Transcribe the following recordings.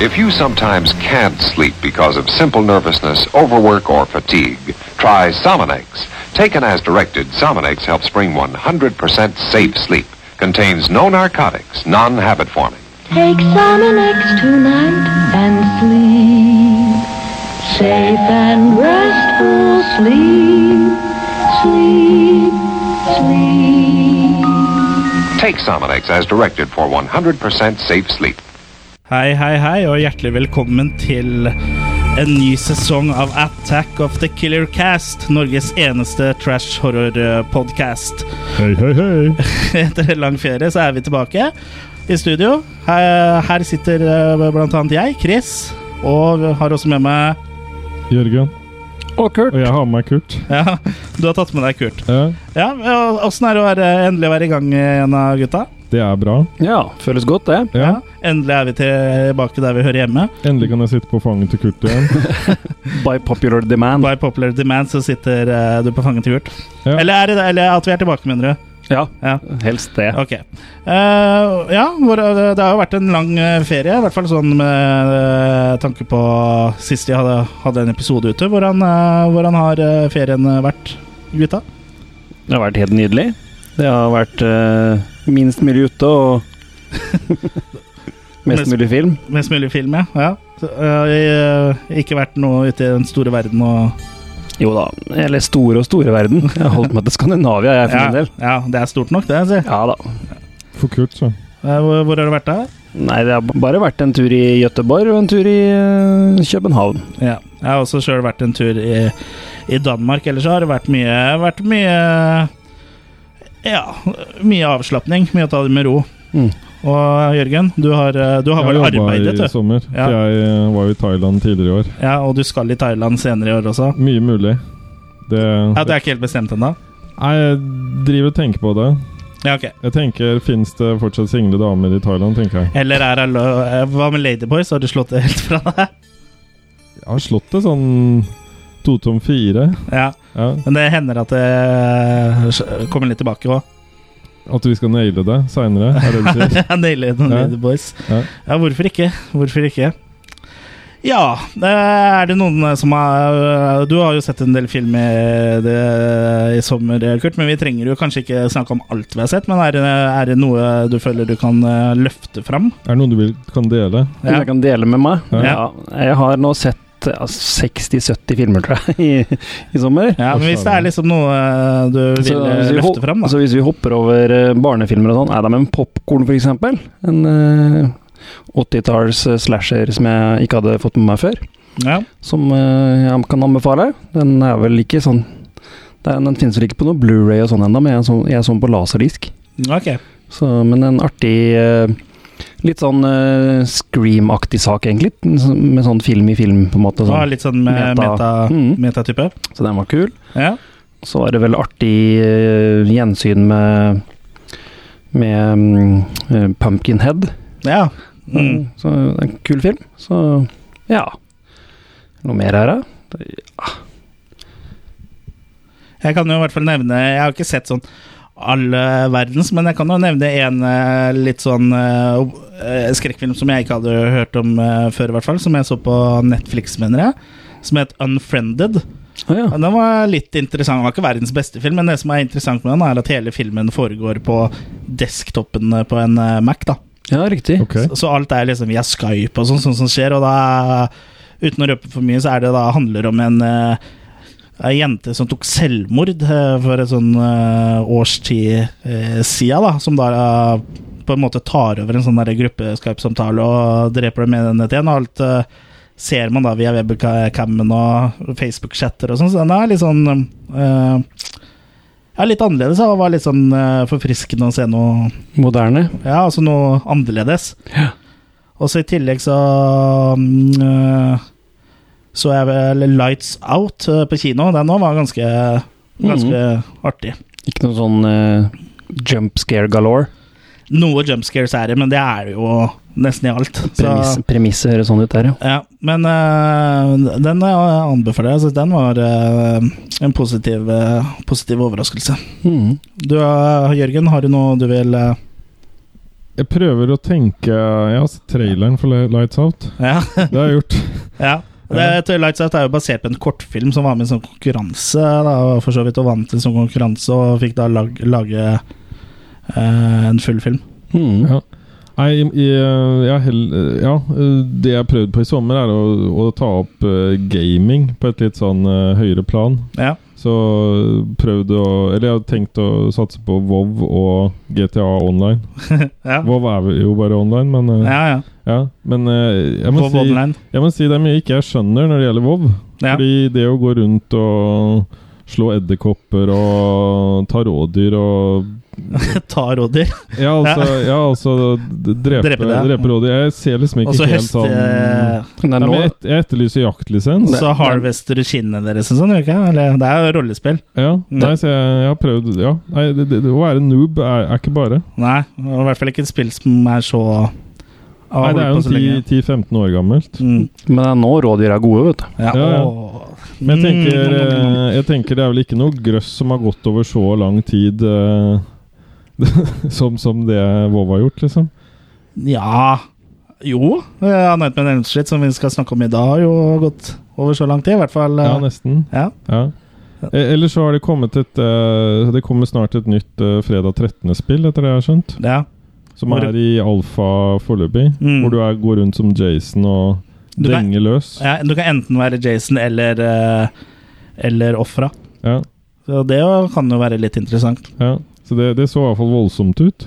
If you sometimes can't sleep because of simple nervousness, overwork, or fatigue, try Somonex. Taken as directed, Somonex helps bring 100% safe sleep. Contains no narcotics, non habit forming. Take Somonex tonight and sleep. Safe and restful sleep. Sleep, sleep. Take Somonex as directed for 100% safe sleep. Hei, hei, hei, og hjertelig velkommen til en ny sesong av Attack of the Killer Cast, Norges eneste trash horror-podkast. Hei, hei, hei. Etter en lang ferie så er vi tilbake i studio. Her, her sitter eh, blant annet jeg, Chris, og vi har også med meg Jørgen. Og Kurt. Og jeg har med meg Kurt. Ja, du har tatt med deg Kurt. Ja, Ja, og Åssen er det å være, endelig være i gang igjen, av gutta? det er bra. Ja, føles godt, det. Ja. Endelig er vi tilbake der vi hører hjemme. Endelig kan jeg sitte på fanget til Kurt igjen. By popular demand. By popular demand så sitter eh, du på fanget til Kurt. Ja. Eller, er det, eller at vi er tilbake, mener du? Ja, Ja. helst det. Ok. Eh, ja, hvor, det har jo vært en lang eh, ferie, i hvert fall sånn med eh, tanke på sist jeg hadde, hadde en episode ute. Hvordan, eh, hvordan har eh, ferien eh, vært, gutta? Det har vært helt nydelig. Det har vært eh, minst mulig ute og mest Mest- mulig film. Mest mulig film, ja. ja. Så, eh, jeg, eh, ikke vært noe ute i den store verden og Jo da. Eller store og store verden. Jeg har holdt meg til Skandinavia, jeg, for ja, min del. ja, det er stort nok, det. Si. Ja da. For Kurt, så. Eh, hvor, hvor har du vært der? Nei, det har bare vært en tur i Gøteborg og en tur i eh, København. Ja. Jeg har også sjøl vært en tur i, i Danmark. Ellers så har det vært mye, vært mye Ja, mye avslapning. Mye å ta det med ro. Mm. Og Jørgen, du har, eh, du har vel jeg jobbet arbeidet, i du. sommer. Ja. for Jeg eh, var jo i Thailand tidligere i år. Ja, og du skal i Thailand senere i år også. Mye mulig. Det, Ja, Det er ikke helt bestemt ennå? Nei, jeg driver og tenker på det. Ja, ok. Jeg tenker, Fins det fortsatt single damer i Thailand, tenker jeg. Eller er det lo- eh, Hva med Ladyboys? Har du slått det helt fra deg? Jeg har slått det sånn to tom fire. Ja, Ja. Men det hender at det kommer litt tilbake òg. At vi skal naile det seinere, er det du sier? Nailer noen Ja. Ladyboys. Ja. Ja, hvorfor ikke? Hvorfor ikke? Ja, eh, er det noen eh, som har eh, Du har jo sett en del film i, det, i sommer, eh, Kurt, men vi trenger jo kanskje ikke snakke om alt vi har sett. Men er det, er det noe du føler du kan eh, løfte fram? Er det noe du vil, kan dele? Som jeg kan dele med meg. Ja. Ja. Jeg har nå sett ja, 60-70 filmer, tror jeg, i, i sommer. Ja, men hvis det er liksom noe eh, du vil Så eh, hvis vi hop- løfte fram, da. Så hvis vi hopper over eh, barnefilmer og sånn, er det med en popkorn f.eks.? En eh, 80-talls eh, slasher som jeg ikke hadde fått med meg før. Ja. Som eh, jeg kan anbefale. Den er vel ikke sånn Den, den finnes vel ikke på noe Blu-ray og sånn ennå, men jeg så, jeg så den på laserdisk. Ok. Så, men en artig eh, Litt sånn eh, Scream-aktig sak, egentlig. en sånn- Med sånn film i film, på en måte. Ah, Sånn. litt sånn eh, Meta. meta- Mm. metatype. Så den var kul. Ja. Så var det vel artig eh, gjensyn med, med mm, eh, Pumpkinhead. ja. Mm. Så det er en kul film. Så ja. Noe mer her, da? Jeg kan jo i hvert fall nevne Jeg har ikke sett sånn alle verdens, men jeg kan jo nevne en eh, litt sånn eh, ob- eh, skrekkfilm som jeg ikke hadde hørt om eh, før, i hvert fall. Som jeg så på Netflix, mener jeg. Som het Unfriended. Å ja. Ja, Den var litt interessant. Den var ikke verdens beste film, men det som er interessant med den, er at hele filmen foregår på desktopen på en eh, Mac. da ja, riktig. Ok. Så- Så alt er liksom via Skype og sånn, sånn som skjer, og da Uten å røpe for mye, så er det da handler det om en eh, ei jente som tok selvmord eh, for et sånn eh, års tid eh, sia, da, som da eh, på en måte tar over en sånn der gruppe-Skype-samtale og dreper dem igjen etter igjen. Og alt eh, ser man da via webcamen og Facebook-chatter og sånn, så den er litt sånn eh, ja, litt annerledes. da, Og var litt sånn eh, forfriskende å se noe Moderne. ja, altså noe annerledes. Ja. Og så i tillegg så mm, øh, så jeg vel Lights Out øh, på kino. Den òg var ganske, Mm. ganske artig. Mm. Ikke noe sånn eh, jump scare galore. Noe jump scares er det, men det er det jo nesten i alt. Så, Premiss- Premisset høres sånn ut der, ja. ja, men øh, den øh, anbefaler jeg. Altså, den var øh, en positiv, øh, positiv overraskelse. eh, Mhm. Du, øh, Jørgen, har du noe du vil øh, Jeg prøver å tenke Jeg har sett traileren for Le- Lights Out. Ja, Det har jeg gjort. ja. Det, til Lights Out er jo basert på en kortfilm som var med i en sånn konkurranse. Da, og for så vidt Og vant en sånn konkurranse og fikk da lag, lage eh, en full film. Mm. Ja. Nei, i- i, eh, jeg, har hell- eh, ja, eh, det jeg har prøvd på i sommer, er å, å ta opp eh, gaming på et litt sånn eh, høyere plan. Ja. Så prøvd å Eller jeg har tenkt å satse på WoW og GTA online. Ja, WoW er jo bare online, men eh, ja. ja. ja. Men eh, jeg må På si Online. Jeg må si det er mye ikke jeg skjønner når det gjelder WoW. Ja. Fordi det å gå rundt og slå edderkopper og ta rådyr og Ta rådyr. Ja, altså, ja, altså d- drepe, Drepe drepe, det. rådyr. Jeg ser liksom Og ikke så helt høste sånn ja, Det er men nå jeg, et- jeg etterlyser jaktlisens. Så harvester du kinnene deres og sånn, gjør du ikke? Eller, det er jo rollespill. Ja, nei, så jeg, jeg har prøvd Ja, nei, det, det, å være noob er, er ikke bare. Nei, og i hvert fall ikke et spill som er så Nei, det er jo en 10 10-15 år gammelt. Mm, Men det er nå rådyr er gode, vet du. ja, Ja, ja. åh. Men jeg tenker, Mm, mm, mm, mm. eh, jeg tenker det er vel ikke noe grøss som har gått over så lang tid eh, som, som det Vov har gjort, liksom. Ja Jo. eh, Annet med Nelmstrid, som vi skal snakke om i dag, har jo gått over så lang tid. I hvert fall. eh, Ja, nesten. ja. Ja. E- Ellers så har det kommet et eh, Det kommer snart et nytt eh, fredag 13.-spill, etter det jeg har skjønt. ja. Som Hvor- er i alfa foreløpig. Mm. Hvor du er, går rundt som Jason og Du kan- denger løs. ja. Du kan enten være Jason eller eh, Eller ofra. Ja, Så det jo- kan jo være litt interessant. ja. Så det, det så i hvert fall voldsomt ut.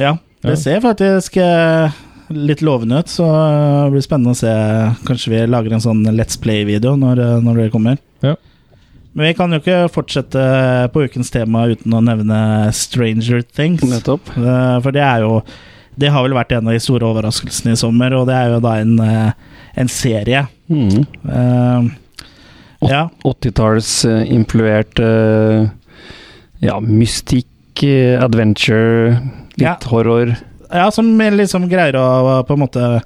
Ja. Ja. Det ser faktisk eh, litt lovende ut, så eh, det blir spennende å se. Kanskje vi lager en sånn Let's Play-video når, eh, når det kommer. Ja. Men vi kan jo ikke fortsette på ukens tema uten å nevne Stranger Things. Nettopp. Eh, For det er jo Det har vel vært en av de store overraskelsene i sommer, og det er jo da en, eh, en serie. Mm. Eh, Ja. 80-tallsinfluert eh, ja, mystikk, eh, adventure, litt Ja. horror. ja, som liksom greier å på en måte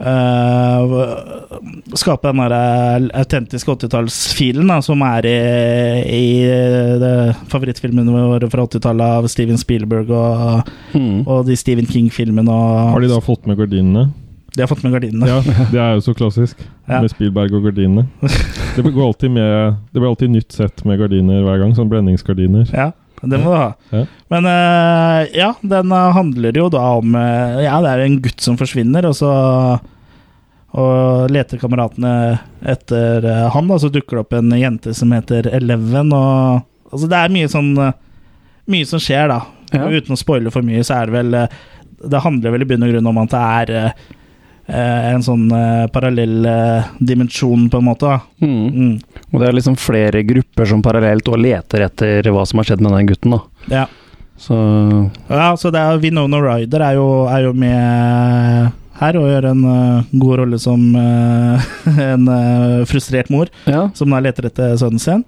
eh, skape den der eh, autentiske 80-tallsfilen da, som er i, i det- favorittfilmene våre fra 80-tallet av Steven Spielberg og, Mm. og de Stephen King-filmene. Har og- de da fått med gardinene? De har fått med gardinene. Ja, Det er jo så klassisk. Ja. Med Spielberg og gardinene. Det blir går alltid, med, det blir alltid nytt sett med gardiner hver gang. Sånn blendingsgardiner. Ja, det må du ha. Ja. Men eh, ja, den eh, handler jo da om eh, Ja, det er en gutt som forsvinner, og så og leter kameratene etter eh, han, da. Så dukker det opp en jente som heter Eleven, og Altså, det er mye sånn eh, Mye som skjer, da. Ja. Uten å spoile for mye, så er det vel eh, Det handler vel i bunn og grunn om at det er eh, eh, en sånn eh, parallell eh, dimensjon, på en måte. da. Mm. Mm. Og det er liksom flere grupper som parallelt og leter etter hva som har skjedd med den gutten, da. Ja. Så Ja, så det er Winona Ryder er jo, er jo med her og gjør en øh, god rolle som øh, en øh, frustrert mor ja. som da leter etter sønnen sin.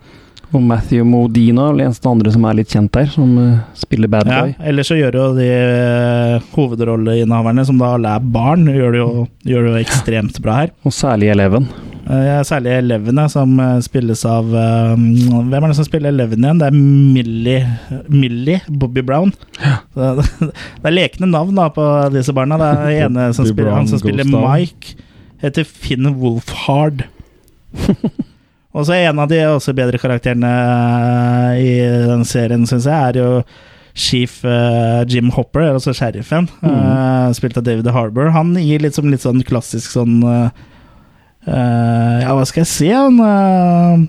Og Matthew Modina, den eneste andre som er litt kjent der, som eh, spiller bad Ja, guy. ellers så gjør jo de øh, hovedrolleinnehaverne, som da alle er barn, gjør det jo, gjør det jo ekstremt bra her. Og særlig Eleven. Eh, særlig Eleven, ja, som øh, spilles av øh, Hvem er det som spiller Eleven igjen? Det er Millie, Millie Bobby Brown. Så Det, det er lekne navn da på disse barna. Det er den ene som Bobby spiller, han Brown, som spiller Ghost Town. Mike, heter Finn Wolfhard. Og så en av de også bedre karakterene eh, i den serien, syns jeg, er jo Chief eh, Jim Hopper, altså sheriffen, eh, spilt av David Harbour. Han gir litt, som, litt sånn klassisk sånn eh, eh, Ja, hva skal jeg si? Han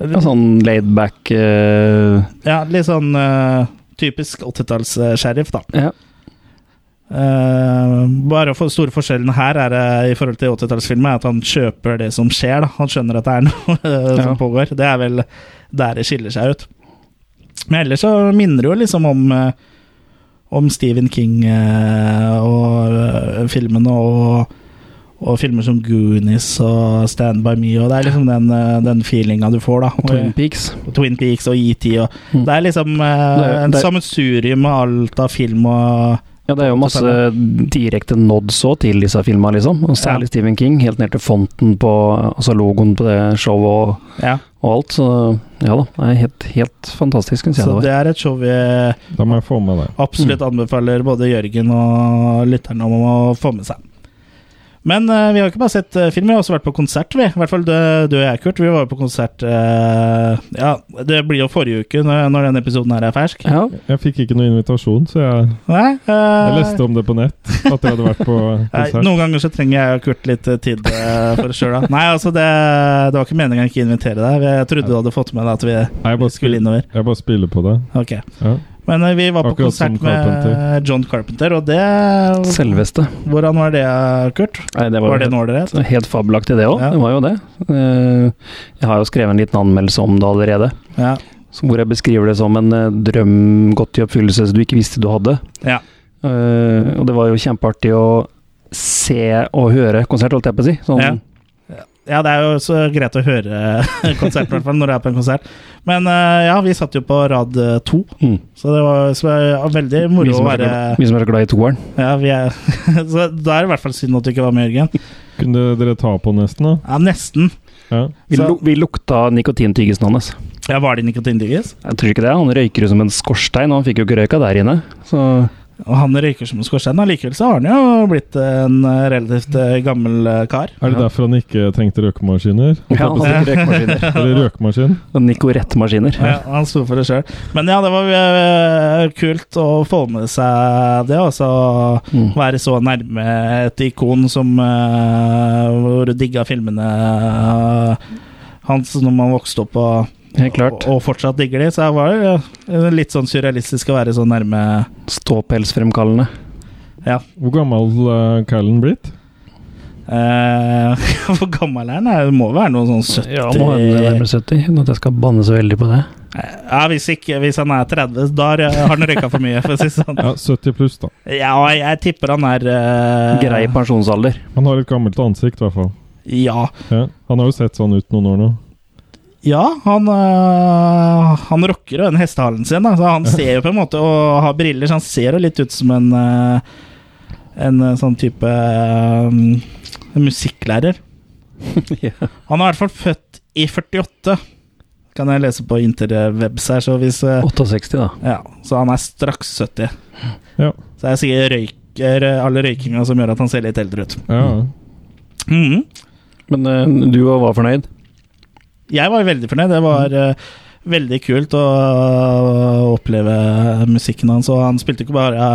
eh, Ja, sånn laidback uh, ja, litt sånn eh, typisk 80-talls-sheriff, da. Ja. Eh, bare for store forskjellen her er eh, i forhold til 80-tallsfilmer, er at han kjøper det som skjer. Da. Han skjønner at det er noe eh, som Ja. pågår. Det er vel der det skiller seg ut. Men ellers så minner det jo liksom om eh, om Stephen King eh, og eh, filmene og og filmer som Goonies og Stand By Me, og det er liksom den, eh, den feelinga du får, da. og Twin Peaks. Og Twin Peaks og ET og Mm. Det er liksom eh, Det er- en det er- sammensurium av alt av film og Ja, det er jo masse direkte nods òg til disse filmene, liksom. Og særlig Stephen King, helt ned til fonten på Altså logoen på det showet og, Ja. og alt. Så ja da, det er helt, helt fantastisk, syns jeg Så det var. det er et show vi Da må jeg få med det. absolutt Mm. anbefaler både Jørgen og lytterne om å få med seg. Men eh, vi har ikke bare sett eh, film, vi har også vært på konsert, vi. I hvert fall du, du og jeg, Kurt. Vi var jo på konsert eh, Ja, det blir jo forrige uke når, når denne episoden her er fersk. Ja, Jeg fikk ikke noen invitasjon, så jeg, Nei, eh, jeg leste om det på nett. At jeg hadde vært på Nei, konsert. noen ganger så trenger jeg og Kurt litt eh, tid eh, for oss sjøl, da. Nei, altså, det, det var ikke meningen å ikke invitere deg. Jeg trodde du hadde fått med deg at vi Nei, jeg, bare skulle spiller, innover. jeg bare spiller på det. Ok. Ja. Men eh, vi var på Akkurat som konsert med Carpenter. John Carpenter, og det selveste. Hvordan var det, Kurt? Nei, det Var det en ålreit? helt, helt fabelaktig, det òg. Ja. Det var jo det. Eh, Jeg har jo skrevet en liten anmeldelse om det allerede. Ja. Så Hvor jeg beskriver det som en eh, drøm godt i oppfyllelse som du ikke visste du hadde. Ja. Eh, og det var jo kjempeartig å se og høre konsert, holdt jeg på å si. Sånn, Ja. ja, det er jo så greit å høre konsert, i hvert fall når du er på en konsert. Men eh, ja, vi satt jo på rad eh, to, Mm. så det var så det var veldig vi, moro å som er så være glad, vi som er så glad i toeren. ja, vi er, Så da er det i hvert fall synd at du ikke var med, Jørgen. Kunne dere ta på nesten, da? Ja, nesten. Ja. Vi, Så- lu- vi lukta nikotintyggisen hans. Ja, Var det nikotintyggis? Jeg tror ikke det. Han røyker jo som en skorstein, og han fikk jo ikke røyka der inne. Så Og han røyker som en skorstein. Allikevel så har han jo blitt en eh, relativt eh, gammel eh, kar. Er det Ja. derfor han ikke tenkte røkemaskiner? ja, han hadde ikke røykemaskiner. Eller røkemaskin? Og Nikorettmaskiner. Ja, han sto for det sjøl. Men ja, det var eh, kult å få med seg det, altså. Mm. være så nærme et ikon som eh, Hvor du digga filmene eh, hans når man vokste opp, og, Helt klart. og, og fortsatt digger de. Så jeg var eh, litt sånn surrealistisk å være så nærme Ståpelsfremkallende. Hvor gammel er Callen blitt? eh, Hvor gammel er han? Det må være noe sånn 70 Ja, må hende nærmere 70, uten at jeg skal banne så veldig på det. Ja, hvis, ikke, hvis han er 30, da har han røyka for mye, for å si det sånn. Ja, 70 pluss, da. Ja, jeg tipper han er eh, Grei pensjonsalder. Han har et gammelt ansikt, i hvert fall. Ja. Ja. Han har jo sett sånn ut noen år nå. Ja, han, øh, han rocker jo den hestehalen sin. Da. Så han ser jo på en måte og har briller, så han ser jo litt ut som en øh, En øh, sånn type øh, musikklærer. Ja. Han er i hvert fall født i 48, kan jeg lese på interwebs her. Så, hvis, øh, 68, da. ja, så han er straks 70. Ja. Så jeg sier røyker øh, alle røykinga som gjør at han ser litt eldre ut. Ja, ja. Mhm. Men eh, du var fornøyd? Jeg var veldig fornøyd. Det var eh, veldig kult å oppleve musikken hans. Og han spilte ikke bare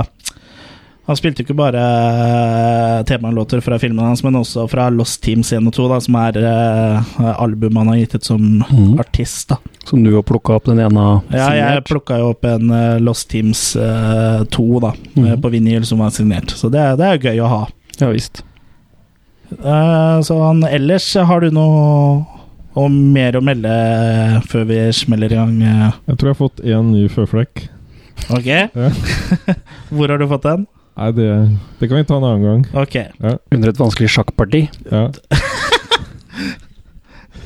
Han spilte ikke bare eh, temalåter fra filmene hans, men også fra Lost Teams 1 og 2, da, som er eh, albumet han har gitt ut som Mm. artist. da Som du har plukka opp den ene ja, Jeg signert? plukka jo opp en eh, Lost Teams eh, 2 da Mhm. eh, på vinyl som var signert, så det, er- det er jo gøy å ha. Mm. Ja visst. Eh, så han, ellers har du noe og mer å melde eh, før vi smeller i gang. eh, Jeg tror jeg har fått én ny føflekk. Ok. Ja. Hvor har du fått den? Nei, det, det kan vi ta en annen gang. Ok. Under et vanskelig sjakkparti. Ja.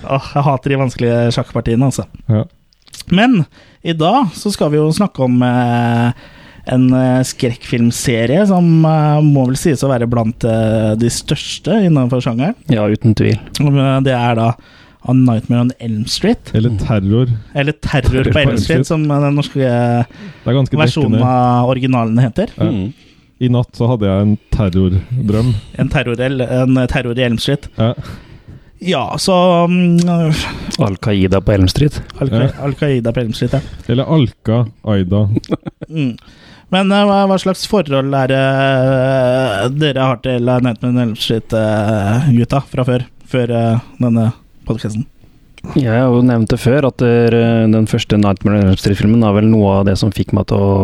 Åh, jeg hater de vanskelige sjakkpartiene, altså. Ja. Men i dag så skal vi jo snakke om eh, en eh, skrekkfilmserie som eh, må vel sies å være blant eh, de største innenfor sjangeren. Ja, uten tvil. Og, eh, Det er da A Nightmare on Elm Street, Eller terror. eller Terror på Elm Street, som eh, den norske eh, Det er ganske versjonen dekkende. av originalen heter. Ja. Mm. I natt så hadde jeg en terrordrøm. En terror, en terror i Elm Street. Ja. Ja, så mm, Al Qaida på Elm Street. Al- Ja. Al Qaida på Elm Street, ja. Eller Alka Aida. Mm. Men eh, hva, hva slags forhold er det eh, dere har til A Nightmare on Elm Street, eh, gutta, fra før? Før eh, denne podkasten? Jeg har jo nevnt det før, at der, eh, den første Nightmare on Elm Street-filmen er vel noe av det som fikk meg til å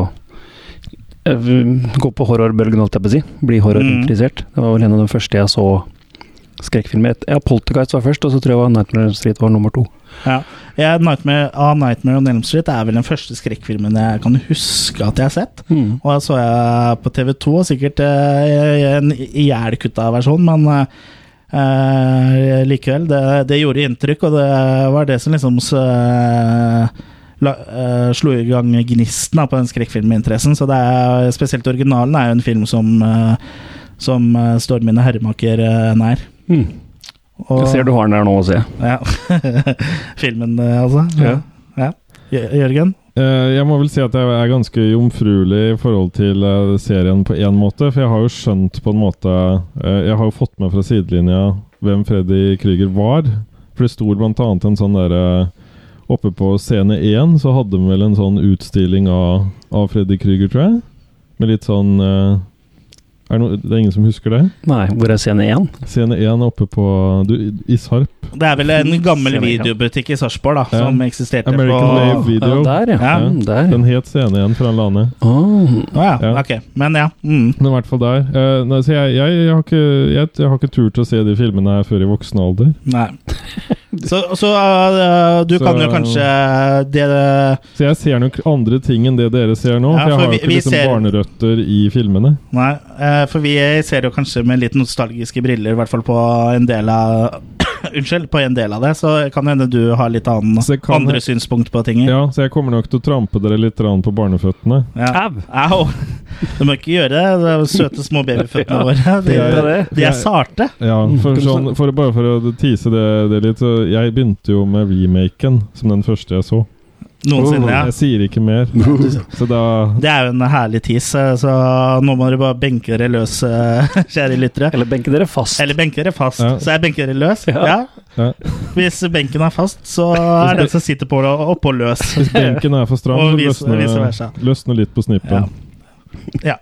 eh, gå på horrorbølgen, holdt jeg på å si. Bli horrorinteresert. Det var vel en av de første jeg så skrekkfilmer. Et- Ja, Poltergeist var først, og så tror jeg var Nightmare on Elm Street var nummer to. Ja. Ja, Nightmare, A Nightmare on Elm Street er vel den første skrekkfilmen jeg kan huske at jeg har sett. Mm. Og jeg så jeg på TV2, sikkert eh, en ihjelkutta versjon, men eh, eh, likevel. Det, det gjorde inntrykk, og det var det som liksom eh, la, eh, slo i gang gnisten da, på den skrekkfilminteressen. Så det er, spesielt originalen er jo en film som, eh, som eh, står mine herremaker eh, nær. Mm. Og- Jeg ser du har den der nå, ser jeg. Ja. Filmen, eh, altså. Ja. ja. Jø- Jørgen? Eh, Jeg må vel si at jeg er ganske jomfruelig i forhold til eh, serien på én måte. For jeg har jo skjønt på en måte eh, Jeg har jo fått med fra sidelinja hvem Freddy Krüger var. For det sto blant annet en sånn derre Oppe på scene én så hadde de vel en sånn utstilling av, av Freddy Krüger, tror jeg. Med litt sånn eh, er det, noe, det er ingen som husker det? Nei, hvor er scene én? Scene én oppe på du, Isharp. Det er vel en gammel Ser meg, ja. videobutikk i Sarpsborg da, Ja. som eksisterte American Wave på Video. Ja, der, ja. Ja. Mm, der. Den het scene én fra landet. Ah. Å ja. Ja. ok. Men ja. Mm. Men i hvert fall der. Eh, nei, så jeg, jeg, jeg, har ikke, jeg, jeg har ikke tur til å se de filmene her før i voksen alder. Nei. Så, så øh, du Så- kan jo kanskje det Så jeg ser nok andre ting enn det dere ser nå. Ja, for jeg for har vi- jo ikke vi liksom ser- barnerøtter i filmene. Nei, eh, for vi ser jo kanskje med litt nostalgiske briller, i hvert fall på en del av Unnskyld, på en del av det, så kan det hende du har litt annen, Så det kan- andre synspunkt på ting. Ja, Så jeg kommer nok til å trampe dere litt rann på barneføttene. Ja. Au! Au! Du må ikke gjøre det. det er jo søte små babyføttene våre. De, Fint av det. de er sarte. Ja, for Kan du sånn, for, Bare for å tease det, det litt, så jeg begynte jo med remaken som den første jeg så. Noensinne, ja. Jeg sier ikke mer. Så da Det er jo en herlig tis, eh, så nå må dere bare benke dere løs, eh, kjære lyttere. Eller benke dere fast. Eller benke dere fast. Ja. Så jeg benker dere løs. Ja. Ja. Ja. Hvis benken er fast, så er den som sitter på det, oppå løs. Hvis benken er for stram, Og så vice- vice versa. løsner, løsner litt på Ja. snippen. ja.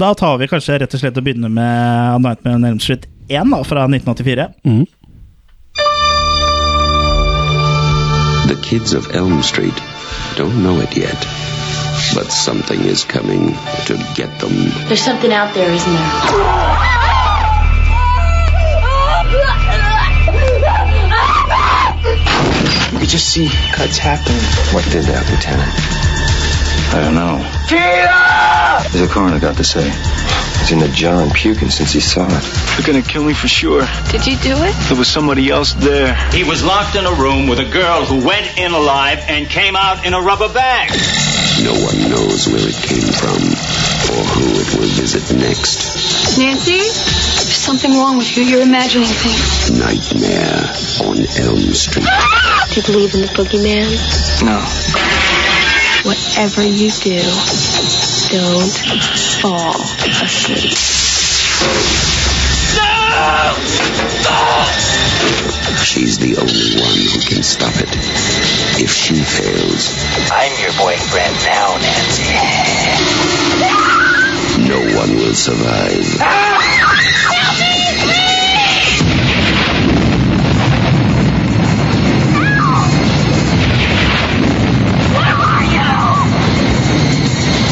Da tar vi kanskje rett og slett og begynner med A Nightmare on Elm Street 1 da, fra 1984. Mm. The kids of Elm Street don't know it yet, but something is coming to get them. There's something out there, isn't there? We just see cuts happening. What did that, Lieutenant? I don't know. Peter! The coroner got to say. He's in a jar and puking since he saw it. They're gonna kill me for sure. Did you do it? There was somebody else there. He was locked in a room with a girl who went in alive and came out in a rubber bag. No one knows where it came from or who it will visit next. Nancy? There's something wrong with you. You're imagining things. Nightmare on Elm Street. Do you believe in the boogeyman? No. Whatever you do, don't fall asleep. She's the only one who can stop it. If she fails, I'm your boyfriend now, Nancy. No one will survive.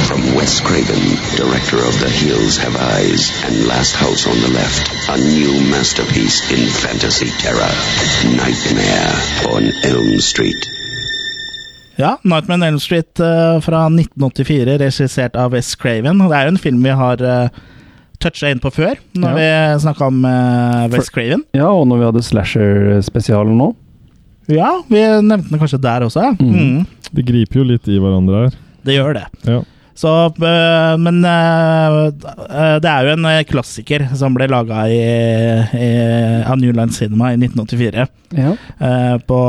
From Wes Craven, director of The Hills Have Eyes and Last House on the Left, a new masterpiece in fantasy terror. Nightmare on Elm Street. Ja, Nightmare on Elm Street eh, fra 1984, regissert av Wes Craven. Det er jo en film vi har uh, toucha inn på før, når vi snakka om eh, Wes Craven. Ja, og når vi hadde slasher-spesialen nå Ja, vi nevnte den kanskje der også. ja. Mhm. Mm. Det griper jo litt i hverandre her. Det gjør det. Ja. Så, øh, men øh, øh, det er jo en øh, klassiker som ble laga i, i, av New Line Cinema i 1984. Ja, eh, på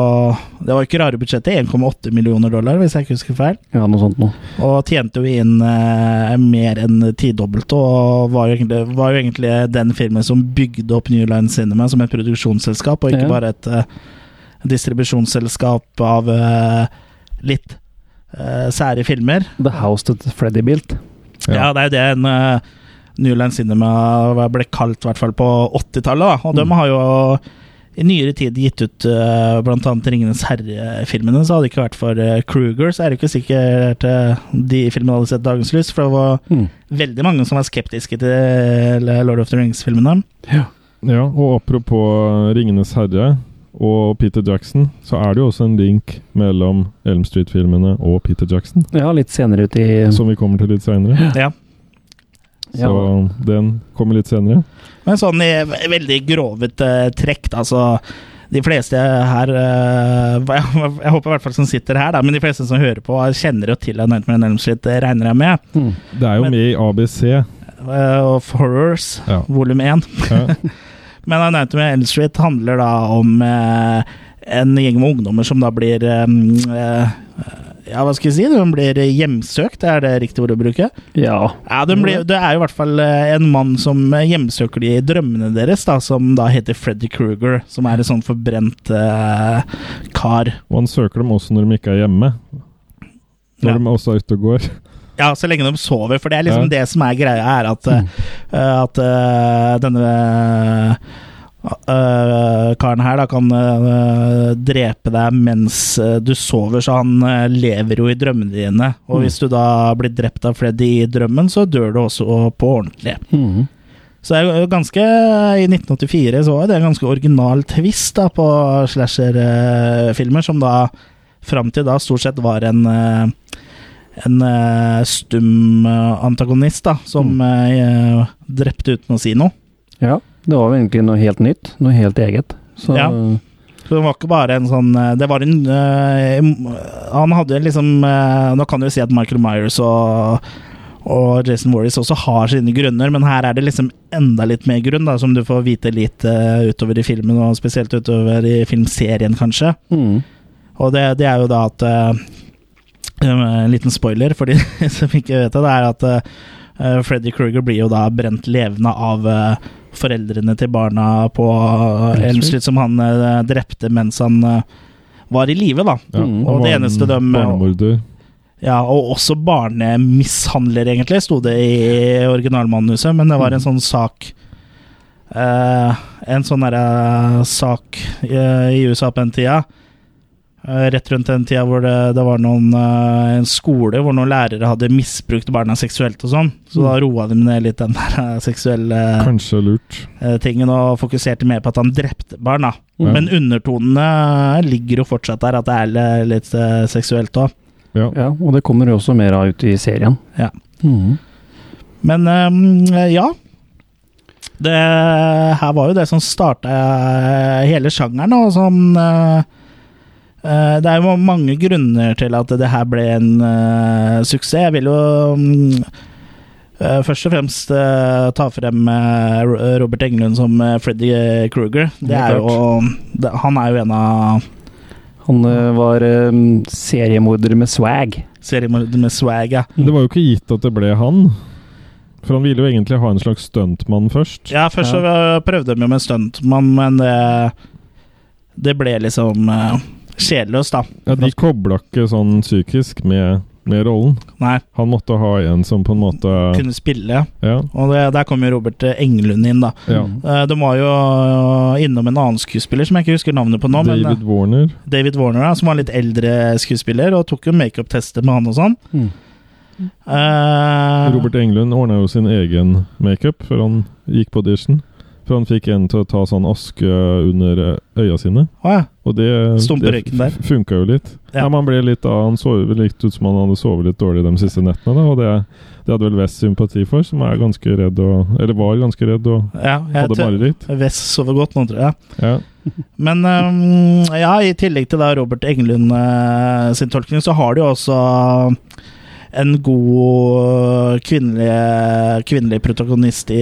Det var jo ikke rare budsjettet, 1,8 millioner dollar, hvis jeg ikke husker feil. ja noe sånt noe. Og tjente jo inn eh, mer enn tidobbelte, og var jo, egentlig, var jo egentlig den filmen som bygde opp New Line Cinema som et produksjonsselskap, og ikke Ja. bare et eh, distribusjonsselskap av eh, litt eh, sære filmer. The House That Freddy Built. Ja. Ja, det er jo det en eh, New Line Cinema ble kalt, i hvert fall på 80-tallet. da. Og de har jo i nyere tid gitt ut eh, blant annet 'Ringenes herre'-filmene. Så hadde det ikke vært for eh, Kruger, så er det ikke sikkert eh, de filmene hadde sett dagens lys. For det var Mm. veldig mange som var skeptiske til eh, Lord of the Rings-filmene. Ja, og apropos eh, Ringenes herre og Peter Jackson, så er det jo også en link mellom Elm Street-filmene og Peter Jackson, Ja, litt senere ut i som vi kommer til litt seinere. Ja. ja. Så den kommer litt senere. Men sånn i ve- veldig grovet eh, trekk, da, så de fleste her eh, Jeg jeg håper i hvert fall som sitter her, da, men de fleste som hører på, kjenner jo til A Nightmare on Elm Street, det regner jeg med. Det er jo Men- med i ABC. Eh, Of Horrors, Ja. volum én. Ja. Men A Nightmare on Elm Street handler da om eh, en gjeng med ungdommer som da blir eh, eh, Ja, hva skal jeg si? De blir hjemsøkt, er det riktig ord å bruke? Ja. Ja, den blir, Det er jo i hvert fall eh, en mann som eh, hjemsøker de i drømmene deres, da, som da heter Freddy Kruger. Som er en sånn forbrent eh, kar. Og han søker dem også når de ikke er hjemme. Ja. Når de også er ute og går. Ja, så lenge de sover, for det er liksom Ja. det som er greia, er at, eh, at eh, denne eh, karen her da kan eh, drepe deg mens eh, du sover, så han eh, lever jo i drømmene dine. Og hvis du da blir drept av Freddy i drømmen, så dør du også på ordentlig. Mhm. Så det er jo ganske I 1984 så var det en ganske original twist da på slasherfilmer, som da fram til da stort sett var en eh, en eh, stum eh, antagonist, da, som eh, drepte uten å si noe. ja. Det var jo egentlig noe helt nytt. Noe helt eget. Så Ja. Så det var ikke bare en sånn eh, Det var en eh, em- Han hadde liksom eh, Nå kan du jo si at Michael Myers og, og Jason Warris også har sine grunner, men her er det liksom enda litt mer grunn, da, som du får vite litt eh, utover i filmen, og spesielt utover i filmserien, kanskje. mhm. Og det, det er jo da at eh, En liten spoiler for de som ikke vet det, det er at eh, Freddy Krueger blir jo da brent levende av eh, foreldrene til barna på eh, Elm Street, som han eh, drepte mens han eh, var i live, da. Ja. Mm. han Og det var en eneste de- Barnemorder. Ja, og også barnemishandler, egentlig, sto det i originalmanuset, men det var en sånn sak eh, En sånn derre sak eh, i USA på den tida. eh, rett rundt den tida hvor det, det var noen, eh, en skole hvor noen lærere hadde misbrukt barna seksuelt og sånn. Så da roa de ned litt den der eh, seksuelle Kanskje lurt. eh, tingen og fokuserte mer på at han drepte barn. da. Ja. Men undertonene ligger jo fortsatt der, at det er li- litt eh, seksuelt òg. Ja. ja. Og det kommer jo også mer av ut i serien. Ja. Mhm. Men eh, ja. Det her var jo det som starta eh, hele sjangeren, og sånn eh, eh, Det er jo mange grunner til at det her ble en eh, suksess. Jeg vil jo mm, eh, først og fremst eh, ta frem eh, Ro- Robert Englund som eh, Freddy Kruger. Det er Helt jo det, Han er jo en av Han eh, var eh, seriemorder med swag. seriemorderne med swag, ja. Det var jo ikke gitt at det ble han. For han ville jo egentlig ha en slags stuntmann først. Ja, først så prøvde de jo med stuntmann, men det, det ble liksom uh, kjedeløst, da. Ja, de kobla ikke sånn psykisk med, med rollen. Nei, Han måtte ha en som på en måte kunne spille. Ja. Og det, der kom jo Robert Englund inn, da. ja. Eh, De var jo eh, innom en annen skuespiller som jeg ikke husker navnet på nå, men David eh, Warner. David Warner, da, som var en litt eldre skuespiller, og tok jo makeup-tester med han og sånn. Mhm. Eh, Robert Englund ordna jo sin egen makeup før han gikk på audition. For han fikk en til å ta sånn aske under eh, øya sine. å ja. Og det, Stumpe det røyken der. f- funka jo litt. Ja. Ja. men han ble litt da, han så vel litt ut som han hadde sovet litt dårlig de siste nettene. Da, og det, det hadde vel West sympati for, som er ganske redd og, eller var ganske redd og ja jeg hadde tror, mareritt. Wes sover godt nå, tror jeg. Ja. Men ehm, ja, i tillegg til da Robert Englund eh, sin tolkning, så har du jo også en god kvinnelig, kvinnelig protagonist i,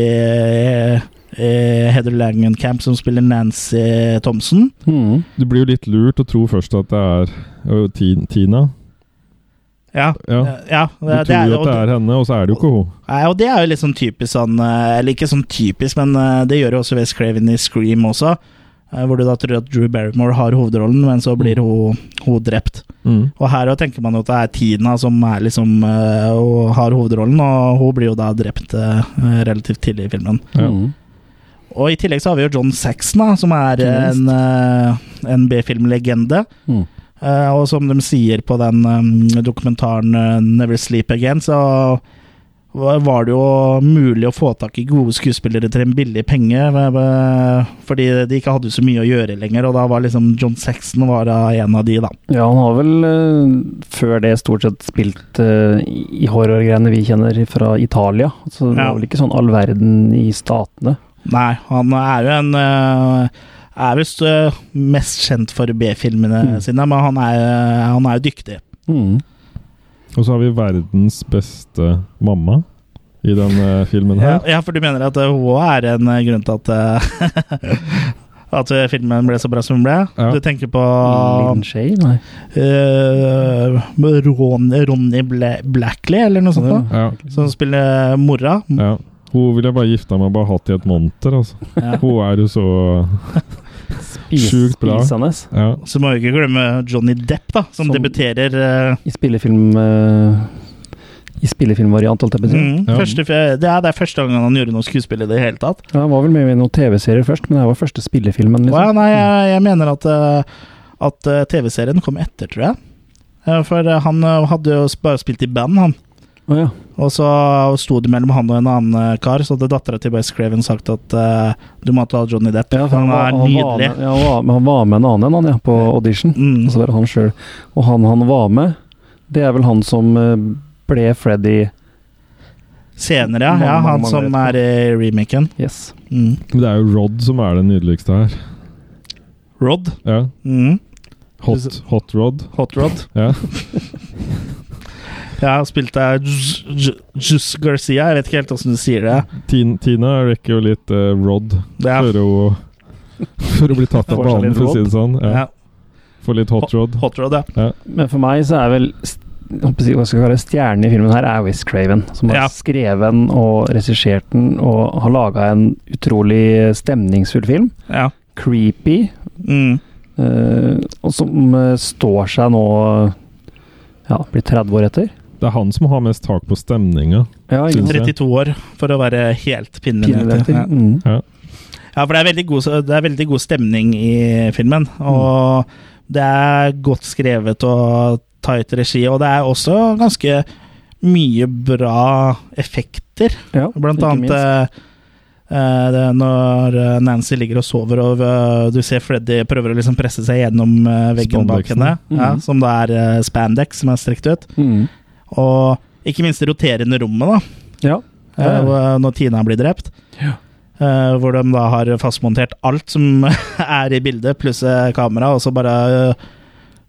i Heather Langenkamp, som spiller Nancy Thompson. Mhm. Det blir jo litt lurt å tro først at det er ø, Ti- Tina. Ja. Ja. eh, ja Du tror jo og, at det er henne, og så er det jo ikke hun. Nei, og det er jo litt sånn typisk sånn eh, Eller ikke sånn typisk, men eh, det gjør jo også Wes Craven i Scream også. eh, Hvor du da tror at Drew Barrymore har hovedrollen, men så blir hun, hun drept. Mm. Og her jo tenker man jo at det er Tina som er liksom, eh, og har hovedrollen, og hun blir jo da drept eh, relativt tidlig i filmen. Ja. Mhm. Og i tillegg så har vi jo John Saxon, da, som er eh, en, eh, en B-filmlegende. Mhm. Eh, og som de sier på den eh, dokumentaren eh, 'Never Sleep Again', så var var det jo mulig å få tak i gode skuespillere til en billig penge, eh, fordi de ikke hadde så mye å gjøre lenger, og da var liksom John Saxon var da en av de, da. Ja, han har vel eh, før det stort sett spilt eh, i horrorgreiene vi kjenner fra Italia. Så det Ja. var vel ikke sånn all verden i statene. Nei, han er jo en eh, er visst øh, mest kjent for B-filmene Mm. sine, men han er, han er jo dyktig. Mm. Og så har vi verdens beste mamma i den eh, filmen Ja, her. ja, for du mener at øh, hun også er en øh, grunn til at øh, At øh, filmen ble så bra som den ble? Ja. Du tenker på Lin Shay? Nei. øh, Ron, Ronny Bla Blackley, eller noe sånt? Sånn da Ja. Sånn Som spiller eh, mora. ja. Hun ville jeg bare gifta meg og bare hatt i et monter, altså. Ja. Hun er jo så Sjukt bra. Spisende. Ja. Så må vi ikke glemme Johnny Depp, da, som, Som- debuterer eh, I spillefilm eh, I spillefilmvariant, holdt jeg på å si. mm, Ja. første, det, er, det er første gangen han gjorde noe skuespill i det hele tatt. Ja, han var vel med i noen TV-serier først, men det her var første spillefilmen. Og ja, Liksom. nei, jeg, jeg mener at, eh, at eh, TV-serien kom etter, tror jeg. Eh, For eh, han eh, hadde jo sp- bare spilt i band, han. Å ja. Og så eh, sto det mellom han og en annen eh, kar, så hadde dattera til Wes Craven sagt at eh, du må ta Johnny Depp, Ja, for han, var- er var nydelig. med- Ja, han Altså, var, men han var med en annen enn han, ja, på audition. Mm. Og så var det han sjøl. Og han han var med, det er vel han som eh, ble Freddy Senere, ja. Mange, ja mange, han mange som vet er i remaken. Yes. Mm. Men det er jo Rod som er den nydeligste her. Rod. Ja. Mm. Hot, hot Rod. Hot Rod. Ja. Jeg har spilt av eh, Jus Garcia. Jeg vet ikke helt åssen du sier det. Tin, Tina rekker jo litt eh, Rod det er, før hun før hun blir tatt av Får seg banen, litt for å si Rod. det sånn. Ja. ja. Får litt hot Rod. Hot Rod, ja. Men for meg så er vel st- jeg håper å si- hva skal jeg kalle det, stjernen i filmen her er Wes Craven, som har Ja. skrevet den og regissert den og har laga en utrolig stemningsfull film. ja. Creepy, Mm. eh, og som eh, står seg nå ja, blir 30 år etter. Det er han som har mest tak på stemninga. Ja, ikke sant? 32 år, for å være helt Pinlig pinnelig. etter. Ja. Mm. ja, for det er, veldig god, det er veldig god stemning i filmen. Og det er godt skrevet og tight regi, og det er også ganske mye bra effekter. Ja, Blant ikke annet minst. eh, eh, det er når eh, Nancy ligger og sover, og eh, du ser Freddy prøver å liksom presse seg gjennom eh, veggen bak Spandexen. henne, ja, Mhm. som da er eh, spandex som er strekt ut. Mm. Og ikke minst det roterende rommet, da, Ja. eh, Ja. hvor- når Tina blir drept. Ja. Eh, hvor de da har fastmontert alt som er i bildet, pluss eh, kamera, og så bare eh,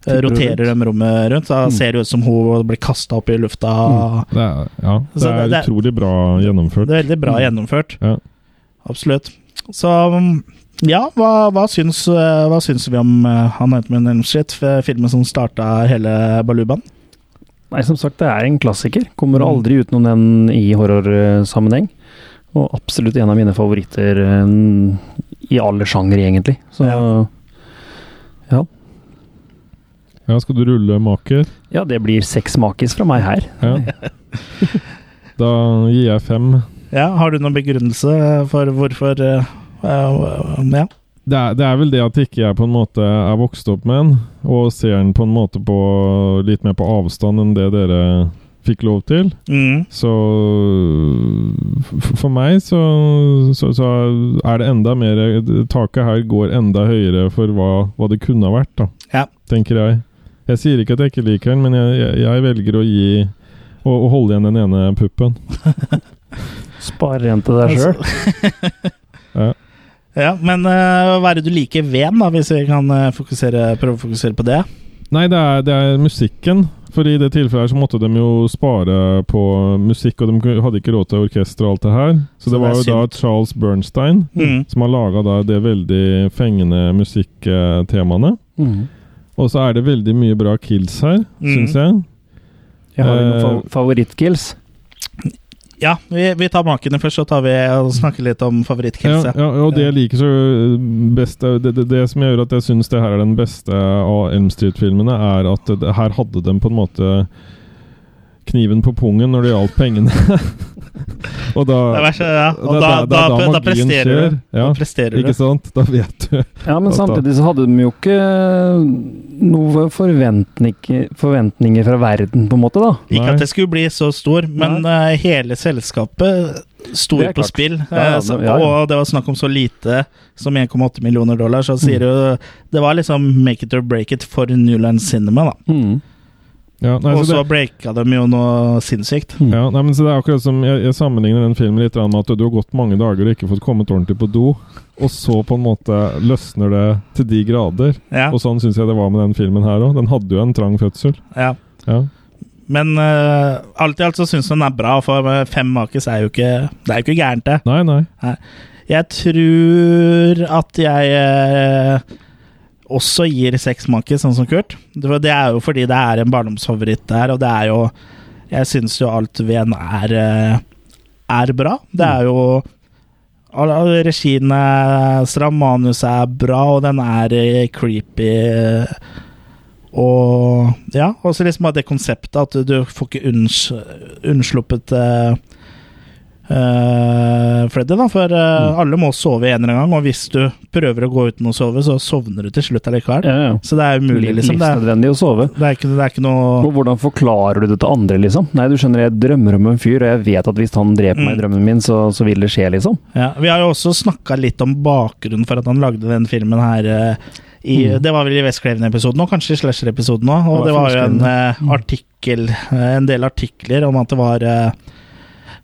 Tipper Mm. det roterer de rommet rundt. Så da ser det ut som hun blir kasta opp i lufta. Mm. Det er, ja, det Så det- er det- utrolig bra Det gjennomført. er veldig Mm. bra gjennomført. Ja. Absolutt. Så um, ja, hva, hva, syns, eh, hva syns vi om eh, Han heter med Nelm Shit, f- filmen som starta hele balubaen? Nei, som sagt, det er en klassiker. Mm. Kommer aldri utenom den i horrorsammenheng. Og absolutt en av mine favoritter eh, i alle sjangere, egentlig. Så ja. Ja. Ja, skal du rulle, maker? det blir seks makis fra meg her. Ja. Da gir jeg fem. Ja, har du noen begrunnelse for hvorfor eh, eh, Ja. Det er, det er vel det at ikke jeg på en måte er vokst opp med den, og ser den på en måte på litt mer på avstand enn det dere fikk lov til. Mm. Så f- for meg så, så, så er det enda mer Taket her går enda høyere for hva, hva det kunne ha vært, da. Ja. Tenker jeg. Jeg sier ikke at jeg ikke liker den, men jeg, jeg, jeg velger å gi å, å holde igjen den ene puppen. Spar en til deg Altså, sjøl. Ja. Ja, men eh, hva er det du liker ved den, da, hvis vi kan eh, fokusere, prøve å fokusere på det? Nei, det er, det er musikken. For i det tilfellet her så måtte de jo spare på musikk, og de ku- hadde ikke råd til orkester og alt det her. Så, Så det det var er jo da Charles Bernstein Mm. som har laga det veldig fengende musikktemaene. Mm. Og så er det veldig mye bra kills her, Mm. syns jeg. Jeg har noen Eh, fa- favorittkills. Ja, vi, vi tar makene først, så tar vi og snakker litt om Ja, favorittkilset. ja, og det jeg liker så eh, best det, det, det som gjør at jeg syns det her er den beste av Elm Street-filmene, er at det, her hadde de på en måte kniven på pungen når det gjaldt pengene. og da Det er verst, ja. Og da, Det er- det er da, da da, magien presterer du. skjer. Ja, Da presterer du. Ikke sant? Da vet du. Ja, men at da- samtidig så hadde de jo ikke eh, noe forventning, forventninger fra verden, på en måte, da. Ikke Nei. at det skulle bli så stor, men eh, hele selskapet sto Det er på klart. spill. Ja, ja, eh, så- ja, ja. Og det var snakk om så lite som 1,8 millioner dollar, Mm. så sier jo Det var liksom make it or break it for Newland Cinema, da. Mm. Ja, nei, Og så det, så breaka de jo noe sinnssykt. ja, nei, men så det er akkurat som jeg, jeg sammenligner den filmen litt med at du har gått mange dager og ikke fått kommet ordentlig på do. Og så på en måte løsner det til de grader. Ja, Og sånn syns jeg det var med den filmen her òg. Den hadde jo en trang fødsel. ja. Ja. Men eh, alt i alt så syns jeg den er bra, for eh, fem makis er jo ikke Det er jo ikke gærent, det. Nei, nei. Jeg tror at jeg eh, også gir seks makis, sånn som Kurt. Det var- det er jo fordi det er en barndomsfavoritt der, og det er jo Jeg syns jo alt ved den er eh, er bra. Det er jo al- al- Regien er stram, manuset er bra, og den er eh, creepy. eh, Og ja, og så liksom at det konseptet at du, du får ikke unns, unnsluppet eh, eh, Freddy, da. For eh, alle må sove en eller annen gang, og hvis du prøver å gå uten å sove, så sovner du til slutt allikevel. Ja, ja. Så det er umulig, liksom. Det er, Livsnødvendig å sove. det er, ikke, det er ikke noe Og hvordan forklarer du det til andre, liksom? Nei, du skjønner, jeg drømmer om en fyr, og jeg vet at hvis han dreper Mm. meg i drømmen min, så, så vil det skje, liksom. Ja, Vi har jo også snakka litt om bakgrunnen for at han lagde den filmen her. eh, I, Det var vel i West Craven-episoden og kanskje i Slasher-episoden òg. Og Det det var var jo en eh, artikkel, eh, en del artikler om at det var eh,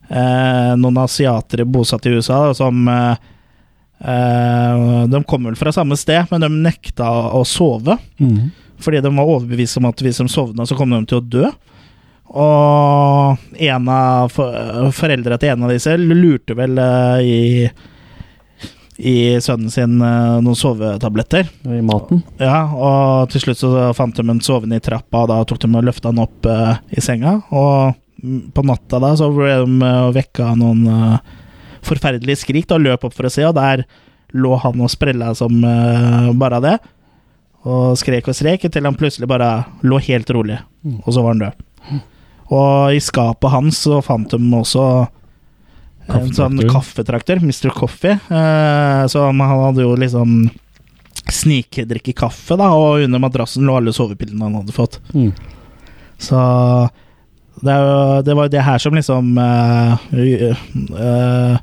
eh, noen asiatere bosatt i USA da, som eh, eh, De kom vel fra samme sted, men de nekta å sove. Mm. Fordi de var overbevist om at hvis de sovna, så kom de til å dø. Og en av for, foreldra til en av disse lurte vel eh, i, i sønnen sin eh, noen sovetabletter. I maten. Ja, og til slutt så fant de ham sovende i trappa, og da tok de og løfta han opp eh, i senga. Og mm, på natta da så ble de eh, vekka av noen eh, forferdelige skrik, da løp opp for å se, og der lå han og sprella som eh, bare det. Og skrek og skrek, til han plutselig bare lå helt rolig, og så var han død. Og i skapet hans så fant de også en sånn kaffetrakter, Mr. Coffee. Eh, så han hadde jo liksom snikdrikke kaffe, da, og under madrassen lå alle sovepillene han hadde fått. Mm. Så det, er jo, det var jo det her som liksom eh, ø- ø- ø,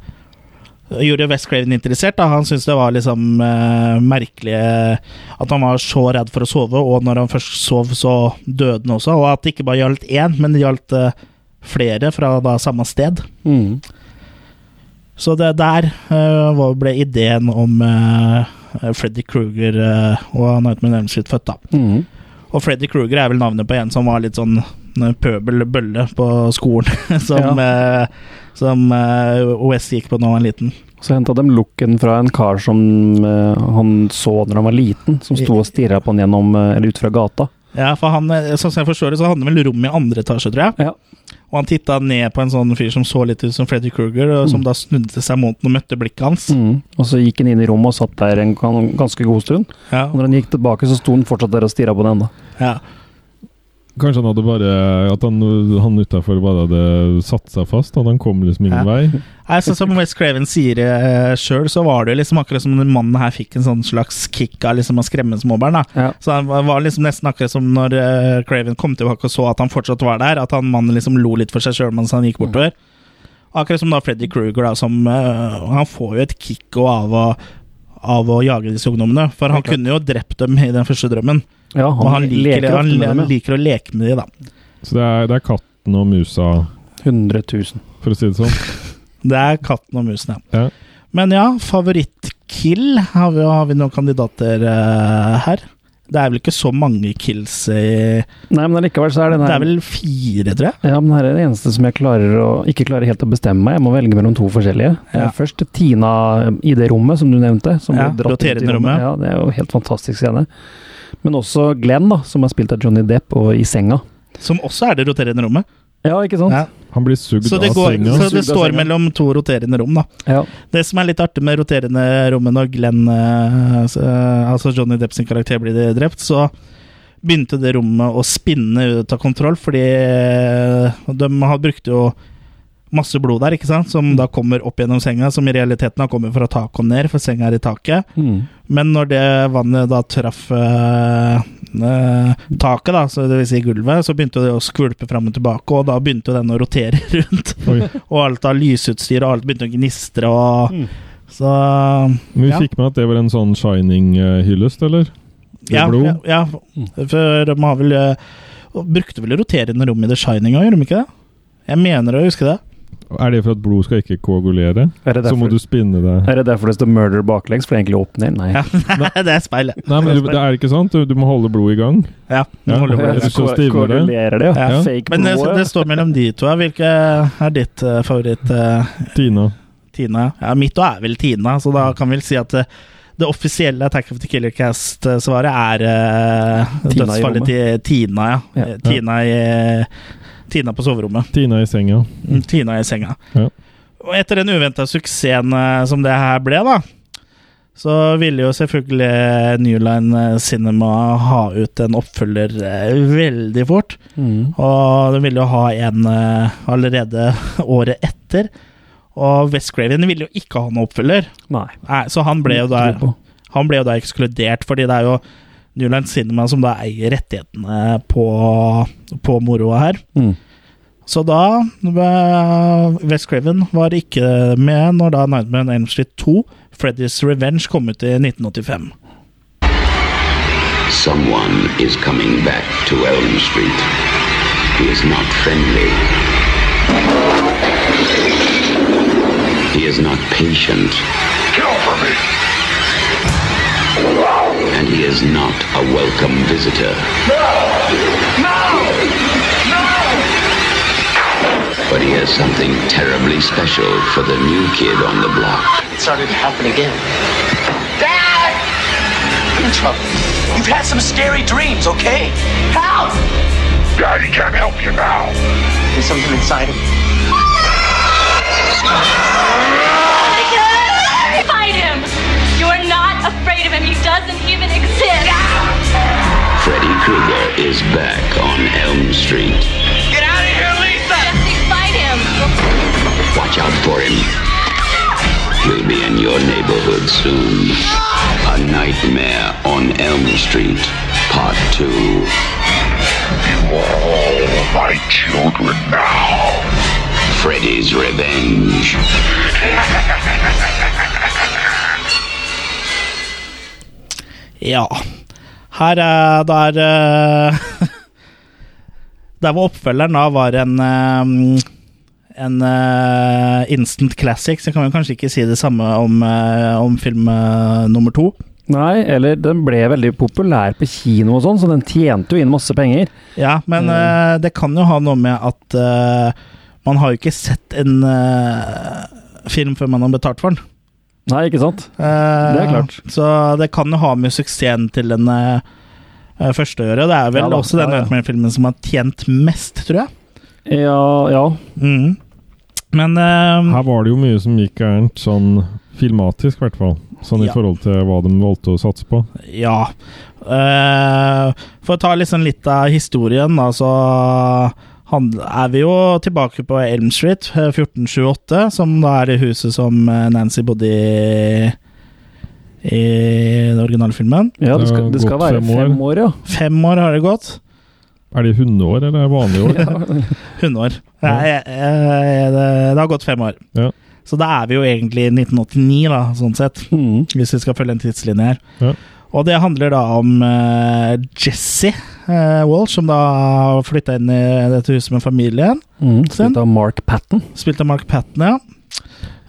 Gjorde West Craven interessert. da Han syntes det var liksom eh, merkelig eh, at han var så redd for å sove, og når han først sov, så døde han også. Og at det ikke bare gjaldt én, men det gjaldt eh, flere fra da samme sted. Mm. Så det der eh, var- ble ideen om eh, Freddy Kruger eh, og Nightmare on Elm Street født, da. Mm. Og Freddy Kruger er vel navnet på en som var litt sånn eh, pøbel-bølle på skolen, som, eh, som eh, OS gikk på da han var liten. Så henta de looken fra en kar som eh, han så når han var liten, som sto og stirra på han gjennom, eh, eller ut fra gata. Ja, for han, eh, sånn som jeg forstår det, så hadde han vel rom i andre etasje, tror jeg. Ja. Og han titta ned på en sånn fyr som så litt ut som Freddy Kruger, og som da snudde seg mot den og møtte blikket hans. Mm. Og så gikk han inn i rommet og satt der en gan- ganske god stund. Ja, Og når han gikk tilbake, så sto han fortsatt der og stirra på den ennå. ja. Kanskje han hadde bare At han, han utafor bare hadde satt seg fast. At han kom liksom ingen Ja. vei. Nei, så Som West Craven sier uh, sjøl, så var det jo liksom akkurat som den mannen her fikk en sånn slags kick av liksom å skremme småbarn. da Ja. Så han var- var liksom nesten akkurat som når eh, Craven kom tilbake og så at han fortsatt var der, at han mannen liksom lo litt for seg sjøl mens han gikk Mm. bortover. Akkurat som da Freddy Kruger, da, som eh, Han får jo et kick også av å, av å jage disse ungdommene. For han kunne jo drept dem i den første drømmen, Ja, og han liker, leker han, ofte med han dem, ja. liker å leke med dem, da. Så det er, det er katten og musa, 100 000. for å si det sånn. Det er katten og musen, ja. Ja. Men ja, favorittkill. Har vi, har vi noen kandidater eh, her? Det er vel ikke så mange kills i Nei, men allikevel så er den Det her er vel fire, tror jeg. Ja, men her er det eneste som jeg klarer å, ikke klarer helt å bestemme meg. Jeg må velge mellom to forskjellige. Det er Ja. Først Tina i det rommet som du nevnte. Som Ja, ble dratt ut i roterende rommet. Ja, det er jo helt fantastisk scene. Men også Glenn, da, som er spilt av Johnny Depp og i senga. Som også er det roterende rommet. Ja, ikke sant? Ja. Han blir sugd Så av det, går, senga. så det Sugd av står senga. mellom to roterende rom, da. Ja. Det som er litt artig med roterende rommet når Glenn, eh, s- eh, altså Johnny Depp sin karakter, blir drept, så begynte det rommet å spinne ut av kontroll, fordi eh, de har brukt jo masse blod der, ikke sant, som da kommer opp gjennom senga, som i realiteten har kommet fra taket og ned, for senga er i taket. Mm. Men når det vannet da traff eh, eh, taket, da, så det vil si gulvet, så begynte det å skvulpe fram og tilbake, og da begynte jo den å rotere rundt. Oi. og alt av lysutstyr og alt begynte å gnistre og Mm. Så Men vi Ja. fikk med at det var en sånn shining-hyllest, eller? ja, blod. Mm. ja, ja, for de har vel eh, og Brukte vel roterende rom i The Shining òg, gjorde de ikke det? Jeg mener å huske det. Er det for at blod skal ikke koagulere? Er det Så må derfor, du spinne det. er det, derfor det står 'murder' baklengs? For det er egentlig opp ned? Nei. Ja, det er speilet. Nei, men du, det er ikke sant? Du, du må holde blodet i gang. Ja, du Ja. holder på. Jeg synes det stivner det. korrelerer det, ja. Ja. Fake Men det, blod, eh, det står mellom de to. her. Hvilke er ditt eh, favoritt, eh, Tina. Tina? Ja, mitt òg er vel Tina, så Mm. da kan vi vel si at eh, det offisielle Attack of the Killer Cast-svaret er eh, Tina i dødsfallet rommet. til Tina, ja. Ja. Eh, Tina, i, Tina på soverommet. Tina i senga. Mm, Tina i senga. Ja. Og etter den uventa suksessen eh, som det her ble, da, så ville jo selvfølgelig New Line eh, Cinema ha ut en oppfølger eh, veldig fort. Mm. Og de ville jo ha en eh, allerede året etter. Og West Craven ville jo ikke ha noen oppfølger, Nei. Nei, så han ble, jo da, Tro Mm, på. han ble jo da ekskludert, fordi det er jo Newland Cinema som da eier rettighetene på, på moroa her. Mm. Så da eh, Wes Craven var ikke med når da Nightmare on Elm Street 2, Freddy's Revenge, kom ut i 1985. Someone is coming back to Elm Street. He is not friendly. He is not patient. And he is not a welcome visitor. No! No! No! But he has something terribly special for the new kid on the block. It started to happen again. Dad! I'm in trouble. You've had some scary dreams, okay? Help! Daddy can't help you now. There's something inside him. Fight him! You're not afraid of him. He doesn't even exist. Freddy Krueger is back on Elm Street. Get out of here, Lisa! Jesse, fight him! Watch out for him. He'll be in your neighborhood soon. A Nightmare on Elm Street, Part 2. You are all my children now. Freddy's Revenge. Ja. Her er der eh, Der hvor oppfølgeren da var en eh, En eh, instant classic, så kan vi kanskje ikke si det samme om, eh, om film eh, nummer to. Nei, eller den ble veldig populær på kino og sånn, så den tjente jo inn masse penger. Ja, Mm. men eh, det kan jo ha noe med at eh, man har jo ikke sett en eh, film før man har betalt for den. Nei, ikke sant? Eh, Det er klart. Så det kan jo ha med suksessen til den eh, første å gjøre. Det er vel Ja da, også den ja, ja. Nightmare-filmen som har tjent mest, tror jeg. Ja, ja. Mm. Men eh, Her var det jo mye som gikk gærent, sånn filmatisk i hvert fall. Sånn Ja. i forhold til hva de valgte å satse på. ja Eh, For å ta liksom litt av historien, da, så han, er vi jo tilbake på Elm Street eh, 1428, som da er det huset som eh, Nancy bodde i i den originale filmen. ja det Det skal, har det skal gått være fem år. fem år, ja. Fem år har det gått. Er det hundeår eller er det vanlige år? Hundeår. Nei, eh, eh, det, det har gått fem år. Ja. Så da er vi jo egentlig i 1989, da, sånn sett. Mm. hvis vi skal følge en tidslinje her. Ja. Og det handler da om eh, Jesse eh, Walsh, som da har flytta inn i dette huset med familien. Mm. Spilt av Mark Patton. Spilt av Mark Patton, ja.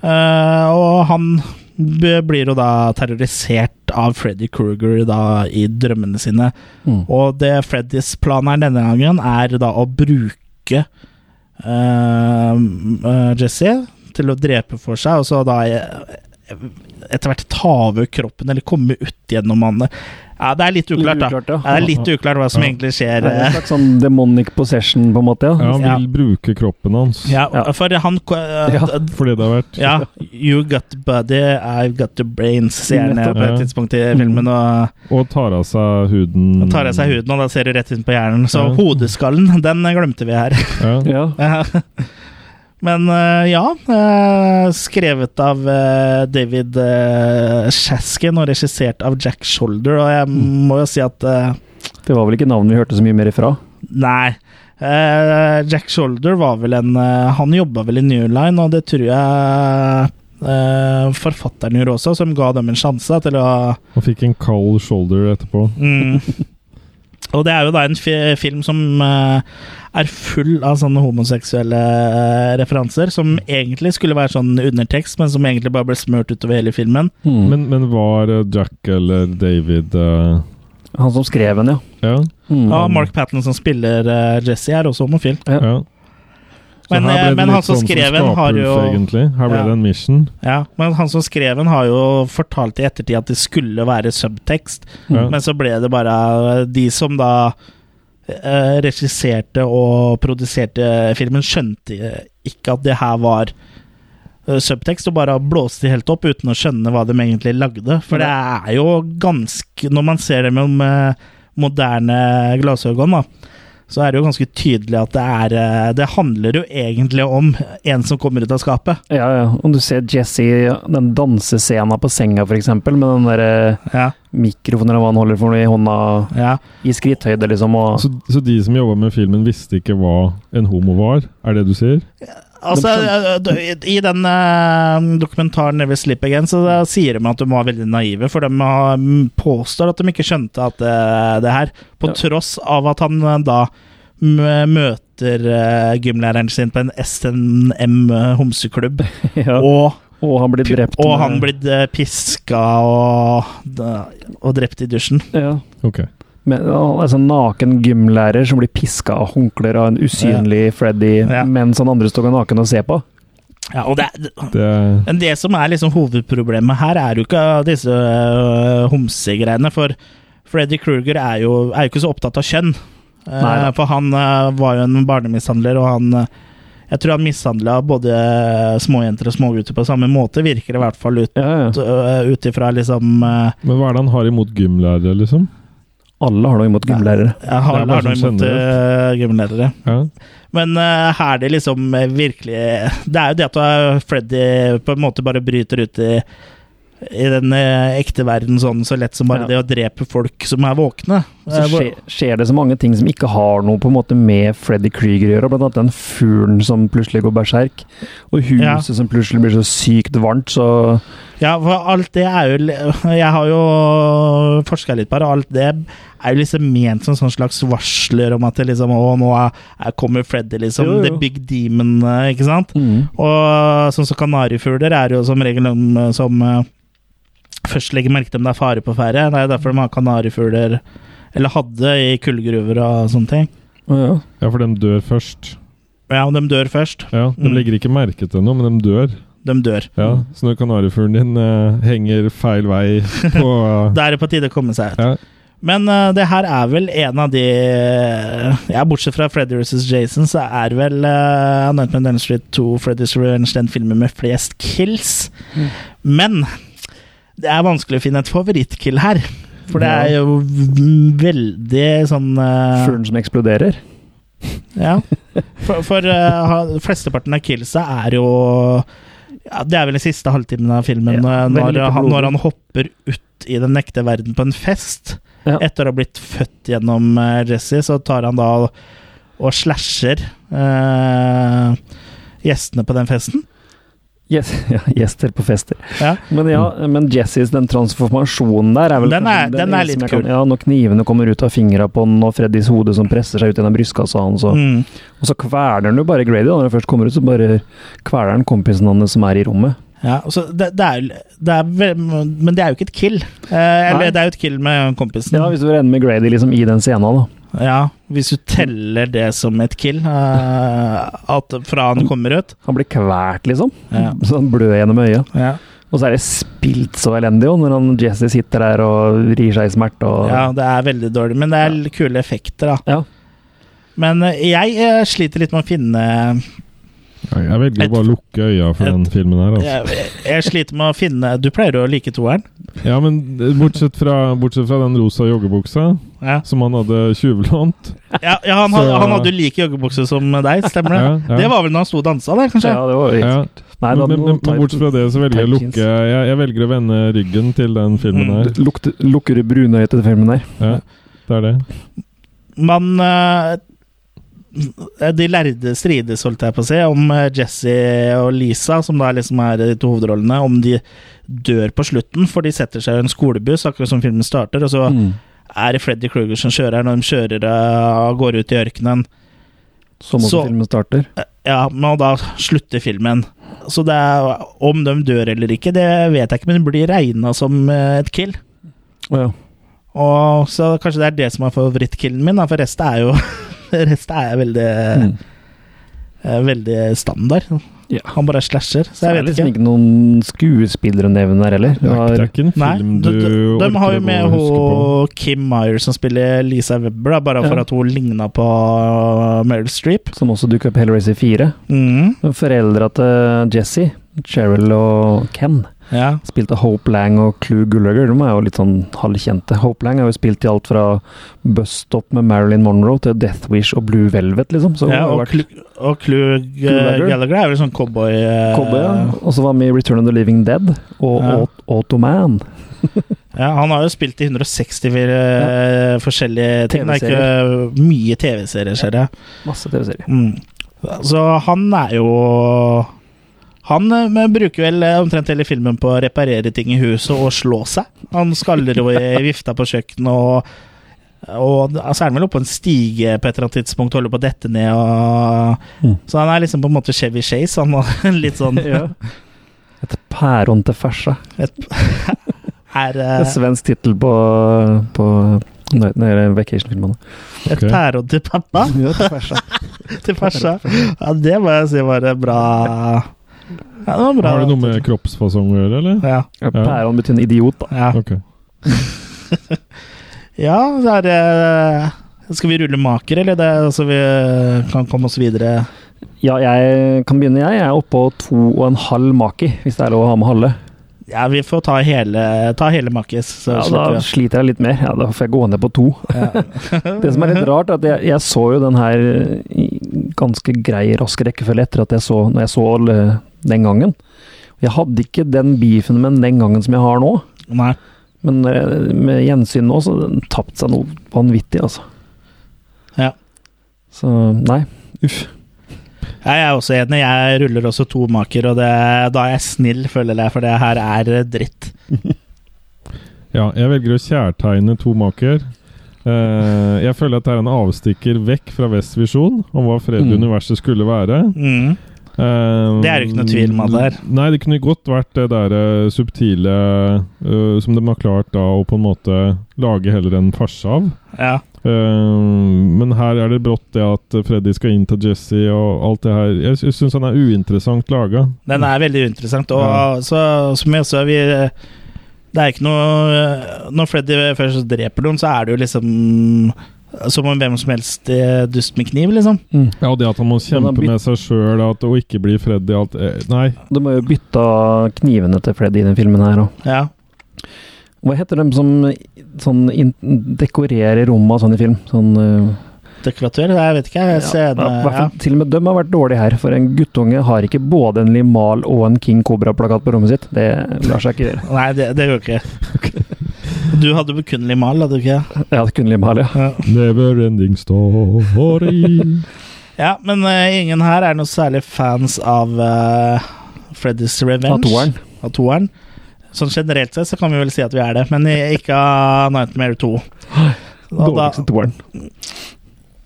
Eh, og han b- blir jo da terrorisert av Freddy Krueger da i drømmene sine. Mm. Og det Freddys plan er denne gangen, er da å bruke eh, eh, Jesse til å drepe for seg, og så da eh, etter hvert ta over kroppen, eller komme ut gjennom han. Ja, det er litt uklart, da. Litt uklart, ja. Ja, det er litt uklart hva som Ja. egentlig Det skjer. er en eh. slags sånn demonic possession, på en måte, Ja, ja. han vil bruke kroppen hans. Ja, Ja. for han eh, Ja. Fordi det har vært Ja. You got the body, I've got the brains, sier han Nettopp. på et tidspunkt i filmen. Og Og tar av seg huden. og tar av seg huden, og da ser du rett inn på hjernen. Så Ja. hodeskallen, den glemte vi her. Ja. Ja. Men eh, ja, eh, skrevet av eh, David eh, Shaskin og regissert av Jack Shoulder, og jeg må jo si at eh, Det var vel ikke navnet vi hørte så mye mer ifra. Nei. Eh, Jack Shoulder var vel en eh, Han jobba vel i New Line, og det tror jeg eh, forfatteren gjorde også, som ga dem en sjanse da, til å Og fikk en kald shoulder etterpå. Mm. Og det er jo da en fi film som eh, er full av sånne homoseksuelle eh, referanser, som egentlig skulle være sånn undertekst, men som egentlig bare ble smurt utover hele filmen. Men, men var eh, Jack eller David eh, Han som skrev den, ja. Ja. Mm. Og Mark Patton som spiller eh, Jesse, er også homofil. Ja. ja. Så Men, her ble eh, det men litt han som sånn skrev den, har skapelse, jo- egentlig. Her ble Ja. det en mission. Ja, men han som skrev den, har jo fortalt i ettertid at det skulle være subtekst, Ja. Mm. men så ble det bare de som da eh, regisserte og produserte filmen, skjønte eh, ikke at det her var eh, subtekst, og bare blåste det helt opp uten å skjønne hva de egentlig lagde. For det er jo ganske Når man ser det med eh, moderne glasøgon, da, så er det jo ganske tydelig at det er eh, Det handler jo egentlig om en som kommer ut av skapet. Ja, ja. Om du ser Jesse, den dansescena på senga f.eks., med den der eh, Ja, mikrofonen eller hva han holder for noe i hånda, ja. i skritthøyde, liksom, og Så, så de som jobba med filmen, visste ikke hva en homo var? Er det du sier? Altså, De eh, d- I den eh, dokumentaren 'Never Sleep Again' så da sier de at de var veldig naive, for de har- m, påstår at de ikke skjønte at eh, det her På Ja. tross av at han eh, da m- møter eh, gymlæreren sin på en SNM eh, homseklubb, ja. og, og han blir drept. og med- han blir eh, piska og, og drept i dusjen. ja. Ok. Med, altså, en naken gymlærer som blir piska av håndklær av en usynlig Freddy Ja. mens han andre står naken og ser på. Ja, og det er Det, Men det som er liksom hovedproblemet her, er jo ikke disse øh, homsegreiene. For Freddy Kruger er jo, er jo ikke så opptatt av kjønn. Eh, Nei da. for han eh, var jo en barnemishandler, og han eh, Jeg tror han mishandla både eh, småjenter og smågutter på samme måte, virker det i hvert fall ut Ja, ja. øh, ut ifra liksom eh, men hva er det han har imot gymlærere, liksom? Alle har noe imot gymlærere. Jeg har, Det har er bare noe sånn liksom imot uh, gymledere. Ja. Men eh, her det liksom eh, virkelig Det er jo det at eh, Freddy på en måte bare bryter ut i, i den eh, ekte verden sånn så lett som bare Ja. det å drepe folk som er våkne. Så Eh, hvor- skjer, skjer det så mange ting som ikke har noe på en måte med Freddy Krüger å gjøre, blant annet den fuglen som plutselig går berserk, og huset Ja. som plutselig blir så sykt varmt, så Ja, for alt det er jo li- Jeg har jo forska litt på det, og alt det er jo liksom ment som sånn slags varsler om at det liksom Å, nå er, er- kommer Freddy, liksom. Jo, jo. The big demon, eh, ikke sant? Og sånn som kanarifugler er jo som regel de som eh, først legger merke til om det er fare på ferde. Det er jo derfor de har kanarifugler, eller hadde, i kullgruver og sånne ting. ja. ja, for de dør først. Ja, og de dør først. Ja, De Mm. legger ikke merke til noe, men de dør. De dør. Ja, Så når kanarifuglen din eh, henger feil vei på Da er det på tide å komme seg ut. Ja. Men eh, det her er vel en av de eh, Ja, bortsett fra Freddy vs. Jason, så er vel uh, Nightmare on Elm Street 2 Freddy's Revenge den filmen med flest kills. Men det er vanskelig å finne et favorittkill her. For det er jo v- veldig sånn eh, Fuglen som eksploderer. Ja. For, for eh, ha- flesteparten av killsa er jo ja, Det er vel den siste halvtimen av filmen, Ja, eh, veldig når, lite han, blodig. når han hopper ut i den ekte verden på en fest. Ja. Etter å ha blitt født gjennom eh, Jesse, så tar han da og, og slasher eh, gjestene på den festen. Yes, ja, gjester på fester. Ja. Men ja, men Jessys den transformasjonen der er vel Den kanskje er- den er eneste litt jeg kan- kul. Ja, når knivene kommer ut av fingra på han, og Freddys hode som presser seg ut gjennom brystkassa hans, og, Mm. og så kveler han jo bare Grady. Da. Når han først kommer ut, så bare kveler han kompisen hans som er i rommet. Ja, så det, det er, jo- det er, vel- men det er jo ikke et kill. Eh, eller Nei. det er jo et kill med kompisen. Ja, hvis du er enig med Grady liksom, i den scenen, da. Ja, hvis du teller det som et kill, eh, at fra han kommer ut. Han blir kvalt, liksom. Ja. Så han blør gjennom øyet. Ja. Og så er det spilt så elendig, og når han Jesse sitter der og rir seg i smerte og det er veldig dårlig, men det er l- kule effekter, da. Ja. Men eh, jeg eh, sliter litt med å finne Nei, Jeg velger Et- å bare lukke øya for et- den filmen her. Altså. jeg, eh, jeg sliter med å finne Du pleier jo å like toeren? Ja, men eh, bortsett fra, bortsett fra den rosa joggebuksa Ja. som han hadde tjuvlånt Ja, ja, han, had- Så- han hadde jo like joggebukse som deg, stemmer det? Ja, ja. Det var vel når han sto og dansa, det, kanskje? Ja, det var jo ja. Nei, men, da, men, men, men bortsett fra det så velger jeg å tight lukke jeans. jeg, jeg velger å vende ryggen til den filmen her. Lukter, Lukker det brune øyet til filmen der. Ja, det er det. Man eh, De lærde strides, holdt jeg på å si, om eh, Jesse og Lisa, som da liksom er de to Mm. hovedrollene, om de dør på slutten, for de setter seg i en skolebuss, akkurat som filmen starter, og så er det Freddy Kruger som kjører når de kjører eh, av gårde ut i ørkenen. Som om Så- filmen starter. Ja, men da slutter filmen. Så det er, om de dør eller ikke, det vet jeg ikke, men det blir regna som eh, et kill. Å ja. Og så kanskje det er det som er favorittkillen min, da, for resten er jo Resten er veldig Mm. eh, Veldig standard. Ja. Han bare slasher, Så så er det jeg vet liksom ikke. ikke noen skuespillere å nevne her heller. Det Det er, det er var, ikke en Nei, film de, du de, de har jo orker å med huske på. hun Kim Meyer som spiller Lisa Webber, da, bare for Ja. at hun ligna på uh, Meryl Streep. som også dukket opp i Hellraiser 4. Mm, Foreldra til Jesse, Cheryl og Ken, ja. spilte Hope Lang og Clue Gulliger. De er jo litt sånn halvkjente. Hope Lang har jo spilt i alt fra Bus Stop med Marilyn Monroe til Death Wish og Blue Velvet, liksom. Så hun ja har og, vært Clu- og Clue G- Gallagher. Gallagher er vel sånn cowboy... eh, cowboy, ja. Og så var han med i Return of the Living Dead og Ja. Aut- Automan. Ja, han har jo spilt i 164 eh, forskjellige ting. Det er ikke mye TV-serier, ser jeg. Masse TV-serier. Mm. Så han er jo Han eh, men bruker vel eh, omtrent hele filmen på å reparere ting i huset og slå seg. Han skaller jo i vifta på kjøkkenet, og, og så er han vel oppe på en stige på et eller annet tidspunkt, holder på å dette ned og Mm. Så han er liksom på en måte Chevy Chase. Han er litt sånn Et pæron til fersa. er Det er eh, svensk tittel på, på nei, nei, det er vacation-filmene. et Ok. pæreodd til pappa. til farsa. Ja, det må jeg si var et bra Ja, det var bra. Har det noe med kroppsfasong å gjøre, eller? Ja. Pæron betyr en idiot, da. Ja, Ok. ja så er det eh, Skal vi rulle maker, eller? Det, så vi eh, kan komme oss videre. Ja, jeg kan begynne, jeg. Jeg er oppå to og en halv maki, hvis det er lov å ha med halve. Ja, vi får ta hele, ta hele makis. Så Ja, da slipper vi. sliter jeg litt mer. Ja, da får jeg gå ned på to. Det som er litt rart, er at jeg, jeg så jo den her eh, i ganske grei, rask rekkefølge etter at jeg så, når jeg så alle den gangen. Jeg hadde ikke den beefen med den den gangen som jeg har nå, Nei. men eh, med gjensyn nå, så har den tapt seg noe vanvittig, altså. Ja. Så nei, uff. Ja, Jeg er også enig. Jeg ruller også to maker, og det, da er jeg snill, føler jeg, for det her er dritt. Ja, jeg velger å kjærtegne to maker. Eh, jeg føler at det er en avstikker vekk fra Vests visjon om hva fred i Mm. universet skulle være. Mm. Eh, Det er det ikke noe tvil om at det er. Nei, det kunne godt vært det der eh, subtile eh, som de har klart da å på en måte lage heller en farse av. Ja. Eh, men her er det brått det at Freddy skal inn til Jesse og alt det her. Jeg, sy- syns han er uinteressant laga. Den er veldig interessant. Og Ja. så, som jeg sa, vi Det er ikke noe Når Freddy først dreper noen, så er det jo liksom som om hvem som helst eh, dust med kniv, liksom. Ja, og det at han må Men han kjempe byt- med seg sjøl og ikke bli Freddy alt eh, Nei. De har jo bytta knivene til Freddy i den filmen her òg. Ja. Hva heter de som sånn in dekorerer rommet og sånn i film? Sånn, eh, Dekoratør? Jeg vet ikke. Jeg ser ja, i det- hvert ja. fall, Til og med dem har vært dårlige her, for en guttunge har ikke både en limal og en King Cobra-plakat på rommet sitt. Det lar seg ikke gjøre. Nei, det, det går ikke. Du hadde bekunnelig mal, hadde du ikke? Jeg hadde kun limal, ja. Ja, Never ending story. ja men eh, ingen her er noe særlig fans av eh, Freddy's Av Revenge. toeren. av toeren. Sånn generelt sett så kan vi vel si at vi er det, men i- ikke av Nightmare 2. Og da, Dårligste toeren.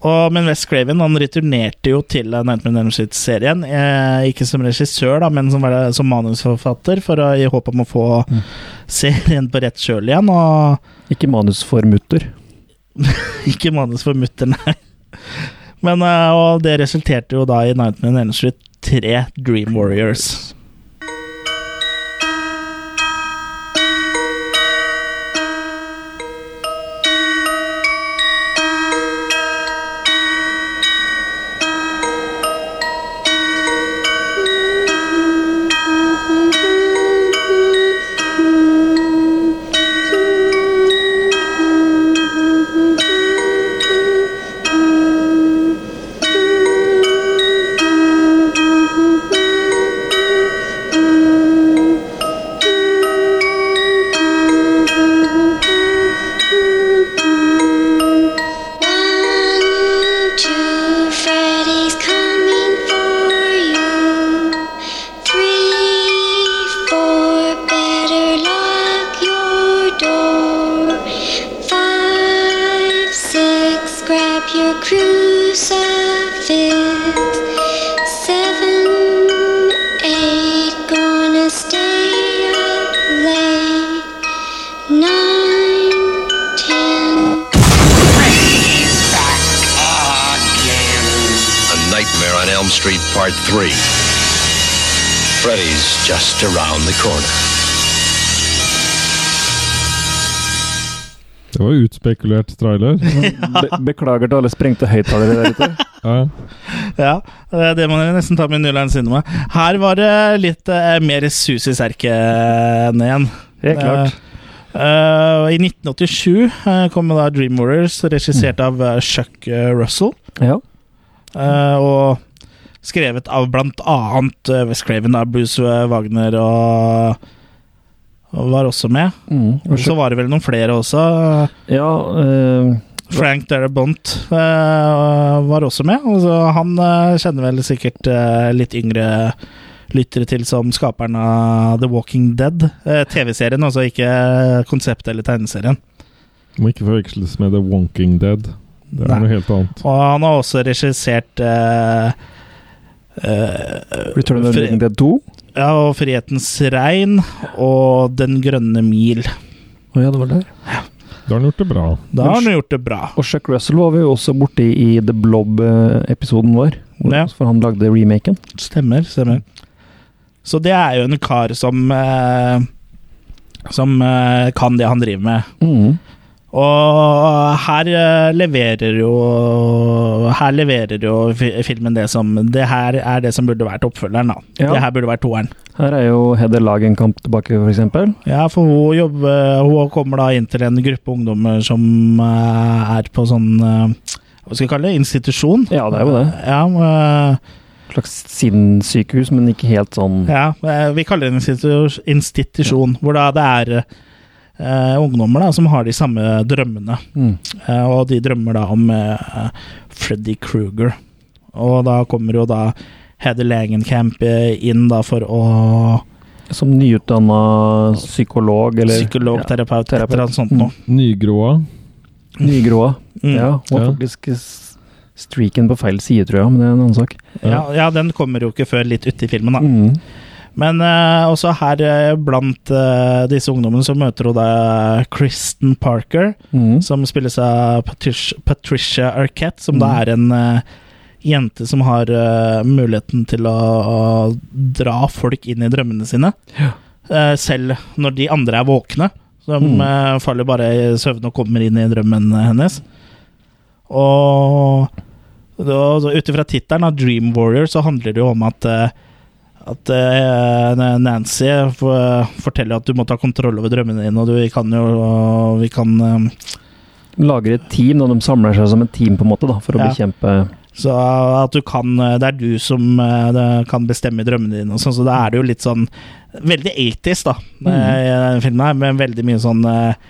og, men West Craven han returnerte jo til eh, Nightmare on Elm Street-serien. Eh, ikke som regissør, da, men som, var- eh, som manusforfatter, for å, i håp om å få Mm. serien på rett kjøl igjen. Og Ikke manus for mutter. ikke manus for mutter, nei. Men, eh, og det resulterte jo da i Nightmare on Elm Street 3 Dream Warriors. Thank Part 3. Freddy's just around the corner. Det var utspekulert trailer. Be beklager til alle sprengte høyttalere der ute. Ja. Ja, eh, det må dere nesten ta med New Line Cinema. Her var det litt eh, mer sus i serken igjen. Helt klart. Eh, eh, I 1987 eh, kom da Dream Warriors, regissert av eh, Chuck eh, Russell. Ja. eh, og skrevet av blant annet eh, Wes Craven, da, Bruce eh, Wagner og, og var også med. Mm. Og så var det vel noen flere også. Ja, eh, Frank Darabont eh, var også med. Og så han eh, kjenner vel sikkert eh, litt yngre lyttere til som skaperen av The Walking Dead. eh, TV-serien, altså ikke konseptet eller tegneserien. Må ikke forveksles med The Wonking Dead. Det er Nei. noe helt annet. Og han har også regissert eh, eh, Return of the Fri- Living Dead 2. ja, og 'Frihetens regn' og 'Den grønne mil'. Å ja, det var der. Da har han gjort det bra. Da har han gjort det bra. Og Chuck Russell var vi jo også borti i The Blob-episoden vår, hvor, Ja. for han lagde remaken. Stemmer, stemmer. Så det er jo en kar som eh, Som eh, kan det han driver med. Mm. Og her eh, leverer jo Her leverer jo fi- filmen det som Det her er det som burde vært oppfølgeren, da. Ja. Det her burde vært toeren. Her er jo Heather Lagenkamp tilbake, for eksempel. Ja, for hun jobber Hun kommer da inn til en gruppe ungdommer som eh, er på sånn eh, Hva skal vi kalle det? Institusjon? Ja, det er jo det. Ja, eh, Et slags sinnssykehus, men ikke helt sånn Ja, eh, vi kaller det en institu- institusjon, hvor da det er eh, ungdommer da, som har de samme drømmene. Mm. Eh, og de drømmer da om eh, Freddy Kruger. Og da kommer jo da Heather Langenkamp eh, inn da for å Som nyutdanna psykolog, eller Psykolog, ja, terapeut, et terapeut. eller annet sånt noe. Nygråa. nygråa. Mm. Ja, Ja. hun var Ja. faktisk s- streaken på feil side, tror jeg, men det er en annen sak. Ja, den kommer jo ikke før litt uti filmen, da. Mm. Men eh, også her eh, blant eh, disse ungdommene så møter hun da eh, Kristen Parker. Mm. som spilles av Patricia, Patricia Arquette, som da Mm. er en eh, jente som har eh, muligheten til å, å dra folk inn i drømmene sine. Eh, selv når de andre er våkne. Så de Mm. eh, faller bare i søvn og kommer inn i drømmen hennes. Og ut ifra tittelen av Dream Warrior så handler det jo om at eh, at eh, Nancy for, forteller at du må ta kontroll over drømmene dine, og du, vi kan jo Vi kan eh, Lager et team, og de samler seg som et team, på en måte, da, for å Ja. bekjempe Så eh, at du kan Det er du som eh, det kan bestemme drømmene dine og sånn, så da er det jo litt sånn Veldig 80s, da, eh, i den filmen her, med veldig mye sånn eh,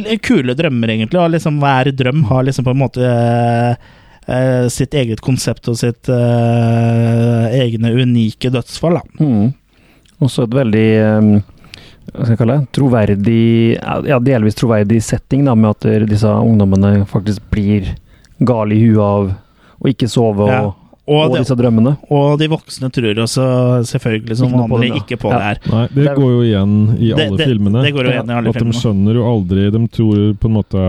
l- Kule drømmer, egentlig. Og liksom hver drøm har liksom på en måte eh, eh, sitt eget konsept og sitt eh, egne unike dødsfall, da. Mm. Også et veldig eh, hva skal jeg kalle det, troverdig, ja, delvis troverdig setting, da, med at disse ungdommene faktisk blir gale i huet av å ikke sove og, Ja, og, Og, det, disse drømmene. og de voksne tror også selvfølgelig som Ikke noe på vanlig det, ja. ikke på Ja. det her. Nei, det, Det er- går jo igjen i Det- alle det- filmene. det går jo igjen i alle At filmene. de skjønner jo aldri De tror på en måte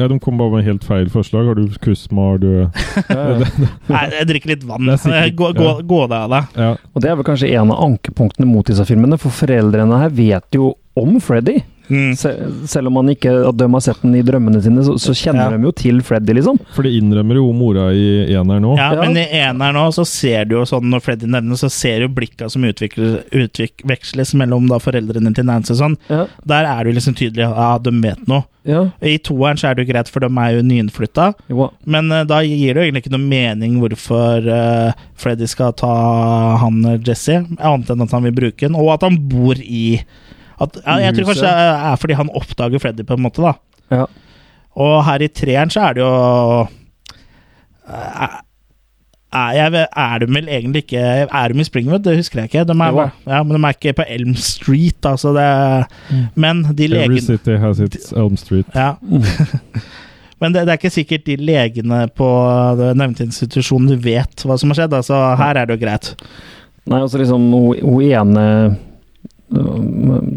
Ja, de kommer bare med helt feil forslag. Har du kusma, har du Nei, jeg drikker litt vann. Eh, Det er sikkert- Gå, gå, gå deg av deg. Ja. Og det er vel kanskje en av ankepunktene mot disse filmene, for foreldrene her vet jo om Freddy. Mm. Se, selv om han ikke, at de har sett den i drømmene sine, så, så kjenner Ja. de jo til Freddy, liksom. For det innrømmer jo mora i eneren nå. Ja, Ja. men i eneren nå så ser du jo sånn når Freddy nevner, så ser du blikka som utvikles- utveksles mellom da foreldrene til Nancy og sånn. Ja. Der er det jo liksom tydelig at ja, de vet noe. ja. I toeren så er det jo greit, for de er jo nyinnflytta. Jo, Men eh, da gir det jo egentlig ikke noe mening hvorfor eh, Freddy skal ta han eh, Jesse, annet enn at han vil bruke den, og at han bor i at, ja, Jeg tror kanskje det er fordi han oppdager Freddy, på en måte, da. Ja. Og her i treeren så er det jo eh, er, jeg, vet- er de vel egentlig ikke Er de i Springwood? Det husker jeg ikke. De er, Jo da. ja, men de er ikke på Elm Street, altså. Det, Mm. Men de Every legene city has its Elm Street. ja. Mm. Men det, det er ikke sikkert de legene på det nevnte institusjonen vet hva som har skjedd, altså her er det jo greit. Nei, altså liksom hun hun ene øh,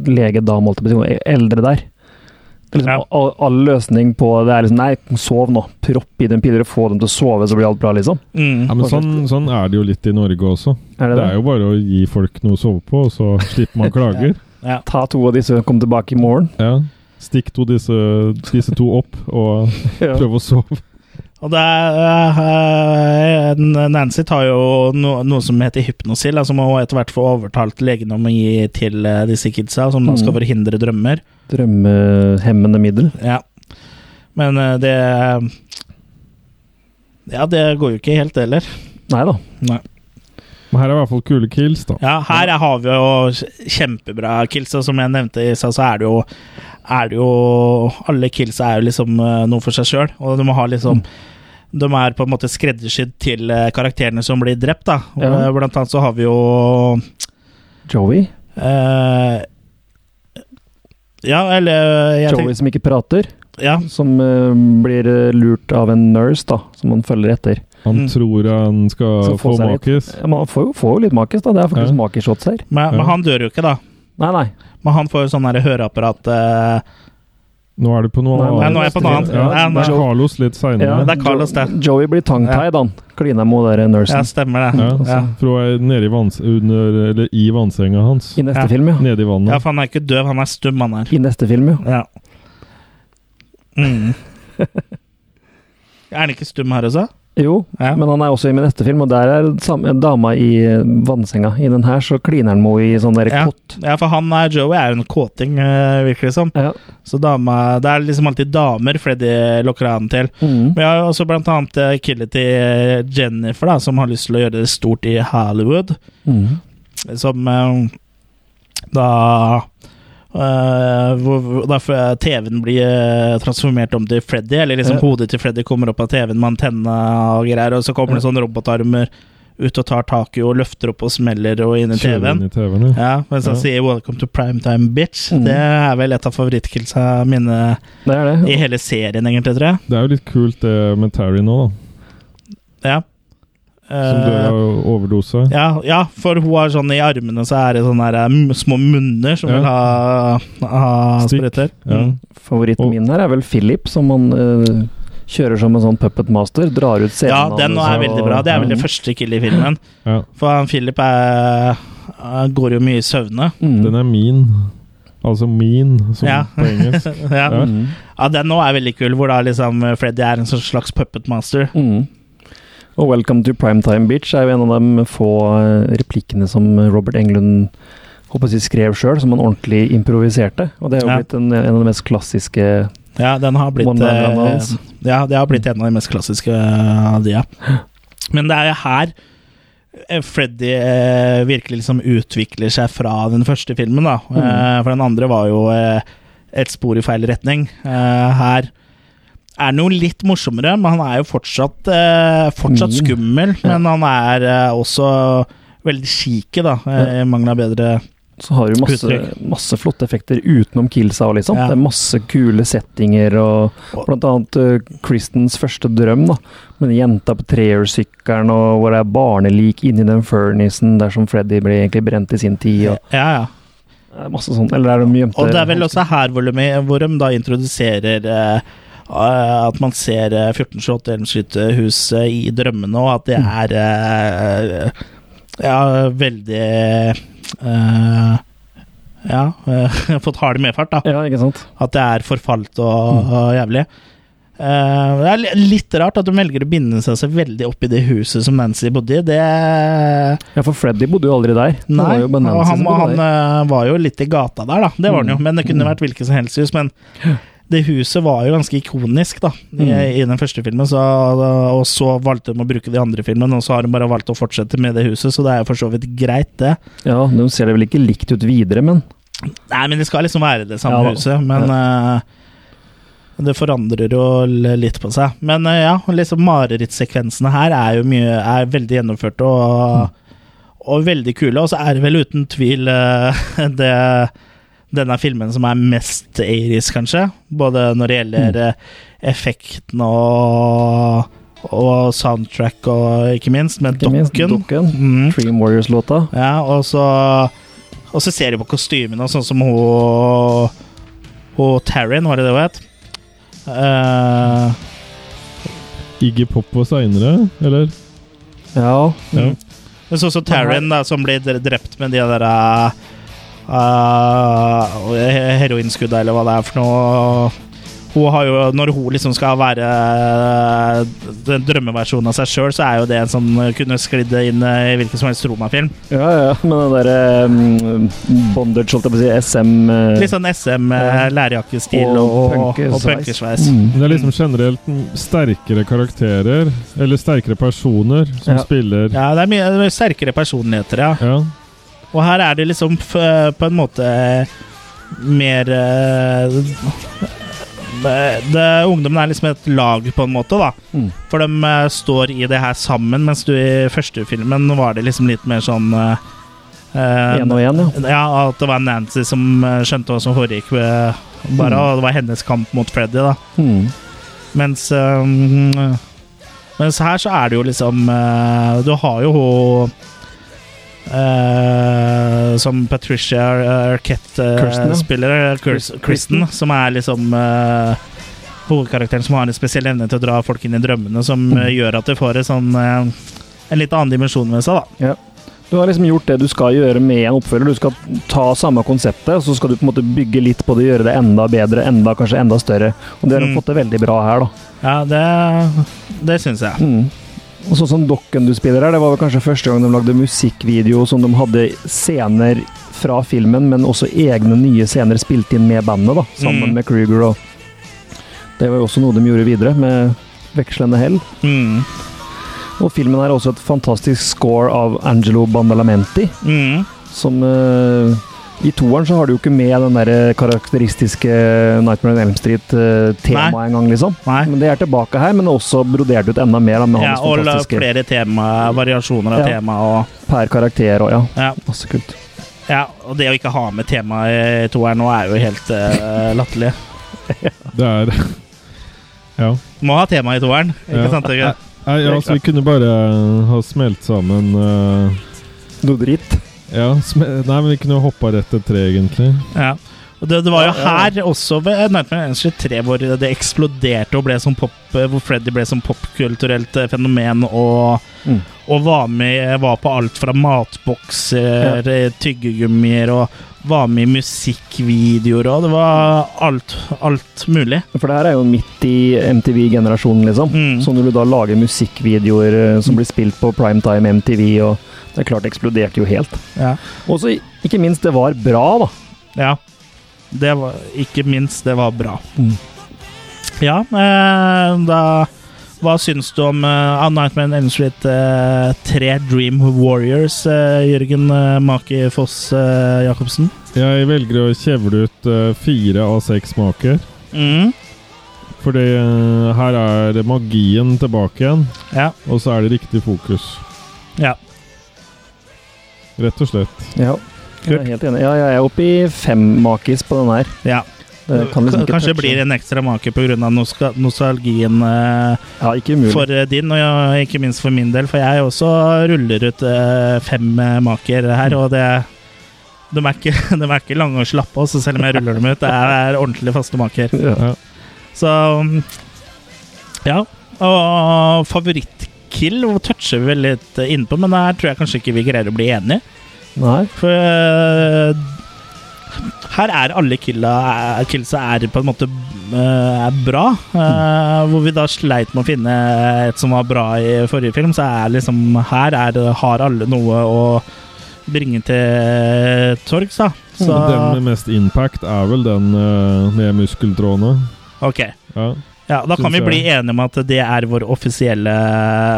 legedame, holdt jeg på å si, hun eldre der. Det er Liksom, all, all løsning på det er liksom Nei, sov nå. Propp i den piller og få dem til å sove, så blir alt bra, liksom. Mm. Ja, men sånn, sånn er det jo litt i Norge også. Er det det det? er jo bare å gi folk noe å sove på, og så slipper man klager. Ta to av disse og kom tilbake i morgen. Ja. Stikk to disse, disse to opp, og Ja. prøv å sove. Og det er, eh, eh, Nancy tar jo no, noe som heter hypnosil, da, som hun etter hvert får overtalt legene om å gi til eh, disse kidsa, som da skal Mm. forhindre drømmer. Drømmehemmende middel. Ja. Men eh, det Ja, det går jo ikke helt, det heller. Nei da. Nei. Men her er i hvert fall kule kills, da. Ja, her er- har vi jo kjempebra kills, og som jeg nevnte i stad, så er det jo er det jo Alle kills er jo liksom eh, noe for seg sjøl, og du må ha liksom De er på en måte skreddersydd til eh, karakterene som blir drept, da. Og, Ja. eh, Blant annet så har vi jo Joey. eh, Ja, eller eh, jeg Joey tenker, som ikke prater. ja, Som eh, blir eh, lurt av en nurse, da, som han følger etter. Han Mm. tror han Så skal få få seg litt. makis. Ja, Man får jo, får jo litt makis, da. Det er Ja. faktisk makisshots her. men, men Ja. han dør jo ikke, da. Nei, nei. Men han får jo sånn der høreapparat eh, Nå er du på noe Nei, annet. nei, nå er jeg på noe annet. Ja, Ja, det er nei. Carlos litt Ja, Det seinere. er Carlos, det. Jo- Joey blir tongue-tied, han. Klina med hun der Ja, nursen. stemmer det. Ja, Ja. altså. for hun er nede i, vanns, under, eller i vannsenga hans. I neste Ja. film, ja. Nede i ja, vannet. for han er ikke døv, han er stum, han her. I neste film, ja. Ja. Mm. er han ikke stum her også? Jo, Ja. men han er også i min neste film, og der er sam- dama i eh, vannsenga. I den her så kliner han med henne i sånn der Ja. kott. Ja, for han er Joey er jo en kåting, eh, virker det som. Ja. Så dama, det er liksom alltid damer Freddy lokker an til. Mm. Vi har jo også blant annet eh, killet til eh, Jennifer, da, som har lyst til å gjøre det stort i Hollywood. Mm. Som eh, da eh, hvor, hvor- da f- TV-en blir eh, transformert om til Freddy, eller liksom Ja. hodet til Freddy kommer opp av TV-en med antenne og greier, og så kommer det sånne robotarmer ut og tar tak i og løfter opp og smeller og inn i Kjører TV-en. inn i TV-en, ja. Ja, mens han Ja. sier 'Welcome to primetime, bitch'. Mm. Det er vel et av favorittkillsa mine Det er i det. hele serien, egentlig, tror jeg. Det er jo litt kult det med Terry nå, da. Ja. Som dør Eh, av overdose. Ja, ja, for hun har sånn i armene så er det sånne her, mm, små munner som Ja. vil ha, ha Stikk. sprøyter. Ja. Mm. Favoritten Og- min her er vel Philip, som han eh, kjører som en sånn puppet master. Drar ut scenen Ja, den hans er og- Mhm. veldig bra. Det er vel Ja. det Mm. første killet i filmen. Ja. For han Philip er, han går jo mye i søvne. Mm. Den er min. Altså min, som Ja. på engelsk. Ja. Ja. Mm. ja, den nå er veldig kul, hvor da liksom Freddy er en sånn slags puppet master. Mm. Og 'Welcome to Primetime Bitch' er jo en av de få eh, replikkene som Robert Englund håper jeg, å si, skrev sjøl, som han ordentlig improviserte. Og det er jo Ja. blitt en, en av de mest klassiske Ja, den har blitt one-man eh, hans. Ja, det har blitt en av de mest klassiske eh, av de, ja. Men det er jo her eh, Freddy eh, virkelig liksom utvikler seg fra den første filmen, da. Eh, for den andre var jo eh, et spor i feil retning. Eh, her er han jo litt morsommere, men han er jo fortsatt, eh, fortsatt Min. skummel. Ja. Men han er eh, også veldig chique, da, eh, i mangel av bedre Så har du masse, Uttrykk. masse flotte effekter utenom Kilsa òg, liksom. Ja. Det er masse kule settinger og blant annet eh, Kristens første drøm, da. Med den jenta på treersykkelen og hvor det er barnelik inni den furnisen der som Freddy ble egentlig brent i sin tid. Og Ja, ja. det er masse sånt. Eller er de gjemte Og det er vel også her hvor de, hvor de da introduserer eh, eh, at man ser eh, 1428 Elmskytterhuset eh, i drømmene, og at det er eh, Ja, veldig eh, Ja, eh, fått hard medfart, da. Ja, ikke sant. At det er forfalt og, og jævlig. Eh, det er li- litt rart at de velger å binde seg så veldig opp i det huset som Nancy bodde i. Det Ja, for Freddy bodde jo aldri der. Det var Nei, jo bare Nancy og han, som bodde han der. eh, var jo litt i gata der, da. Det var han jo, Mm. men det kunne vært hvilket som helst hus. Men det huset var jo ganske ikonisk, da, i, Mm. i den første filmen. Så, og så valgte de å bruke det i andre filmen, og så har de bare valgt å fortsette med det huset, så det er jo for så vidt greit, det. Ja, De ser det vel ikke likt ut videre, men Nei, men det skal liksom være det samme Ja da. huset, men eh, det forandrer jo l- litt på seg. Men eh, ja, liksom marerittsekvensene her er jo mye Er veldig gjennomførte og, og veldig kule. Og så er det vel uten tvil eh, det denne filmen som er mest 80s, kanskje. Både når det Mm. gjelder eh, effektene og, og soundtrack og ikke minst, med ikke minst dokken. Dokken. Mm. Dream Warriors-låta. Ja, og så Og så ser de på kostymene, og sånn som hun Og Taryn, var det det hun het? Eh, Iggy Pop var seinere, eller? Ja. Ja. Men så også Taryn, da, som blir dre- drept med de der eh, eh, he- heroinskudda, eller hva det er for noe. Hun har jo, når hun liksom skal være eh, den drømmeversjonen av seg sjøl, så er jo det en som kunne sklidd inn eh, i hvilken som helst Roma-film. Ja, ja, men den derre um, bondage, holdt jeg på å si, SM eh, Litt sånn SM, eh, lærjakkestil og, og og, punkersveis. og punkersveis. Mm. Men Det er liksom generelt mm, sterkere karakterer, eller sterkere personer, som Ja. spiller Ja, det er mye det er sterkere personligheter, ja. Ja. Og her er det liksom f på en måte eh, mer eh, det, det- Ungdommen er liksom et lag, på en måte, da. Mm. For de eh, står i det her sammen, mens du i første filmen var det liksom litt mer sånn eh, eh, En og en, ja. Ja, at det var Nancy som eh, skjønte hva som foregikk, eh, bare, Mm. og det var hennes kamp mot Freddy, da. Mm. Mens øhm, Mens her så er det jo liksom øh, Du har jo hun øh, Som Patricia Ar- Arquette øh, Kirsten, ja. spiller, Kirsten, Kristen, som er liksom øh, hovedkarakteren som har en spesiell evne til å dra folk inn i drømmene, som øh, gjør at du får en sånn øh, en litt annen dimensjon med seg, da. Du har liksom gjort det du skal gjøre med en oppfølger. Du skal ta samme konseptet, og så skal du på en måte bygge litt på det, gjøre det enda bedre, enda, kanskje enda større. Og det har du Mm. fått det veldig bra her, da. Ja, det, Hmm. det syns jeg. Mm. Og sånn som dokken du spiller her, det var vel kanskje første gang de lagde musikkvideo som de hadde scener fra filmen, men også egne nye scener spilt inn med bandet, da, sammen Mm. med Kruger og Det var jo også noe de gjorde videre, med vekslende hell. Mm. Og filmen har også et fantastisk score av Angelo Bandalamenti, Mm. som eh, I toeren så har du jo ikke med den der eh, karakteristiske Nightmare on Elm Street-temaet engang, liksom. Nei. Men det er tilbake her, men også brodert ut enda mer da, med Ja, hans og la- fantastiske flere tema, variasjoner av Ja. tema og per karakter og ja. ja. Masse kult. Ja, og det å ikke ha med temaet i toeren nå er jo helt eh, latterlig. Det er Ja. Må ha tema i toeren, ikke Ja. sant? Ikke? Nei, ja, altså, vi kunne bare eh, ha smelt sammen eh, Noe dritt. Ja, sme Nei, men vi kunne hoppa rett til tre, egentlig. Ja. Og det, det var jo her også ved Nightmare on Elm Street 3 hvor det eksploderte og ble som pop, eh, hvor Freddy ble som popkulturelt eh, fenomen og, Mm. og var med var på alt fra matbokser, eh, tyggegummier og var med i musikkvideoer og det var alt, alt mulig. For det her er jo midt i MTV-generasjonen, liksom. Mm. Så når du da lager musikkvideoer eh, som blir spilt på primetime MTV, og det er klart det eksploderte jo helt. Ja. Og så i- ikke minst, det var bra, da. Ja. Det var Ikke minst, det var bra. Mm. Ja, eh, da Hva syns du om eh, A Nightmare on Elm Street eh, 3 Dream Warriors, eh, Jørgen eh, Maki Foss eh, Jacobsen? Jeg velger å kjevle ut eh, fire av seks smaker. Mm. Fordi eh, her er magien tilbake igjen, Ja. og så er det riktig fokus. Ja. Rett og slett. Ja, jeg er helt enig. Ja, jeg er oppe i fem makis på den her. ja. Det kan liksom ikke Kanskje det touche. blir en ekstra make pga. nostalgien eh, Ja, ikke umulig. for eh, din, og ja, ikke minst for min del, for jeg også ruller ut eh, fem eh, maker her, og det de er, ikke, de er ikke lange og slappe, også, selv om jeg ruller dem ut. Det er ordentlig faste maker. Ja. Ja. Så mm, Ja. Og favorittkill toucher vi vel litt innpå, men her tror jeg kanskje ikke vi greier å bli enige. Nei. For eh, her er alle killa er- killsa er på en måte eh, er bra. Eh, Hvor vi da sleit med å finne et som var bra i forrige film, så er liksom her er, det- har alle noe å bringe til torgs, da. Så Men Den med mest impact er vel den eh, med muskeltrådene. OK. Ja. Ja, da kan Synes vi jeg. bli enige om at det er vår offisielle,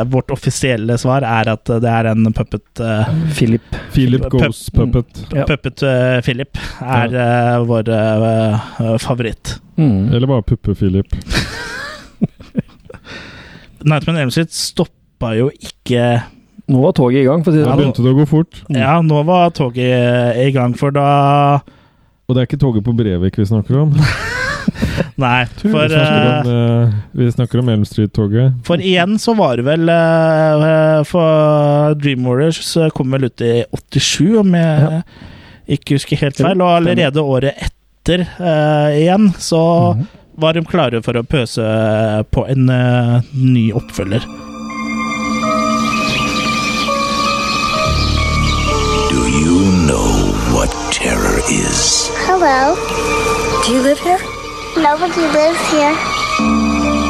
vårt offisielle svar er at det er en puppet eh, Philip. Philip Pup- Goes Puppet. Ja. Puppet eh, Philip er eh, vår eh, eh, favoritt. Mm. Eller bare Puppe-Philip. Nightman Elmsrud stoppa jo ikke Nå var toget i gang, for å si det Da sånn. begynte det å gå fort. Ja, nå var toget eh, i gang, for da Og det er ikke toget på Brevik vi snakker om. Nei, vi, for, eh, snakker om eh, vi snakker om Elm Street-toget. for igjen så var det vel eh, eh, For Dream Warriors eh, kom vel ut i 87, om jeg ikke husker helt feil, og allerede året etter etter eh, igjen, så var de klare for å pøse på en eh, ny oppfølger. Do you know what terror is? Hello. Do you live here? Nobody lives here.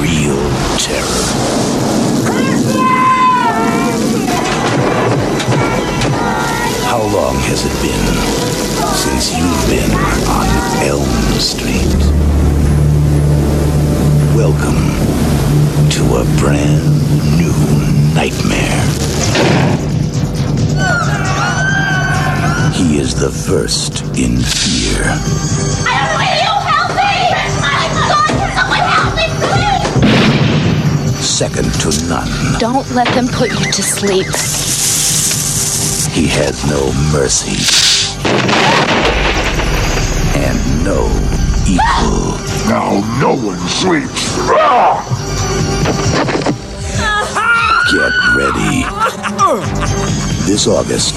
Real terror. How long has it been since you've been on Elm Street? Welcome to a brand new nightmare. He is the first in fear. Second to none, Don't let them put you to sleep. he has no mercy and no equal. Now no one sleeps. Get ready. This August,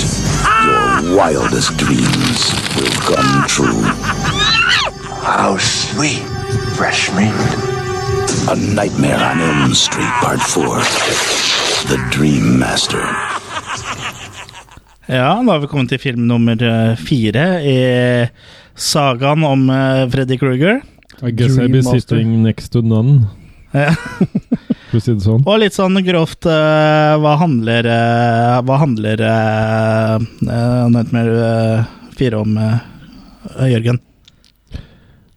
your wildest dreams will come true. How sweet, fresh meat. A Nightmare on Elm Street, Part 4. The Dream Master. Ja, da har vi kommet til film nummer eh, fire i sagaen om eh, Freddy Krueger. I guess I'll be sitting next to none, Ja. for å si det sånn. Og litt sånn grovt eh, Hva handler eh, Hva handler uh, Nightmare eh, 4 om, eh, Jørgen?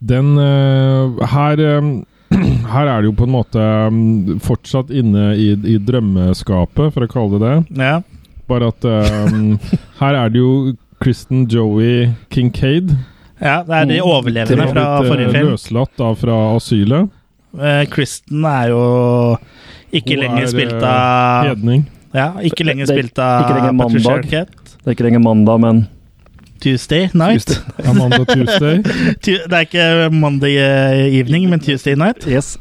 Den eh, her eh, Her er det jo på en måte mm, fortsatt inne i, i drømmeskapet, for å kalle det det. Ja. Bare at eh, her er det jo Kristen Joey Kincaid. ja, det er de overlevende fra forrige film. eh, Løslatt da fra asylet. Eh, Kristen er jo ikke Hun lenger er, spilt eh, av Hedning. Ja, ikke lenger Det er spilt av ikke lenger Patricia mandag. Arquette. Det er ikke lenger mandag, men Tuesday night. Amanda Tuesday. Tu- det er ikke Monday eh, evening, men Tuesday night. Yes.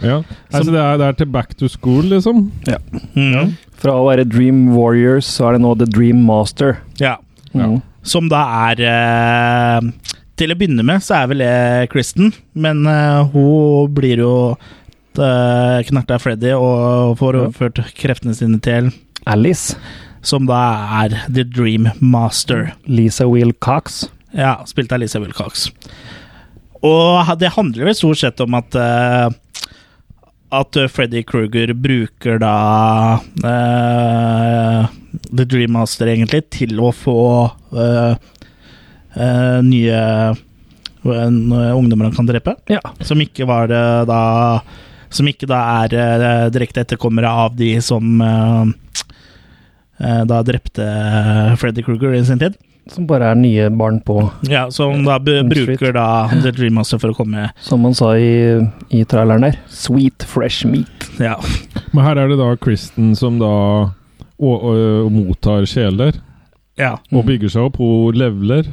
Ja. Nei, så det, er, det er til back to school, liksom. Ja. Mm. Fra å være Dream Warriors, så er det nå The Dream Master. Ja. Mhm. Som da er eh, Til å begynne med så er vel det Kristen, men eh, hun blir jo eh, knerta av Freddy og får overført kreftene sine til Alice. Som da er The Dream Master. Lisa Will Cox. Ja, spilt av Lisa Wilcox. Og ha- det handler vel stort sett om at eh, At eh, Freddy Kruger bruker da eh, The Dream Master, egentlig, til å få eh, eh, nye en- eh, ungdommer han kan drepe. Ja. Som ikke var eh, da Som ikke da er eh, direkte etterkommere av de som eh, eh, da drepte Freddy Kruger i sin tid. Som bare er nye barn på Ja, som da b bruker da The Dream Master for å komme Som man sa i, i traileren der. Sweet fresh meat. Ja. Men her er det da Kristen som da å, å, mottar sjeler. ja. Og bygger seg opp. Hun leveler.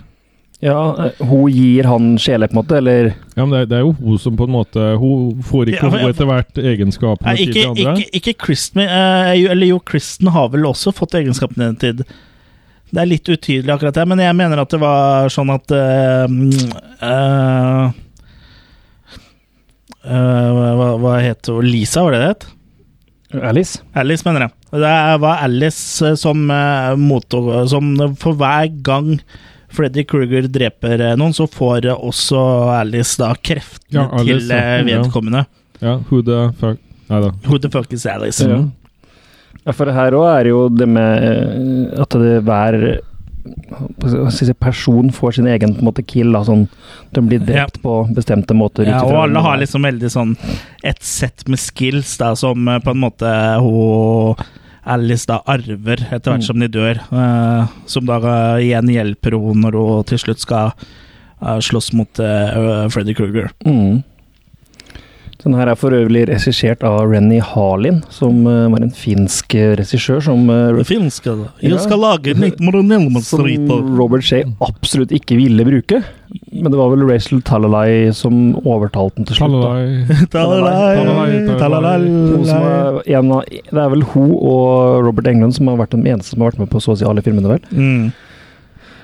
Ja, eh, hun gir han sjele, på en måte, eller Ja, men det, er- det er jo hun som på en måte Hun får ikke Ja, men- hun etter hvert egenskapene Nei, ikke, til de andre. ikke, ikke Kristen eh, jo- Eller jo, Kristen har vel også fått egenskapene i den tid. Det er litt utydelig akkurat det, men jeg mener at det var sånn at eh, mm, eh, eh, hva, hva het hun? Lisa, var det det het? Alice. Alice, mener jeg. Det var Alice eh, som eh, mottok Som for hver gang Freddy Krueger dreper eh, noen, så får eh, også Alice da kreftene Ja, Alice, til eh, ja. vedkommende. Ja, who the fuck Nei da. Who the fuck is Alice? Ja. Ja, for det her òg er jo det med eh, at det hver hva skal jeg si, person får sin egen på en måte kill. Da, sånn, de blir drept på bestemte måter. Ja, ut og ifra- alle har liksom veldig sånn et sett med skills da, som eh, på en måte hun Alice da arver etter Mm. hvert som de dør, eh, som da eh, igjen hjelper henne når hun til slutt skal eh, slåss mot eh, Freddy Krueger. mm. Den Mm. her er for øvrig regissert av Renny Harlin, som eh, var en finsk eh, regissør som eh, Finske, da. Ja. Jeg skal lage 1911-striper. som Robert Shay absolutt ikke ville bruke. Men det var vel Rachel Talalay som overtalte den til slutt. da. Talalai, Hun som er en av, det er vel hun og Robert Englund som har vært den eneste som har vært med på så å si alle filmene, vel. Mm.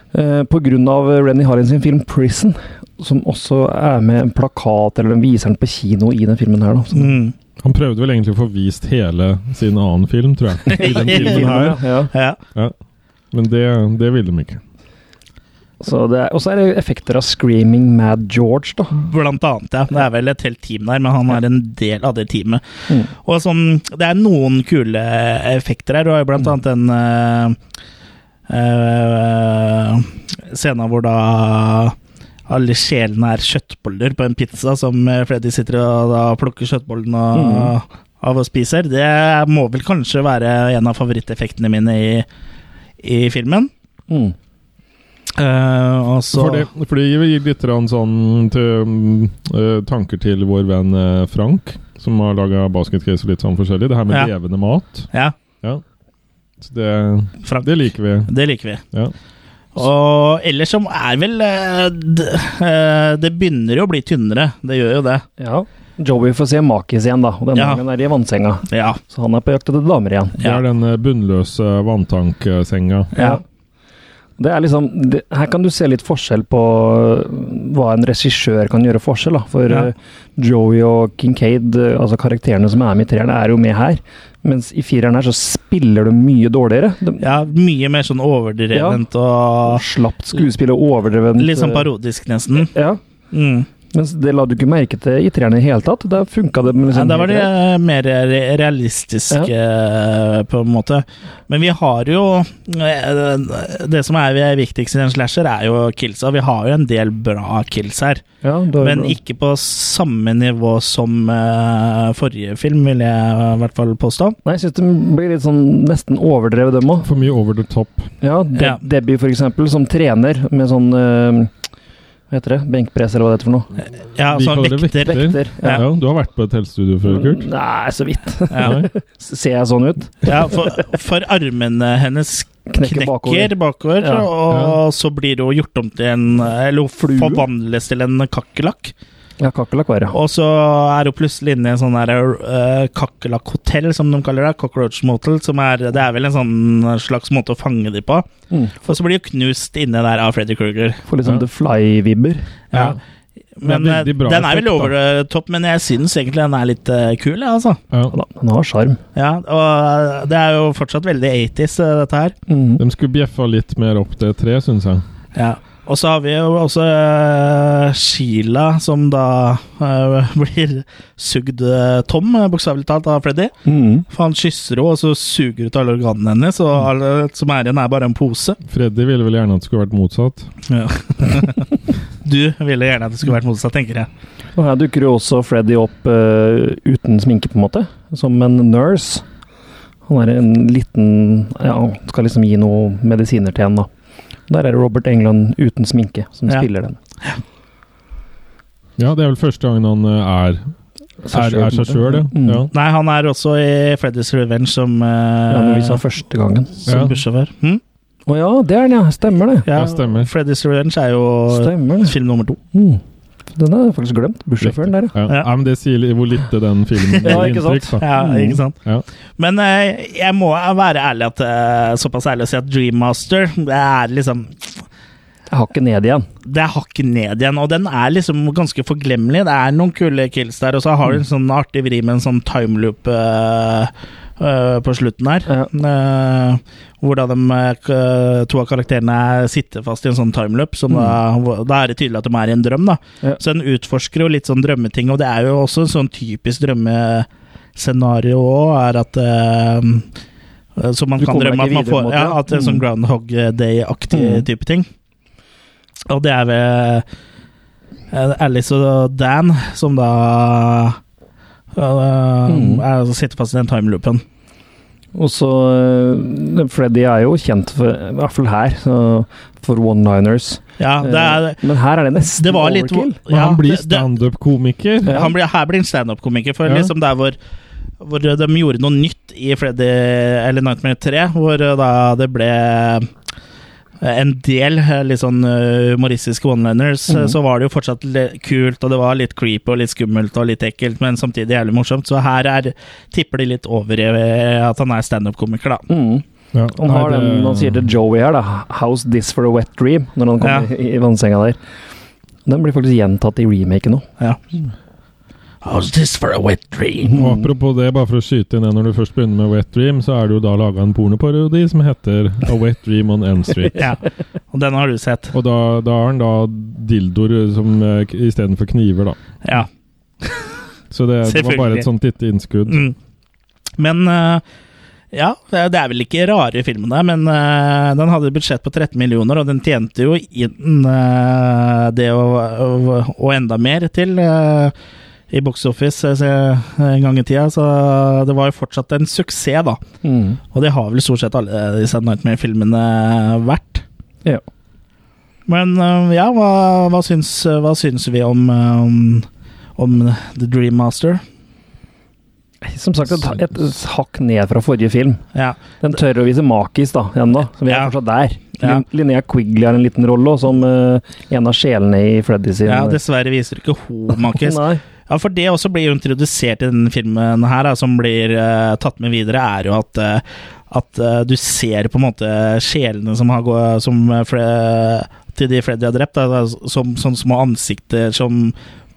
Eh, På grunn av Renny Harlin sin film 'Prison', som også er med en plakat, eller den viser den på kino i den filmen her, da. Så- Mm. Han prøvde vel egentlig å få vist hele sin annen film, tror jeg. I den filmen her. Ja. Ja. Ja. Men det, det ville de ikke. Så det er, og så er det effekter av 'Screaming Mad George', da. Blant annet, ja. Det er vel et helt team der, men han er en del av det teamet. Mm. Og sånn, det er noen kule effekter her. Du har jo blant annet den eh, eh, scenen hvor da alle sjelene er kjøttboller på en pizza, som eh, Freddy sitter og da plukker kjøttbollene av- av og spiser. Det må vel kanskje være en av favoritteffektene mine i, i filmen. Mm. Eh, og så For det, for det gir litt grann sånn til, mm, eh, tanker til vår venn eh, Frank, som har laga basketcase og litt sånn forskjellig. Det her med Ja. levende mat. Ja, Ja. Så det, Frank. det liker vi. det liker vi. Ja. Og ellers som er vel eh, d- eh, Det begynner jo å bli tynnere, det gjør jo det. Ja. Joey får se Makis igjen, da. Og denne Ja. gangen er de i vannsenga. Ja. Så han er på jakt etter damer igjen. Det er den eh, bunnløse vanntanksenga. Ja. Det er liksom, det, her kan du se litt forskjell på eh, hva en regissør kan gjøre forskjell. Da. For Ja. eh, Joey og Kincaid, eh, altså karakterene som er med i treeren, er jo med her. Mens i fireren her så spiller de mye dårligere. De, Ja, mye mer sånn overdrevent og Slapt skuespill og overdrevent. litt sånn eh, parodisk, nesten. Ja. Mm. Mens det la du ikke merke til i treeren i det hele tatt. Der funka det. med Ja, sånn Liksom, da var det helt eh, mer re- realistisk, eh, på en måte. Men vi har jo eh, Det som er viktigst i en slasher, er jo killsa. Vi har jo en del bra kills her. greit. ja, da- Men ikke på samme nivå som eh, forrige film, vil jeg i hvert fall påstå. Nei, jeg syns de blir litt sånn nesten overdrevet, dem òg. For mye over the top. Ja, De Ja. Debbie for eksempel, som trener med sånn eh, Hva heter det? Benkpress, eller hva det heter for noe? Ja, Vi sånn kaller det vekter. Vekter. Ja. Ja. Mm. du har vært på et helsestudio før, Kurt? Nei, så vidt. Ja. Nei? Ser jeg sånn ut? Ja, for, for armene hennes Knekker knekker bakover. bakover, og så blir hun gjort om til en Eller hun Flue. forvandles til en kakerlakk. Ja, kakerlakk var det. Og så er hun plutselig inne i en sånn der uh, kakerlakkhotell, som de kaller det. Cockroach Motel. Som er, det er vel en sånn slags måte å fange dem på. Mm. Og så blir hun knust inne der av Freddy Kruger. Får litt sånn Ja. The Fly-vibber. Ja. Men Det er veldig eh, bra den er vel effekt, da. over the top, men jeg syns egentlig den er litt eh, kul, jeg, altså. Ja. Ja, da, Han har sjarm. Ja, og eh, det er jo fortsatt veldig 80s, eh, dette her. Mhm. De skulle bjeffa litt mer opp til tre, syns jeg. Ja. Og så har vi jo også eh, Sheila, som da eh, blir sugd eh, tom, eh, bokstavelig talt, av Freddy. Mhm. For han kysser henne, og så suger ut alle organene hennes, og alle som er igjen, er bare en pose. Freddy ville vel gjerne at det skulle vært motsatt. Ja. du ville gjerne at det skulle vært motsatt, tenker jeg. Og her dukker jo også Freddy opp eh, uten sminke, på en måte. Som en nurse. Han er en liten Ja, han skal liksom gi noe medisiner til henne, da. Der er det Robert England uten sminke som Ja. spiller den. Ja, det er vel første gangen han eh, er er, er seg sjøl, ja. Mm. ja. Nei, han er også i Freddy's Revenge som, uh, Ja, men vi sa første gangen. Ja. som bussjåfør. Hm? Eh, Å ja, det er den, ja. Stemmer det. Ja, Ja, stemmer. Freddy's Revenge er jo Stemmer det. film nummer to. Mm. Den har jeg faktisk glemt. Bussjåføren der, ja. Ja. Ja. Nei, men det sier litt hvor lite den filmen Ja, gir ikke sant? inntrykk. Da. Ja, ikke sant? Ja. Men eh, jeg må være ærlig at, eh, såpass ærlig å si at Dreammaster det er liksom Jeg har ikke ned igjen. Det er hakket ned igjen, og den er liksom ganske forglemmelig. Det er noen kule kills der, og så har Mm. du en sånn artig vri med en sånn timeloop eh, eh, på slutten her. Ja. Eh, hvor da de eh, k- to av karakterene sitter fast i en sånn timeloop. Som da, hvor- da er det tydelig at de er i en drøm, da. Mm. Ja. Så en utforsker jo litt sånn drømmeting, og det er jo også en sånn typisk drømmescenario òg, er at eh, så man Du kan kommer drømme at deg ikke man får videre, på en måte, ja, ja. at det er sånn Mm. Groundhog Day-aktig Mm. type ting. Og det er ved eh, Alice og Dan som da eh, Mm. altså er, sitter fast i den timeloopen. Og så eh, For de er jo kjent for, i hvert fall her, så, for one-liners. Ja, det er- Eh, Men her er det nesten Det var litt overkill. ja, han blir det- det- standup-komiker. Han blir, her blir han standup-komiker, for Ja. liksom der hvor hvor de gjorde noe nytt i Freddy eller Nightmare 3, hvor eh, da det ble eh, en del eh, litt sånn eh, humoristiske one-liners, eh, Mhm. så var det jo fortsatt le- kult, og det var litt creepy og litt skummelt og litt ekkelt, men samtidig jævlig morsomt. Så her er, tipper de litt over i eh, at han er standup-komiker, da. Ja, Han, Mm. har nei, det- den, han sier til Joey her, da 'How's this for a wet dream?' når han kommer Ja. i, i vannsenga der. Den blir faktisk gjentatt i remaken nå. Ja. How's this for a wet dream? Og Mm. apropos det, bare for å skyte inn det når du først begynner med Wet Dream, så er det jo da laga en pornoparodi som heter A Wet Dream on Elm Street. ja. Og den har du sett. Og da, da har han da dildoer som eh, k- istedenfor kniver, da. Ja. Så det, det var bare Selvfølgelig. et sånt lite innskudd. Mm. Men eh, ja, det er vel ikke rare filmene, men eh, den hadde et budsjett på 13 millioner, og den tjente jo inn eh, det og, og, og enda mer til eh, i box office eh, se- en gang i tida, så det var jo fortsatt en suksess, da. Mm. Og det har vel stort sett alle disse Nightmare-filmene eh, vært. Ja. Men eh, ja, hva, hva, syns, hva syns vi om, eh, om, om The Dream Master? Som sagt, et, et hakk ned fra forrige film. Ja. Den tør å vise makis da, ennå, så vi er Ja. fortsatt der. Ja. Lin- Linnea Quigley har en liten rolle, og som eh, en av sjelene i Freddy sin eh, Ja, dessverre viser ikke homakis. Nei. ja, for det også blir jo introdusert i denne filmen her, da, som blir eh, tatt med videre, er jo at eh, at eh, du ser på en måte sjelene som har gått som, eh, Fre- til de Freddy har drept, da, da, som sånne små ansikter som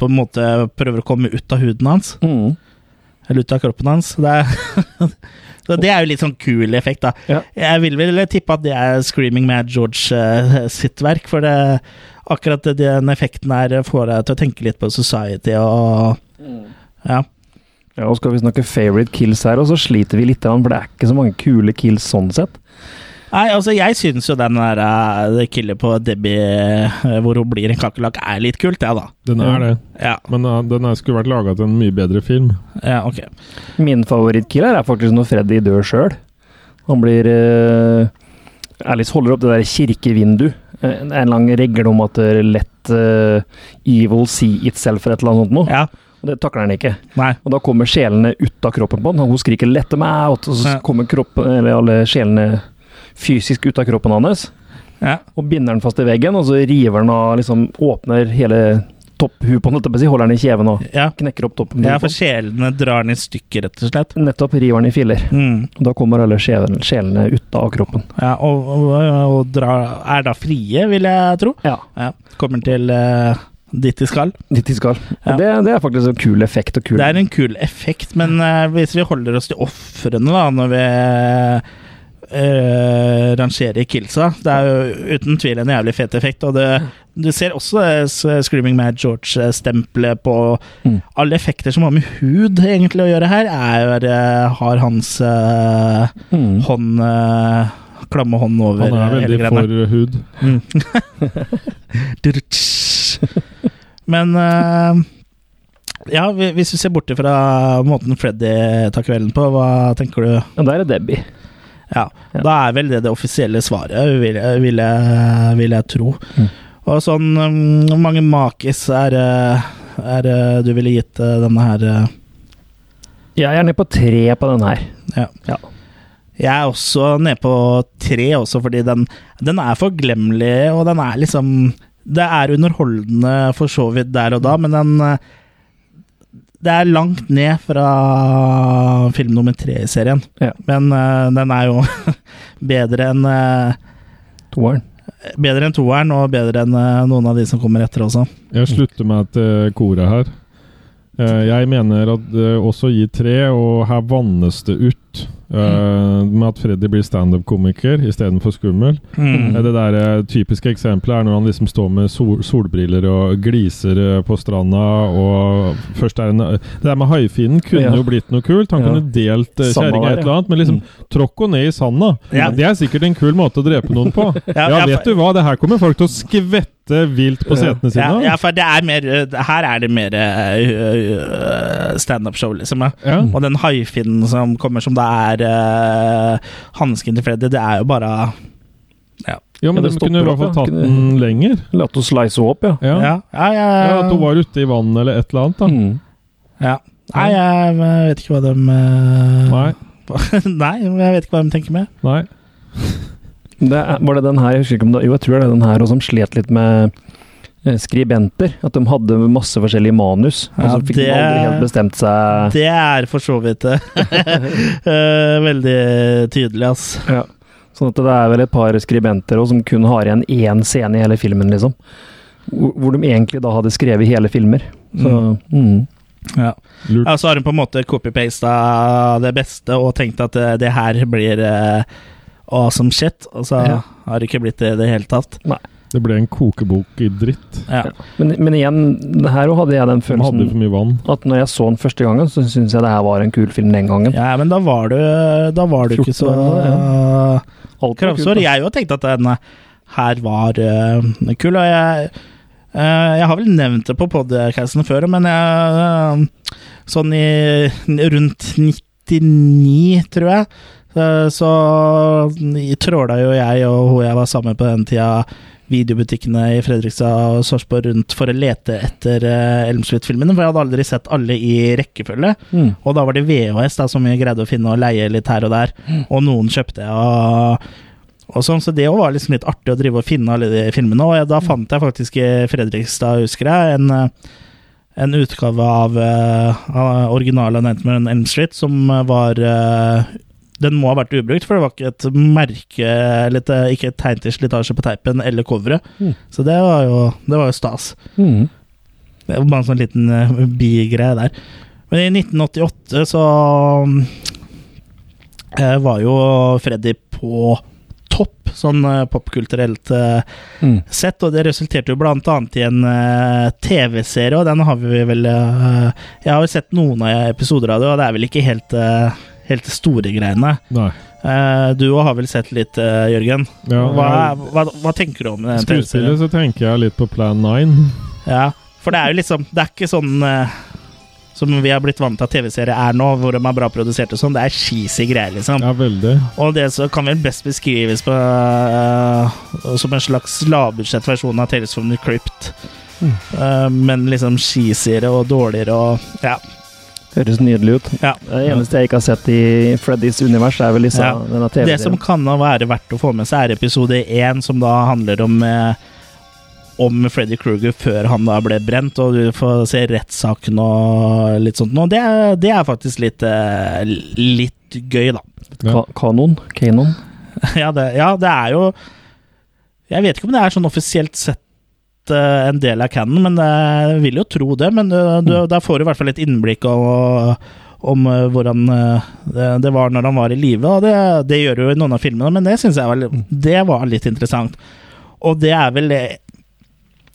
på en måte prøver å komme ut av huden hans. Mm. Eller ut av kroppen hans. Det er, så det er jo litt sånn kul effekt, da. Jeg vil vel tippe at det er Screaming Mad George eh, sitt verk, for det, akkurat den effekten her får deg til å tenke litt på society og Ja. Ja, og skal vi snakke favorite kills her, og så sliter vi litt, for det er ikke så mange kule kills sånn sett. Nei, altså jeg syns jo den der eh, det killet på Debbie eh, hvor hun blir en kakerlakk, er litt kult, jeg, ja, da. Den er det. Ja. Men eh, den er, skulle vært laga til en mye bedre film. Ja, ok. Min favorittkill her er faktisk når Freddy dør sjøl. Han blir eh, Alice holder opp det der kirkevinduet. Eh, det er en lang regle om at det er lett eh, evil see itself eller et eller annet sånt noe. Og Det takler han ikke. Nei. Og da kommer sjelene ut av kroppen på han. Hun skriker 'let them out', og Ja. så kommer kroppen, eller alle sjelene fysisk ut av kroppen hans. Og binder den fast i veggen, og så river den av liksom åpner hele topphuet på den, holdt jeg på å si, holder den i kjeven og knekker opp toppen. Ja, for sjelene drar den i stykker, rett og slett. Nettopp river den i filler. Mm. Og Da kommer alle sjelene, sjelene ut av kroppen. Ja, og, og, og drar, er da frie, vil jeg tro. Ja. Kommer til eh, dit de skal. Dit de skal. Og Det, det er faktisk en kul effekt. Og kul. Det er en kul effekt, men eh, hvis vi holder oss til ofrene da, når vi eh, rangerer killsa Det er jo uten tvil en jævlig fet effekt, og det, du ser også det s- Screaming Mad George-stempelet på Mm. Alle effekter som har med hud egentlig å gjøre her, er, eh, har hans eh, Mm. hånd eh, Klamme hånd over Han er eh, hele veldig greiene. for hud. Men eh, ja, hvi- hvis du ser bort fra måten Freddy tar kvelden på, hva tenker du? Ja, der er Debbie. Ja, da er vel det det offisielle svaret, vil, jeg- vil, jeg, vil jeg tro. Og sånn mm, Hvor mange makis er, eh, er eh, du ville gitt eh, denne her? eh? Jeg er nede på tre på den her. Ja. Jeg er også nede på tre, også, fordi den, den er forglemmelig, og den er liksom Det er underholdende for så vidt der og da, men den eh, Det er langt ned fra film nummer tre i serien, men eh, den er jo bedre enn eh, Toeren. Bedre enn toeren, og bedre enn eh, noen av de som kommer etter også. Jeg slutter meg til koret her. Eh, Jeg mener at eh, også gi tre, og her vannes det ut eh, Mm. med at Freddy blir standup-komiker istedenfor skummel. Mm. Eh, Det der eh, typiske eksempelet er når han liksom står med sol solbriller og gliser eh, på stranda, og først er en eh, Det der med haifinnen kunne Ja. jo blitt noe kult. Han Ja. kunne delt eh, Samme kjerringa der, et ja. eller annet, men liksom tråkk henne ned i sanda. Ja. Det er sikkert en kul måte å drepe noen på. Ja, ja, ja, vet du hva, det her kommer folk til å skvette sitte vilt på setene sine. Ja, da. ja, for det er mer eh, Her er det mer uh, standup-show, liksom. Ja. Og den haifinnen som kommer som det er uh, hansken til Freddy, det er jo bare Ja. Ja, men det de stopper kunne i hvert fall opp, da. tatt den lenger. Latt henne slice henne opp, ja. Ja. Ja, ja, ja, Ja, ja. At hun var ute i vannet eller et eller annet. Mm. da. Mm. Ja. Nei, jeg eh, vet ikke hva de Nei. Nei, men jeg vet ikke hva de tenker med. Nei. Det er, var det den her, jeg husker ikke om det Jo, jeg tror det er den her også, som slet litt med eh, skribenter. At de hadde masse forskjellige manus, og Ja, så fikk de det- aldri helt bestemt seg. Det er for så vidt det. Eh, Veldig tydelig, ass. Ja. Sånn at det er vel et par skribenter også, som kun har igjen én scene i hele filmen, liksom. Hvor hvor de egentlig da hadde skrevet hele filmer. Så, mm. Ja. Lurt. Ja, så har hun på en måte copy-pasta det beste og tenkt at eh, det her blir eh, awesome shit, og så Ja. har det ikke blitt det i det hele tatt. Det ble en kokebok i dritt. Ja. Men, men igjen, det her også hadde jeg den De hadde for følelsen mye vann. at når jeg så den første gangen, så syns jeg det her var en kul film den gangen. ja, men da var du, eh, da var du ikke så 14 år, uh, kravstor. Jeg òg tenkte at den eh, her var eh, kul, og jeg eh, jeg har vel nevnt det på podcasten før, men jeg, eh, sånn i rundt 99, tror jeg, Eh, Så tråla jo jeg og hun jeg var sammen med på den tida, videobutikkene i Fredrikstad og Sarpsborg rundt for å lete etter eh, Elmslutt-filmene, for jeg hadde aldri sett alle i rekkefølge. Mm. Og da var det VHS da som vi greide å finne og leie litt her og der, Mm. og noen kjøpte jeg. og og sånn, så Det jo var liksom litt artig å drive og finne alle de filmene. Og jeg, Mm. da fant jeg faktisk i Fredrikstad, husker jeg, en, eh, en utgave av, eh, av originalen av Nightmare on Elm Street som eh, var eh, Den må ha vært ubrukt, for det var ikke et merke eller et, eh, ikke et tegn til slitasje på teipen eller coveret. Mm. Så det var jo, det var jo stas. Mm. Det var bare en sånn liten eh, bigreie der. Men i 1988 så mm, eh, var jo Freddy på topp, sånn eh, popkulturelt eh, Mm. sett, og det resulterte jo blant annet i en eh, TV-serie, og den har vi vel eh, Jeg har jo sett noen av episoder av det, og det er vel ikke helt, eh, helt de store greiene. Nei. Eh, du har vel sett litt, eh, Jørgen. Ja, hva, hva, hva tenker du om den Skuespillet så tenker jeg litt på Plan 9. ja, for det er jo liksom Det er ikke sånn eh, som vi har blitt vant til at TV-serier er nå, hvor de er bra produsert og sånn. Det er cheesy greier, liksom. Ja, veldig. Og det så kan vel best beskrives på, eh, som en slags lavbudsjettversjon av Tales from the Crypt. Eh, men liksom cheesyere og dårligere og Ja. eh, Høres nydelig ut. ja. Det eneste jeg ikke har sett i Freddys univers, er vel disse, Ja. denne Det som TV-serien. kan da være verdt å få med seg, er episode én, som da handler om eh, om Freddy Krueger før han da ble brent, og du får se rettssaken og litt sånt noe. Det, er- det er faktisk litt, eh, litt gøy, da. Ka kanon? Kanon? ja, det, ja, det er jo Jeg vet ikke om det er sånn offisielt sett eh, en del av canon, men eh, jeg vil jo tro det. Men eh, du, da får du i hvert fall et innblikk om, om eh, hvordan eh, det, det var når han var i live. Og det, det gjør du jo i noen av filmene, men det syns jeg var, litt- det var litt interessant. Og det er vel eh,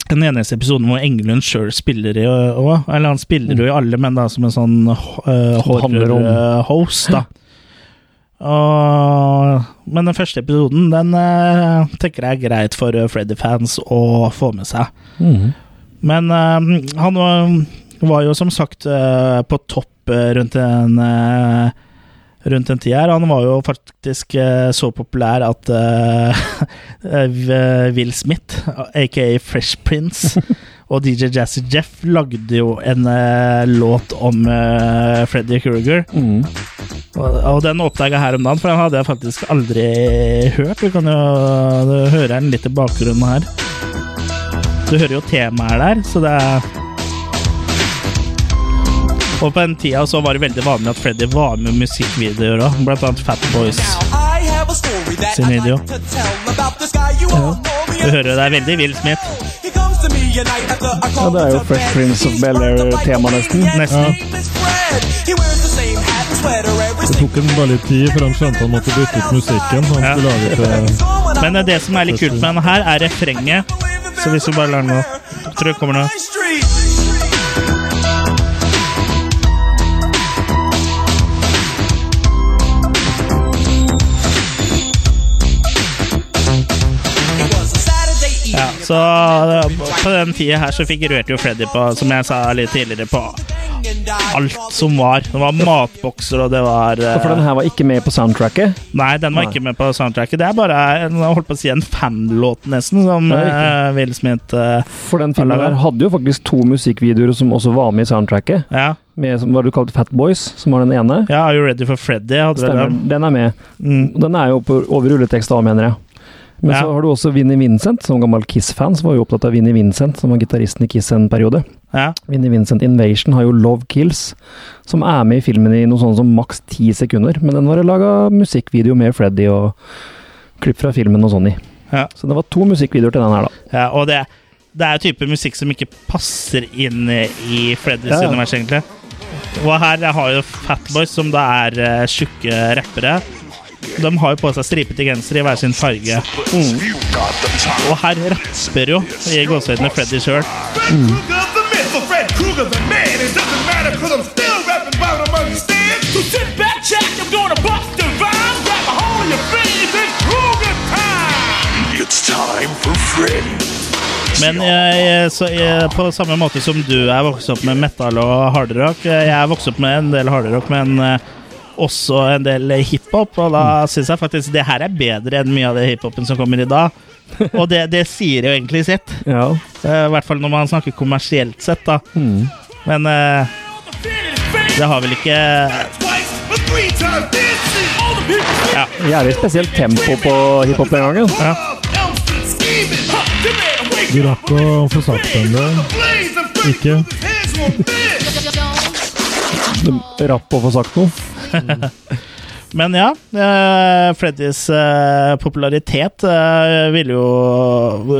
den eneste episoden hvor Engelund sjøl spiller i òg. Eller han spiller jo i alle, men da som en sånn uh, Som handler om- horror-host, da. Og, men den første episoden den eh, tenker jeg er greit for eh, Freddy-fans å få med seg. Mhm. Men eh, han var, var jo som sagt eh, på topp eh, rundt en eh, Rundt en tid her. Han var jo faktisk eh, så populær at eh, Will Smith, aka Fresh Prince, og DJ Jazzy Jeff lagde jo en eh, låt om eh, Freddy Krueger. Mhm. Og, og den oppdaga jeg her om dagen, for den hadde jeg faktisk aldri hørt. Du kan jo høre den litt i bakgrunnen her. Du hører jo temaet der, så det er Og på den tida så var det veldig vanlig at Freddy var med i musikkvideoer òg, blant annet Fat Boys. I have a story that Sin I'd video. like to tell about this guy you all know me Du hører jo det er veldig Will Smith. He comes to me at night after I Ja, call det er him jo Fresh Prince of Bel-Air-tema, nesten. Nesten. his friend. He wears the same hat, sweater, every Det tok ham bare litt tid før han skjønte han måtte bytte ut musikken. Han skulle lage et eh, Men det som er litt kult med den her, er refrenget. Så hvis du bare lar den gå Jeg Tror det kommer nå. street. Ja, Så eh, på den tida her så figurerte jo Freddy på, som jeg sa litt tidligere, på alt som var. Det var matbokser, og det var eh, Ja, For den her var ikke med på soundtracket? Nei, den var Nei. ikke med på soundtracket. Det er bare en, jeg holdt på å si en fanlåt, nesten, som Ja, riktig. eh, Will Smith eh, For den filmen Eller- der hadde jo faktisk to musikkvideoer som også var med i soundtracket. ja. Med som- hva du kalte Fat Boys, som var den ene. ja, Are You Ready for Freddy? Hadde vel Stemmer. den. Den er med. Mm. Og Den er jo på, over rulletekst A, mener jeg. Men Ja. så har du også Vinnie Vincent, som gammel Kiss-fan, som var jo opptatt av Vinnie Vincent, som var gitaristen i Kiss en periode. Ja. Vinnie Vincent Invasion har jo Love Kills, som er med i filmen i noe sånt som maks ti sekunder. Men den var det laga musikkvideo med Freddy og klipp fra filmen og sånn i. Ja. Så det var to musikkvideoer til den her, da. Ja, og det, det er type musikk som ikke passer inn i Freddys Ja, ja. univers, egentlig. Og her jeg har jo Fatboys, som da er eh, tjukke rappere. De har jo på seg stripete gensere i hver sin farge. Mm. Og her rapper jo i gåsehøydene Freddy sjøl. Kruger, the myth of Fred Mm. Kruger, the man. It doesn't matter because I'm still rapping about him, understand? So sit back, check, I'm gonna bust the rhyme. Grab a hold of your face, it's Kruger time. It's time for Fred. Men jeg, jeg- så jeg, på samme måte som du er vokst opp med metal og hardrock, eh, jeg er vokst opp med en del hardrock, men eh, også en del hiphop, og da syns jeg faktisk det her er bedre enn mye av det hiphopen som kommer i dag. Og det, det sier jo egentlig sitt. Ja. Eh, I hvert fall når man snakker kommersielt sett, da. Men eh, det har vel ikke Twice, but three times dancing. All the people Ja. Jævlig spesielt tempo på hiphop den gangen. Ja. scheming. Huh, the man awake. Du rakk å få sagt den der. Blaze of Fred Ikke? Kruger's hands on bed. Det Rapp å få sagt noe. Men ja, eh, Freddys eh, popularitet eh, ville jo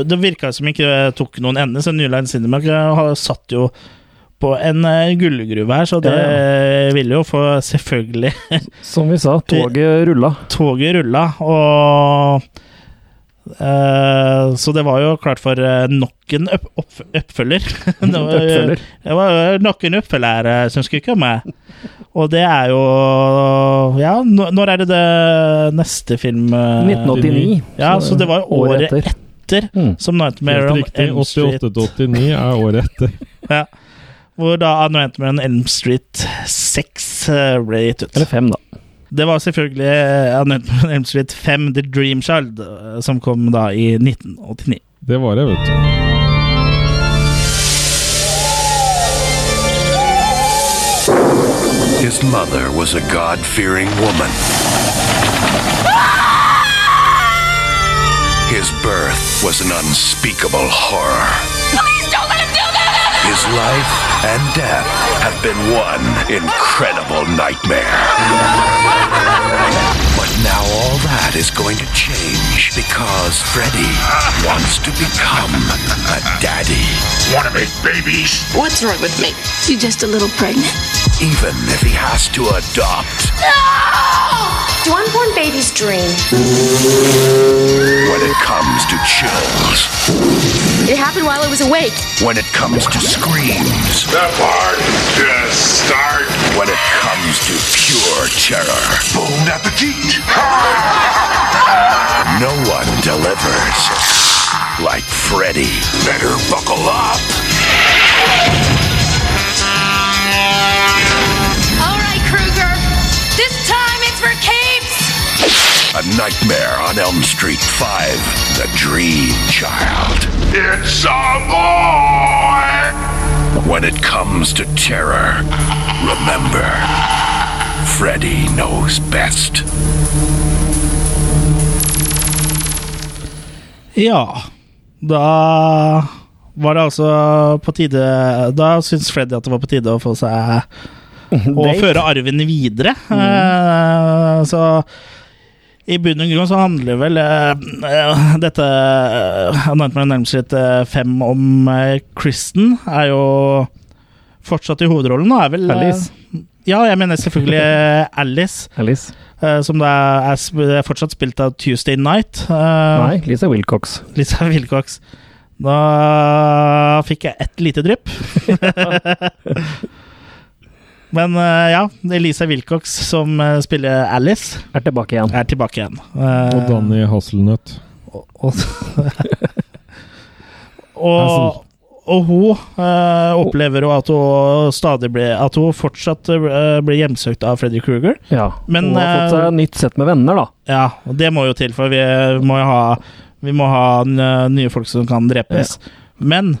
Det virka som ikke tok noen ende, så New Line Cinema har satt jo på en eh, gullgruve her, så det eh, ville jo få Selvfølgelig. Som vi sa, toget rulla. Toget rulla, og eh, så det var jo klart for eh, nok en opp opp oppfølger. Det var, eh, Oppfølger. det var nok en oppfølger eh, som skulle komme. Og det er jo Ja, nå- når er det det neste film eh, 1989. Ja, så det var jo året etter, Mm. som Nightmare Helt on riktig. Elm Street. 88-89 er året etter. Ja. Hvor da Nightmare on Elm Street 6 eh, ble gitt ut. Eller fem, da. Det var selvfølgelig eh, Nightmare on Elm Street 5, The Dream Child, eh, som kom da i 1989. Det var det, vet du. His mother was a God fearing woman. His birth was an unspeakable horror. Please don't let him do that! His life and death have been one incredible nightmare. But now all that is going to change because Freddy wants to become a daddy. Want to make babies? What's wrong with me? She's just a little pregnant. Even if he has to adopt. Do unborn babies dream? When it comes to chills. It happened while I was awake. When it comes to screams. That part just start. When it comes to pure terror. Bone appetit. no one delivers. Like Freddy. Better buckle up. All right, Kruger. This time it's for keeps. A Nightmare on Elm Street 5. The Dream Child. It's a boy! When it comes to terror, remember, Freddy knows best. Ja, da var det altså på tide Da syns Freddy at det var på tide å få seg Å Date. føre arven videre. Eh, så i bunn og grunn så handler vel eh, eh, dette uh, Nightmare nærmest litt fem om eh, Kristen. Er jo fortsatt i hovedrollen og er vel eh, Alice. Ja, jeg mener selvfølgelig eh, Alice. Alice. eh, som da er, sp- er fortsatt spilt av Tuesday Night. Eh, Nei, Lisa Wilcox. Lisa Wilcox. sånn Da fikk jeg ett lite drypp. Men eh, ja, Elisa Wilcox, som eh, spiller Alice, Er tilbake igjen. er Eh. tilbake igjen. Og Eh, Danny Hasselnøtt. og- og- Og, og hun eh, opplever jo at hun stadig blir At hun fortsatt eh, blir hjemsøkt av Freddy Kruger. Ja. Men, eh, hun har fått seg nytt sett med venner, da. Ja, og det må jo til, for vi eh, må jo ha, vi må ha n- nye folk som kan drepes. Men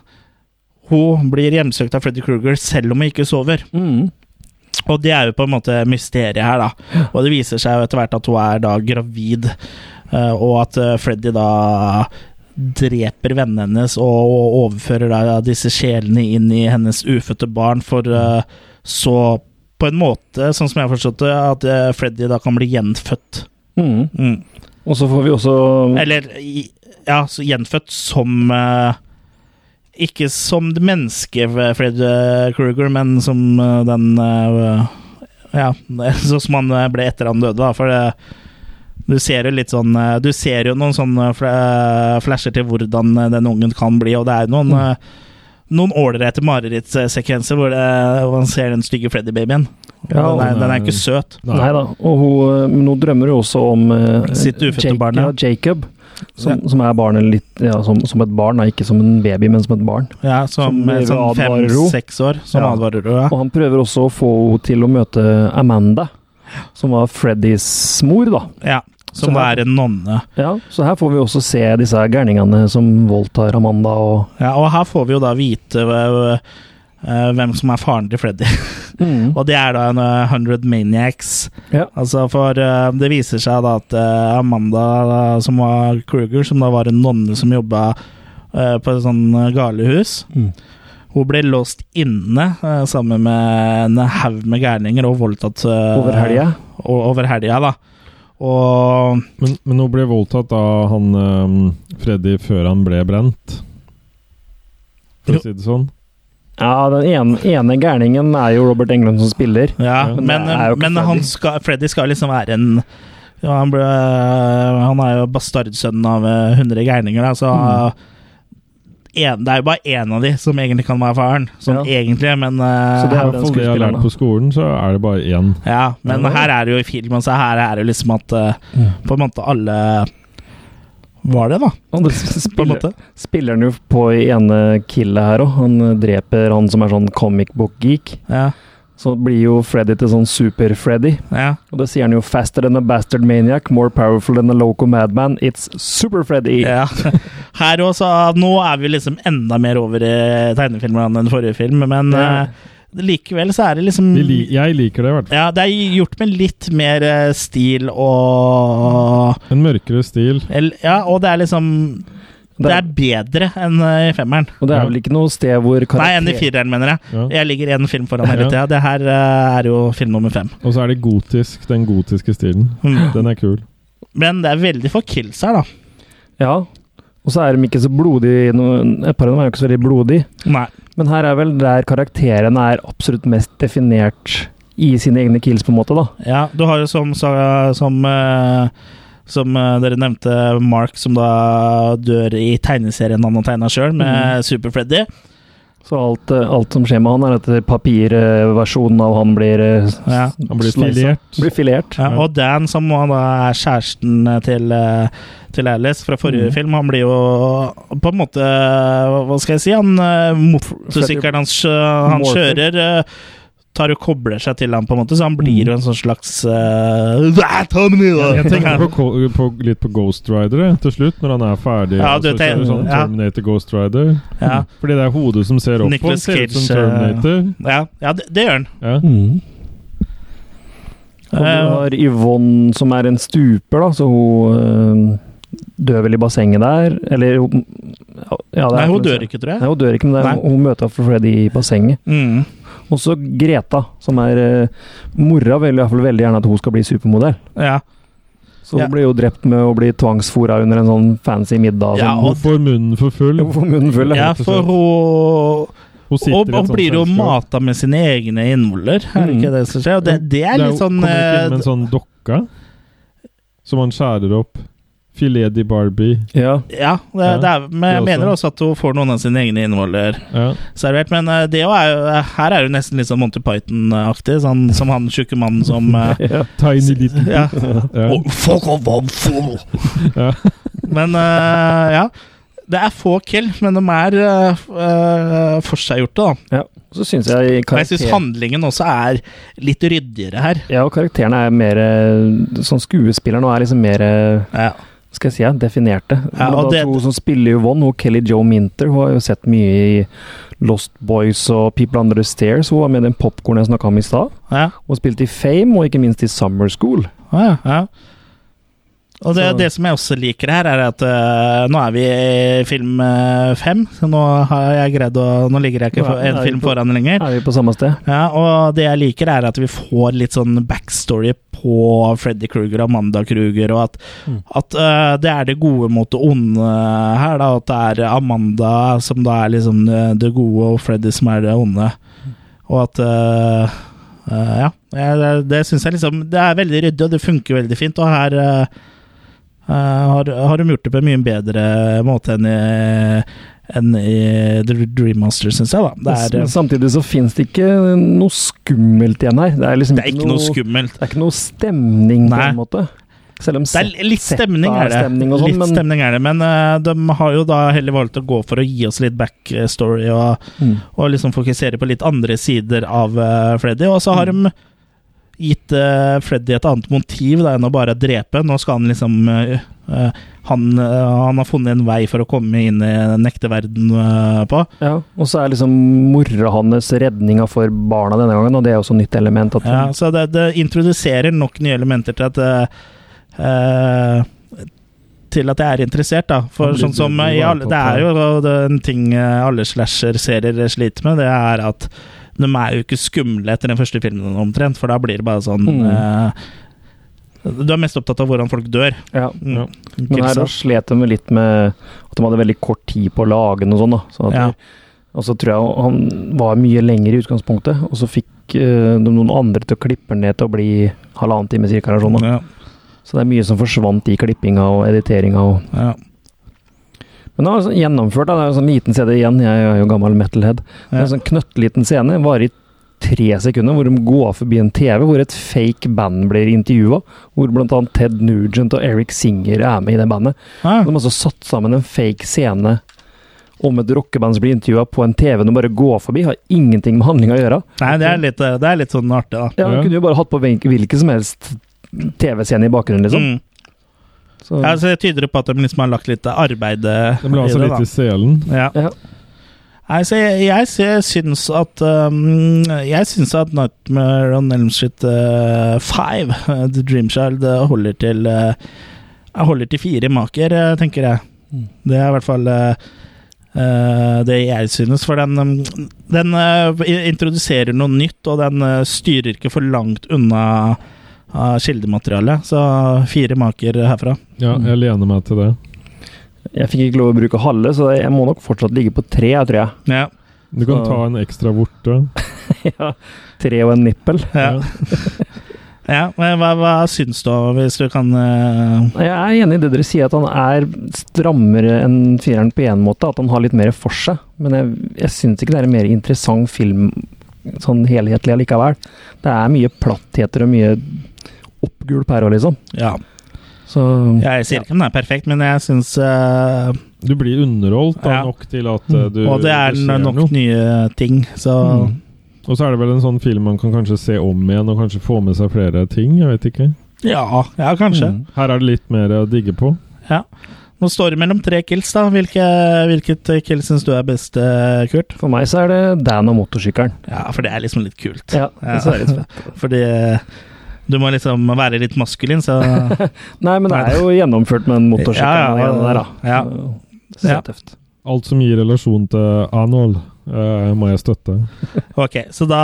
hun blir hjemsøkt av Freddy Kruger selv om hun ikke sover. Mm, Og det er jo på en måte mysteriet her, da. Og det viser seg jo etter hvert at hun er da gravid, eh, og at eh, Freddy da dreper vennene hennes og og overfører da disse sjelene inn i hennes ufødte barn, for eh, så på en måte, sånn som jeg har forstått det, at eh, Freddy da kan bli gjenfødt. Mm. Mm. Og så får vi også Eller i- ja, så gjenfødt som eh, Ikke som det menneske Fred eh, Kruger, men som eh, den eh, Ja, sånn som han eh, ble etter han døde, da. For det, du ser jo litt sånn eh, Du ser jo noen sånne fla- flasher til hvordan eh, den ungen kan bli, og det er jo noen Mm. eh, noen ålreite marerittsekvenser hvor, det- hvor man ser den stygge Freddy-babyen. Ja, den, er- og- den er ikke søt. Nei, da. Og hun, eh, men hun drømmer jo også om eh, Sitt ufødte barn, ja. Ja, Jacob. Som, som er barnet litt ja, som, som et barn, da. ikke som en baby, men som et barn. Ja, som, Som eh, sånn advarer henne. fem-seks år. Som Ja. advarer henne, ja. Og han prøver også å få henne til å møte Amanda, som var Freddys mor, da. Ja, som Så da her- er en nonne. Ja, Så her får vi også se disse her gærningene som voldtar Amanda og Ja, og her får vi jo da vite øh, øh, hvem som er faren til Freddy. og det er da en øh, 100 Maniacs. Altså for øh, det viser seg da at øh, Amanda, da, som var Kruger, som da var en nonne som jobba øh, på et sånn øh, galehus Mm. Hun ble låst inne øh, sammen med en haug med gærninger og voldtatt øh, Over helga? o- Over helga, da. Og Men, men hun ble voldtatt av han eh, Freddy før han ble brent, for å si det sånn. Ja, den ene, ene gærningen er jo Robert Englund som spiller. Ja, Men men, det er jo ikke men Freddy. han skal, Freddy skal liksom være en ja, han, ble, han er jo bastardsønnen av eh, 100 gærninger, da, så en, Det er jo bare én av de som egentlig kan være faren, sånn egentlig, men eh, I hvert fall det jeg har lært på skolen, så er det bare én. Ja, men Ja. her er det jo i filmen, så her er det jo liksom at eh, på en måte alle var det, da. Og det På en spiller, måte. spiller han jo på i ene killet her òg. Han eh, dreper han som er sånn comic book geek. Ja. Så blir jo Freddy til sånn Super-Freddy. Og det sier han jo 'faster than a bastard maniac, more powerful than a loco madman'. It's Super-Freddy! Ja. Her også, nå er vi liksom enda mer over i tegnefilmene enn forrige film, men Ja. eh, likevel så er det liksom Vi li- Jeg liker det, i hvert fall. Ja, det er gjort med litt mer eh, stil og En mørkere stil. el- Ja, og det er liksom Det er bedre enn eh, i femmeren. Og det er vel ikke noe sted hvor karakter... Nei, enn i fireren, mener jeg. Ja. Jeg ligger én film foran hele Ja. tida. Det her eh, er jo film nummer fem. Og så er det gotisk, den gotiske stilen. Mm. Den er kul. Men det er veldig få kills her, da. Ja. Og så er de ikke så blodige. noen- Et par av dem er jo ikke så veldig blodige. Nei. Men her er vel der karakterene er absolutt mest definert i sine egne kills, på en måte, da. Ja, du har jo som sa- Som, eh, som eh, dere nevnte, Mark som da dør i tegneserien han har tegna sjøl, med Super-Freddy. Så alt, eh, alt som skjer med han, er at papirversjonen av han blir eh, s- Ja. Han blir slice- filert. Blir filert. Ja, og Dan, som han da er kjæresten til, eh, til Alice fra forrige film, han blir jo på en måte eh, Hva skal jeg si? Han eh, Motorsykkelen hans eh, han Morpher. kjører eh, Tar og kobler seg til ham, på en måte, så han blir jo en sånn slags eh, "Ah, ta meg ned, da!" Jeg tenker på, ko- på, litt på Ghost Rider jeg, til slutt, når han er ferdig. Ja, og du så kjører tenker- sånn ja. Terminator Ghost Rider. Mm. Ja. Fordi det er hodet som ser opp på Nicolas han, ser ut som Cage, eh, Terminator. Ja, ja det, det gjør han. Ja. Og Eh, du har Yvonne som er en stuper, da, så hun eh, dør vel i bassenget der? Eller hun ja, det er Nei, hun ikke- dør ikke, tror jeg. Nei, hun dør ikke, men det er, Nei. hun møter for Freddy i bassenget. Mm. Og så Greta, som er eh, Mora vil i hvert fall veldig gjerne at hun skal bli supermodell. Ja. Så hun Ja. ble jo drept med å bli tvangsfora under en sånn fancy middag. Ja, sånn. Hun får munnen for full. Hun får munnen full. ja, for hun Hun sitter og, i et og sånt blir jo selskap. mata med sine egne innvoller, er det ikke det som skjer? Og det, det er litt jo- sånn Kommer ikke inn med eh, en sånn dokke som han skjærer opp. Filet di Barbie. Ja. Ja, det, Ja, det er, men det jeg også. mener også at hun får noen av sine egne innvoller Ja. servert. Men eh, det jo er jo, her er jo nesten litt sånn Monty Python-aktig, sånn, som han tjukke mannen som eh, Tiny little ja. Ja. Oh, fuck off, I'm full! Men eh, ja. Det er få kill, men de er uh, uh, forseggjorte, da. Ja. Så syns jeg Og jeg syns handlingen også er litt ryddigere her. Ja, og karakterene er mer eh, Sånn skuespillerne er liksom mer eh, Skal jeg si ja, definerte. Ja, Blant og annet det- hun som spiller Yvonne, hun Kelly Joe Minter, hun har jo sett mye i Lost Boys og People Under The Stairs. Hun var med i den popkornen jeg snakka om i stad. Ja. Hun spilte i Fame, og ikke minst i Summer School. Ja, ja. Og det, det som jeg også liker her, er at øh, nå er vi i film øh, fem. Så nå har jeg greid å Nå ligger jeg ikke Nå for, er- er en vi film på- foran lenger. Er vi på samme sted? Ja, og det jeg liker, er at vi får litt sånn backstory på Freddy Kruger og Amanda Kruger, og at, at øh, det er det gode mot det onde her, da. At det er Amanda som da er liksom det- det gode, og Freddy som er det onde. Og at øh, øh, Ja. jeg- Det, det syns jeg liksom Det er veldig ryddig, og det funker veldig fint, og her øh, øh, har, har de gjort det på en mye bedre måte enn i enn i The Dream Monster, syns jeg, da. Det er, Men samtidig så fins det ikke noe skummelt igjen her. Det er liksom Det er ikke noe skummelt. Det er ikke noe stemning på Nei. en måte. Selv om Det er litt settet stemning, er det. Stemning og sånn, litt men stemning er det, men eh, de har jo da heller valgt å gå for å gi oss litt backstory og, mm. og liksom fokusere på litt andre sider av eh, Freddy. Og så har Mm. de gitt eh, Freddy et annet motiv da, enn å bare drepe. Nå skal han liksom eh, eh, han, eh, han har funnet en vei for å komme inn i den ekte verden eh, på. ja, Og så er liksom mora hans redninga for barna denne gangen, og det er også et nytt element. At Ja, så det, det introduserer nok nye elementer til at eh, eh, Til at jeg er interessert, da. For Det blir- sånn som det blir i alle, Det er jo det er en ting eh, alle slasher-serier sliter med, det er at de er jo ikke skumle etter den første filmen omtrent, for da blir det bare sånn Mm. eh, Du er mest opptatt av hvordan folk dør. Ja. Mm. Men her da slet de litt med at de hadde veldig kort tid på å lage den og sånn. da. Så at Ja. og så tror jeg han var mye lenger i utgangspunktet, og så fikk eh, de noen andre til å klippe den ned til å bli halvannen time cirka. eller Sånn, da. Så det er mye som forsvant i klippinga og editeringa. Og. Ja. Men det var sånn gjennomført, da. det er en sånn liten CD igjen, jeg er jo gammel metalhead. Det er en sånn knøttliten scene, varer i tre sekunder, hvor de går forbi en TV, hvor et fake band blir intervjua. Hvor bl.a. Ted Nugent og Eric Singer er med i det bandet. De har altså satt sammen en fake scene om et rockeband som blir intervjua på en TV de bare går forbi. Har ingenting med handlinga å gjøre. Nei, det er, litt, det er litt sånn artig, da. Ja, Du kunne jo bare hatt på hvil- hvilken som helst TV-scene i bakgrunnen, liksom. Mm. Ja, så det tyder på at de liksom har lagt litt arbeid eh, Den ble i altså det, litt da. i selen. Ja. Nei, så jeg, jeg, sy- syns at um, Jeg syns at Nightmare on Elm Street 5, The Dream Child, eh, holder til eh, jeg holder til fire maker, eh, tenker jeg. Det er i hvert fall eh, eh, det jeg synes. For den, um, den eh, i- introduserer noe nytt, og den eh, styrer ikke for langt unna eh, kildematerialet. Så fire maker herfra. Ja, jeg lener meg til det. Jeg fikk ikke lov å bruke halve, så jeg må nok fortsatt ligge på tre, jeg tror jeg. Du kan Så- ta en ekstra vorte. ja. Tre og en nippel. Ja. Ja, men hva, hva syns du, hvis du kan eh, Jeg er enig i det dere sier, at han er strammere enn fireren på én måte. At han har litt mer for seg. Men jeg, jeg syns ikke det er en mer interessant film sånn helhetlig allikevel. Det er mye plattheter og mye oppgulp her òg, liksom. Ja. Så Jeg sier ikke om den er perfekt, men jeg syns eh, Du blir underholdt da, nok til at eh, du Og det er du ser nok noe. nye ting, så Mm. Og så er det vel en sånn film man kan kanskje se om igjen, og kanskje få med seg flere ting. Jeg vet ikke. ja, ja, kanskje. Mm. Her er det litt mer å digge på. Ja. Nå står det mellom tre kills, da. Hvilke, hvilket kill syns du er best, eh, Kurt? For meg så er det Dan og motorsykkelen. Ja, for det er liksom litt kult. Ja, det ser litt fett. Fordi eh, du må liksom være litt maskulin, så Nei, men det er jo gjennomført med en motorsykkel. Ja, ja, ja. Der, da. Ja. Så Ja. tøft. Alt som gir relasjon til Anol, eh, må jeg støtte. Ok, så da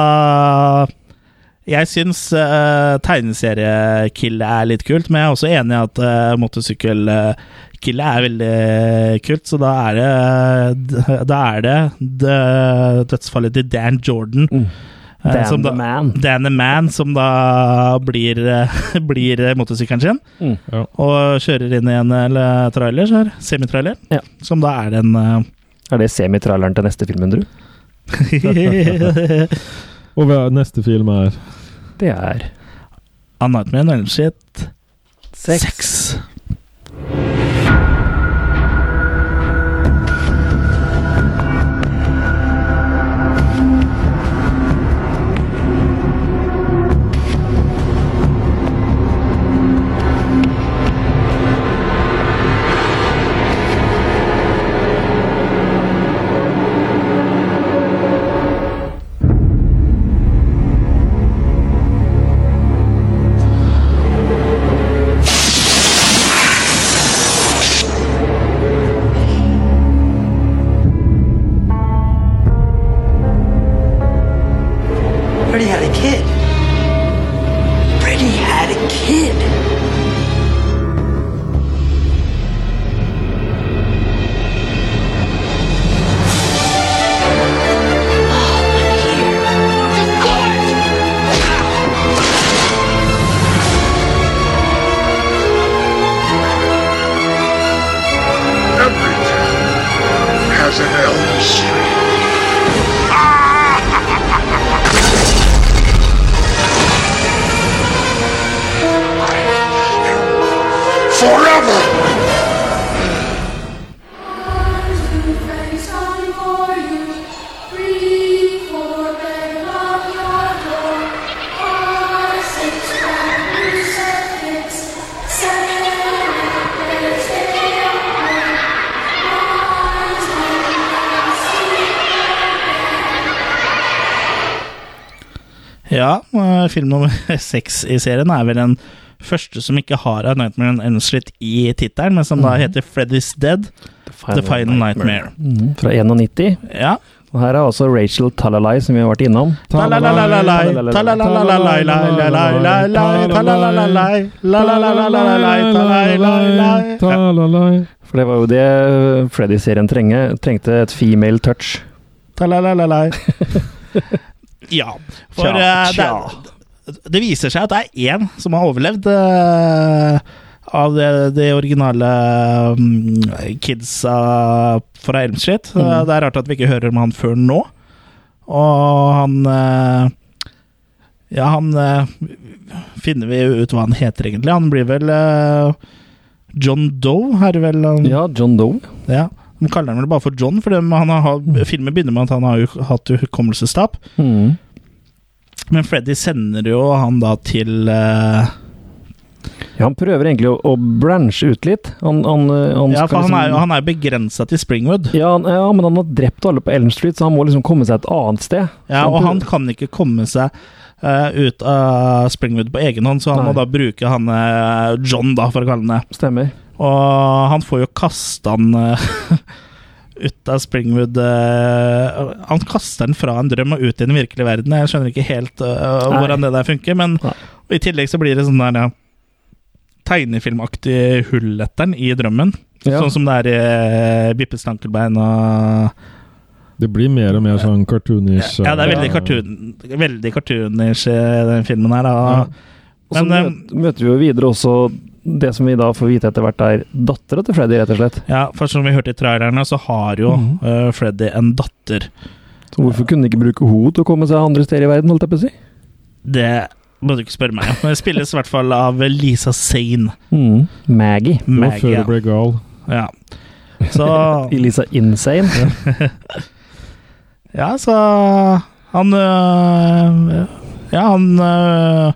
Jeg syns uh, tegneseriekill er litt kult, men jeg er også enig i at uh, motorsykkelkill er veldig kult, så da er det Da er det, det dødsfallet til Dan Jordan. eh, Mm. Dan som the da- Man. Dan the Man, som da blir, eh, blir motorsykkelen sin. Mm. Ja. Og kjører inn i en eller, trailer, så her, semitrailer, som da er den eh, Er det semitraileren til neste filmen, tror du? Og hva- neste film er Det er A Nightmare on Elm Street Sex. seks. Oh, as a hell. Forever! Ja, eh, film nummer seks i serien er vel den første som ikke har A Nightmare on Elm Street i tittelen, men som da Mhm. heter Freddy's Dead, The Final, Nightmare. Mhm, Fra 91. Ja. Og her er også Rachel Talalay, som vi har vært innom. Talalalalai, talalalalai, talalalalai, talalalalai, talalalalai. For det var jo det Freddy-serien trenge, trengte et female touch. Talalalalai. Ja. For Tja, eh, det, er- det viser seg at det er én som har overlevd eh, av det, det originale mm, kidsa fra Elm Street. Eh, Mm. Det er rart at vi ikke hører om han før nå. Og han eh, Ja, han eh, finner vi jo ut hva han heter, egentlig. Han blir vel eh, John Doe, er det vel? han- Ja, John Doe. ja. De kaller han vel bare for John, for dem- han har, filmen begynner med at han har jo hatt hukommelsestap. Mhm. Men Freddy sender jo han da til eh, Ja, han prøver egentlig å, å branche ut litt. Han, han, eh, han Ja, skal for han er jo liksom- han er begrensa til Springwood. ja, han, ja, men han har drept alle på Elm Street, så han må liksom komme seg et annet sted. Ja, Så og prøver- han kan ikke komme seg eh, ut av Springwood på egen hånd, så han Nei. må da bruke han eh, John, da, for å kalle han det. Stemmer. Og han får jo kasta han eh, ut av Springwood eh, Han kaster den fra en drøm og ut i den virkelige verden. Jeg skjønner ikke helt eh, Nei. hvordan det der funker, men i tillegg så blir det sånn der ja, tegnefilmaktig hull etter den i drømmen. Ja. Sånn som det er i eh, Bippes Stankelbein og Det blir mer og mer sånn cartoonish. Ja, det er veldig eh, cartoon- veldig cartoonish i den filmen her, da. Og så Men, eh, møter, møter vi jo videre også det som vi da får vite etter hvert er dattera til Freddy, rett og slett. Ja, for som vi hørte i trailerne, så har jo Mhm. eh, Freddy en datter. Så hvorfor kunne han ikke bruke henne til å komme seg andre steder i verden, holdt jeg på å si? Det må du ikke spørre meg om. Men det spilles i hvert fall av Lisa Sane. Mhm. Maggie. Det var Maggie, før ja. du ble gal. Ja. Så Elisa Insane. Ja, så Han øh, Ja, han øh,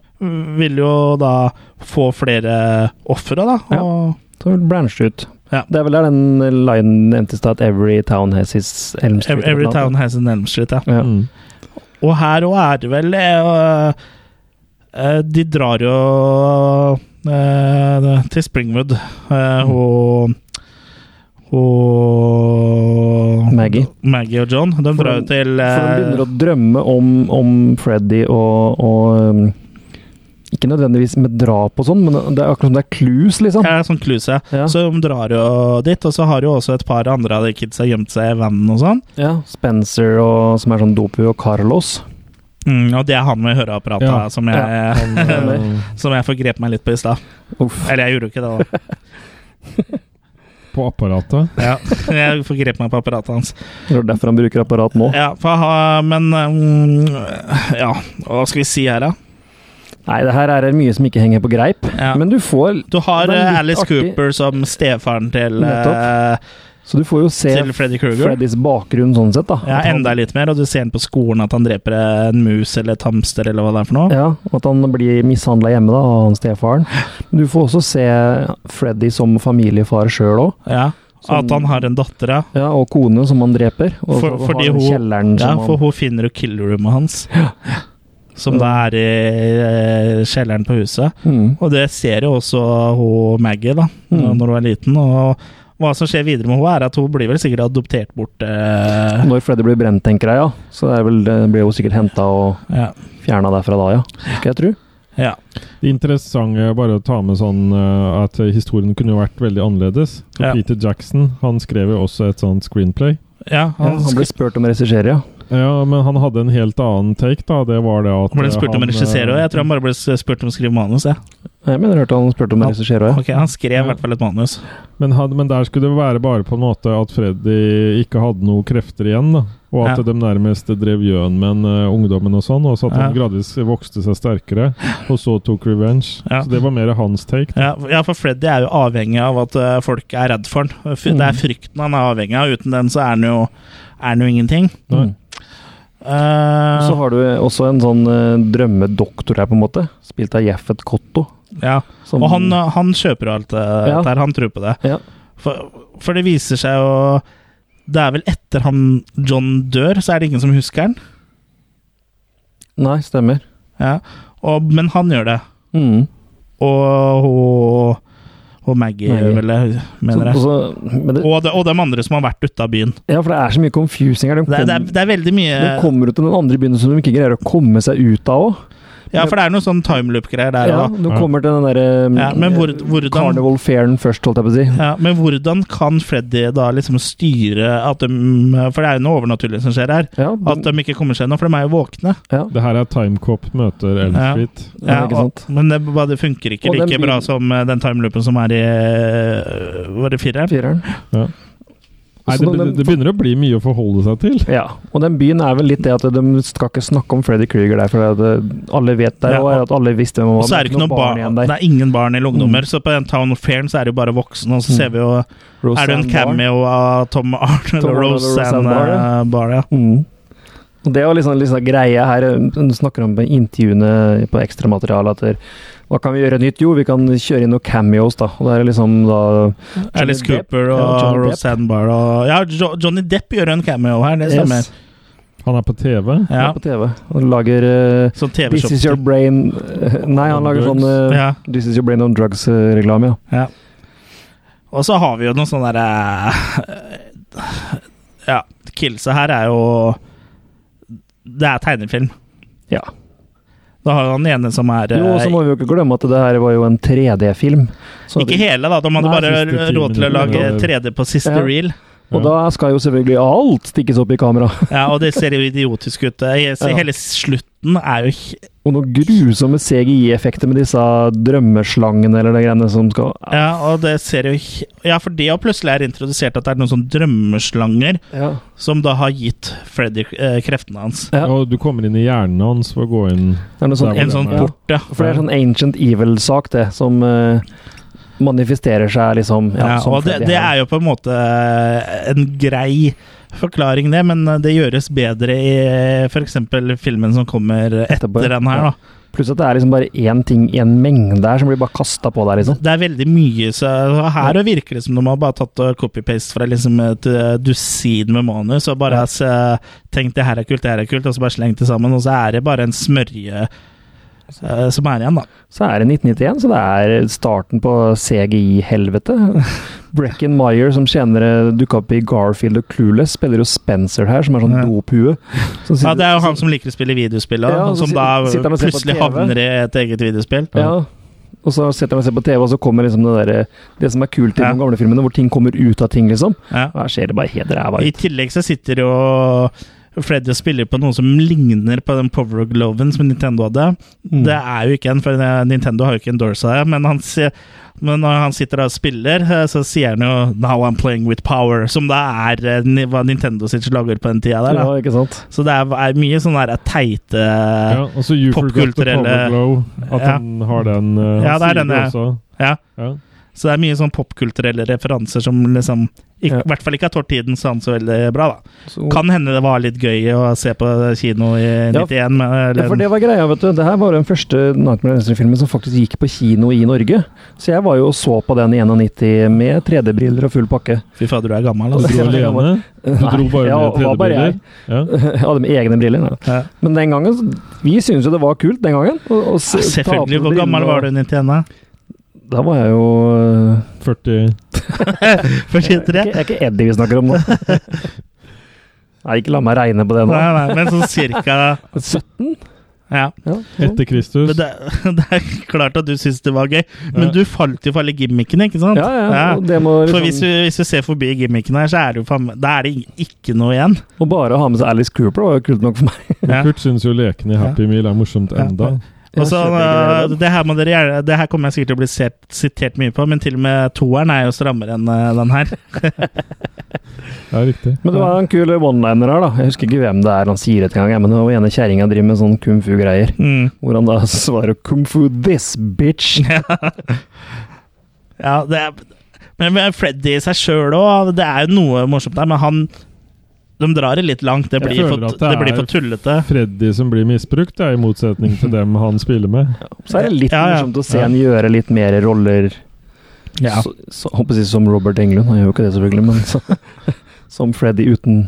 vil jo da få flere ofre, da. Ja. Og Så hun branchet ut. Ja. Det er vel der den linen nevnte i stad, at 'Every town has his Elm Street'. Ev- Every eller noe. Town Has an Elm Street, ja. Ja. Mm. Og her òg er det vel øh, øh, De drar jo øh, til Springwood, øh, Mm. og og Maggie. Maggie og John. De For drar jo de- til For han begynner øh, å drømme om, om Freddy og, og um, Ikke nødvendigvis med drap og sånn, men det er akkurat som det er clues, liksom. Ja, sånn kluse. Ja. Så de drar jo dit, og så har jo også et par andre av de kidsa gjemt seg i vanen og sånn. Ja, Spencer, og, som er sånn dopu, og Carlos. Mm, og det er han med høreapparatet Ja. som, jeg, Eh, som jeg forgrep meg litt på i stad. Uff. Eller jeg gjorde jo ikke det, da. På apparatet. Ja, jeg forgrep meg på apparatet hans. Det er derfor han bruker apparat nå. Ja, for, ha- men mm, Ja, hva skal vi si her, da? Nei, det her er mye som ikke henger på greip, Ja. men du får Du har Det er eh, litt Alice artig. Cooper som stefaren til, eh, Nettopp. Så du får jo se til Freddy Kruger. Freddys bakgrunn sånn sett, da. Ja, At han- enda litt mer, og du ser han på skolen at han dreper en mus eller et hamster eller hva det er for noe. Ja, og at han blir mishandla hjemme da, av han stefaren. Men du får også se Freddy som familiefar sjøl òg. Ja, Som- At han har en datter, ja. Ja, og kone som han dreper. Og For- og fordi har hun- kjelleren Ja, som for han hun finner jo killerrommet hans. Som Så- da er i eh, kjelleren på huset. mm. Og det ser jo også hun Maggie, da, Mm. når hun er liten. Og hva som skjer videre med hun er at hun blir vel sikkert adoptert bort eh, Når Freddy blir brent, tenker jeg, ja. Så det er vel, det blir jo sikkert henta og ja. fjerna derfra da, ja. Skal jeg tro. ja. Det interessante er bare å ta med sånn eh, at historien kunne jo vært veldig annerledes. For Ja. Peter Jackson han skrev jo også et sånt screenplay. ja, Ja, han, han ble spurt om å regissere, ja. Ja, men han hadde en helt annen take, da. Det var det at eh, Han ble spurt om å regissere òg. Jeg tror han bare ble spurt om å skrive manus. Jeg, jeg mener jeg hørte han spurte om å regissere òg. Ok, Han skrev i hvert fall et manus. Men, han, men der skulle det være bare på en måte at Freddy ikke hadde noen krefter igjen. da. Og at Ja. de nærmest drev gjøn med en, eh, ungdommen og sånn. Og så at han Ja. gradvis vokste seg sterkere, og så tok revenge. Ja. Så det var mer hans take. Ja, f- ja, for Freddy er jo avhengig av at eh, folk er redd for han. F- Det er frykten han er avhengig av. Uten den så er han jo, er han jo ingenting. Nei. Eh, Mm. Så har du også en sånn eh, drømmedoktor her, på en måte. Spilt av Jaffet Kotto. ja. som- Og han, eh, han kjøper alt det Ja. der. Han tror på det. Ja. For, for det viser seg jo Det er vel etter han John dør, så er det ingen som husker han. Nei, stemmer. Ja. Og, men han gjør det. Mm. Og hun og Maggie, Maggie. vel, jeg mener jeg. Så- også- men det, Og, de, og de andre som har vært ute av byen. ja, for det er så mye confusing her. De, Det, er- kom, det, er, det er veldig mye de kommer jo til den andre byen som de ikke greier å komme seg ut av òg. Ja, for det er noe sånn timeloop-greier der Ja, òg. de kommer til den eh, derre Ja, men hvor, hvordan, Carnival Fairen først, holdt jeg på å si. ja, men hvordan kan Freddy da liksom styre at de For det er jo noe overnaturlig som skjer her. Ja, At de ikke kommer seg nå, for de er jo våkne. Det her er Timecop møter Elfit. Ja, ikke og, sant? men det, bare- det funker ikke Og den like bilen- bra som eh, den timeloopen som er i eh, Var det fireren? Fireren. Ja. Nei, Så det, de- be- det begynner å bli mye å forholde seg til. Ja, og den byen er vel litt det at de skal ikke snakke om Freddy Krueger der, for at eh, alle vet der, Ja, og at alle visste hvem han Og var. så er det ikke noe barn, det er ingen barn eller ungdommer, Mm. så på den Town of Fairen så er det jo bare voksne, og så ser vi jo Er det en Roseanne Barr. cameo av Tom Arnold Tom og Arnold og Roseanne Roseanne Barr, ja. eh, Barr, ja. Mm. Og det var liksom, liksom greia her. Hun snakker om på intervjuene på ekstramaterialet at der, hva kan vi gjøre nytt? Jo, vi kan kjøre inn noen cameos, da. Og det er liksom da Alice Johnny Depp. Cooper og Ja, Johnny Depp. Roseanne Barr og Ja, jo Johnny Depp gjør en cameo her, det stemmer. Yes, Han er på TV. ja. Ja, på TV. Og lager eh, Sånn This is TV-shop. your brain eh, Nei, han On lager drugs. sånn eh, Ja, This is your brain on drugs-reklame, eh, ja. ja. Og så har vi jo noen sånne derre Ja, Kilsa her er jo Det er tegnefilm. Ja. Da har jo han ene som er eh, Jo, og så må vi jo ikke glemme at det her var jo en 3D-film. Så Ikke hele, da. De hadde Nei, bare siste ti råd til å lage minutter. 3D på siste Ja. reel. Og da skal jo selvfølgelig alt stikkes opp i kamera. Ja, og det ser jo idiotisk ut. Jeg ser Ja. Hele slutten er jo he- Og noen grusomme CGI-effekter med disse drømmeslangene eller de greiene som skal Ja, og det ser jo he- Ja, for det har plutselig er introdusert at det er noen sånne drømmeslanger Ja. som da har gitt Freddy eh, kreftene hans. Ja. Og du kommer inn i hjernen hans for å gå inn Det er noe sånn, Der hvor En sånn Ja. port, ja. For det er sånn ancient evil-sak, det, som eh, manifesterer seg liksom ja, som og det, Freddy det her. er jo på en måte eh, en grei forklaring, det, men eh, det gjøres bedre i f.eks. filmen som kommer etter Etterpå, den her, ja. da. Pluss at det er liksom bare én ting i en mengde her som blir bare kasta på deg, liksom. Det er veldig mye, så her virker det som de har bare tatt og copy-paste fra liksom et eh, dusin med manus og bare eh, tenkt det her er kult, det her er kult, og så bare slengt det sammen, og så er det bare en smørje eh, som er igjen, da. Så er det 1991, så det er starten på CGI-helvete. Brecken Meyer, som senere dukka opp i Garfield og Clueless, spiller jo Spencer her, som er sånn Ja. dophue. Som Ja, sitter- Det er jo han som liker å spille videospill, og Ja, og så som sit- da sitter han og ser på plutselig TV. havner i et eget videospill. Ja. Og så setter jeg meg og ser på TV, og så kommer liksom det derre Det som er kult i Ja. de gamle filmene, hvor ting kommer ut av ting, liksom. Ja. Og her ser det bare helt ræva I ut. tillegg så sitter jo Freddy og spiller på noe som ligner på den Power Gloven som Nintendo hadde. Mm. Det er jo ikke en, for Nintendo har jo ikke endorsa det, men, han si- men når han sitter og spiller, eh, så sier han jo 'Now I'm playing with power', som da er eh, ni- hva Nintendo sitt slagord på den tida der. Ja, Da. ikke sant? Så det er, er mye sånn der teite Ja, og så You Forgot the popkulturelle- Power Glow. At Ja. han har den uh, Ja, det er den, ja. også. Ja. Ja. Så det er mye sånn popkulturelle referanser som liksom ikk- Ja. I hvert fall ikke har tålt tiden sånn så veldig bra, da. Så- Kan hende det var litt gøy å se på kino i Ja, 91, men eller, Ja, for det var greia, vet du. Det her var den første Nightmare on Elm Street-filmen som faktisk gikk på kino i Norge. Så jeg var jo og så på den i 91 med 3D-briller og full pakke. Fy fader, du er gammel, Du altså. dro Ja, det var- alene? Du Nei, dro bare ja, med det var bare 3D-briller? jeg. Ja. Jeg hadde med egne briller. Nei. Ja. Men den gangen Vi syntes jo det var kult den gangen. å- å se- Ja, ta på Selvfølgelig. Hvor brillene gammel og- var du i 91? Da var jeg jo øh, 40 Jeg er 43? ikke- jeg er ikke Eddie vi snakker om nå. Nei, ikke la meg regne på det Nei, nå. nei, men sånn cirka 17? Ja. Etter Men Kristus. det, det er klart at du syns det var gøy, men Ja. du falt jo for alle gimmickene, ikke sant? Ja, ja, og det må liksom- For hvis du, hvis du ser forbi gimmickene her, så er det jo faen meg- Da er det ikke noe igjen. Og bare å ha med seg Alice Cooper var jo kult nok for meg. Ja. Kurt syns jo lekene i Happy Meal er morsomt enda. Og så, øh, det, her må dere, gjerne- det her kommer jeg sikkert til å bli set, sitert mye på, men til og med toeren er jo strammere enn øh, den her. Det er riktig. Men det var en kul one-liner her, da. Jeg husker ikke hvem det er han sier et gang, jeg, men det var ene kjerringa driver med sånn kung fu-greier. Mm. Hvor han da svarer 'kung fu this bitch'. Ja, det er, men, men Freddy i seg sjøl òg, det er jo noe morsomt der, men han De drar det litt langt. Det Jeg blir, for, føler at det blir for tullete. Freddy som blir misbrukt, det er i motsetning til dem han spiller med. Så er det litt Ja, ja. morsomt å se han gjøre litt mer roller Ja. så, så, Håper jeg å si som Robert Englund, han gjør jo ikke det selvfølgelig, men så, som Freddy uten,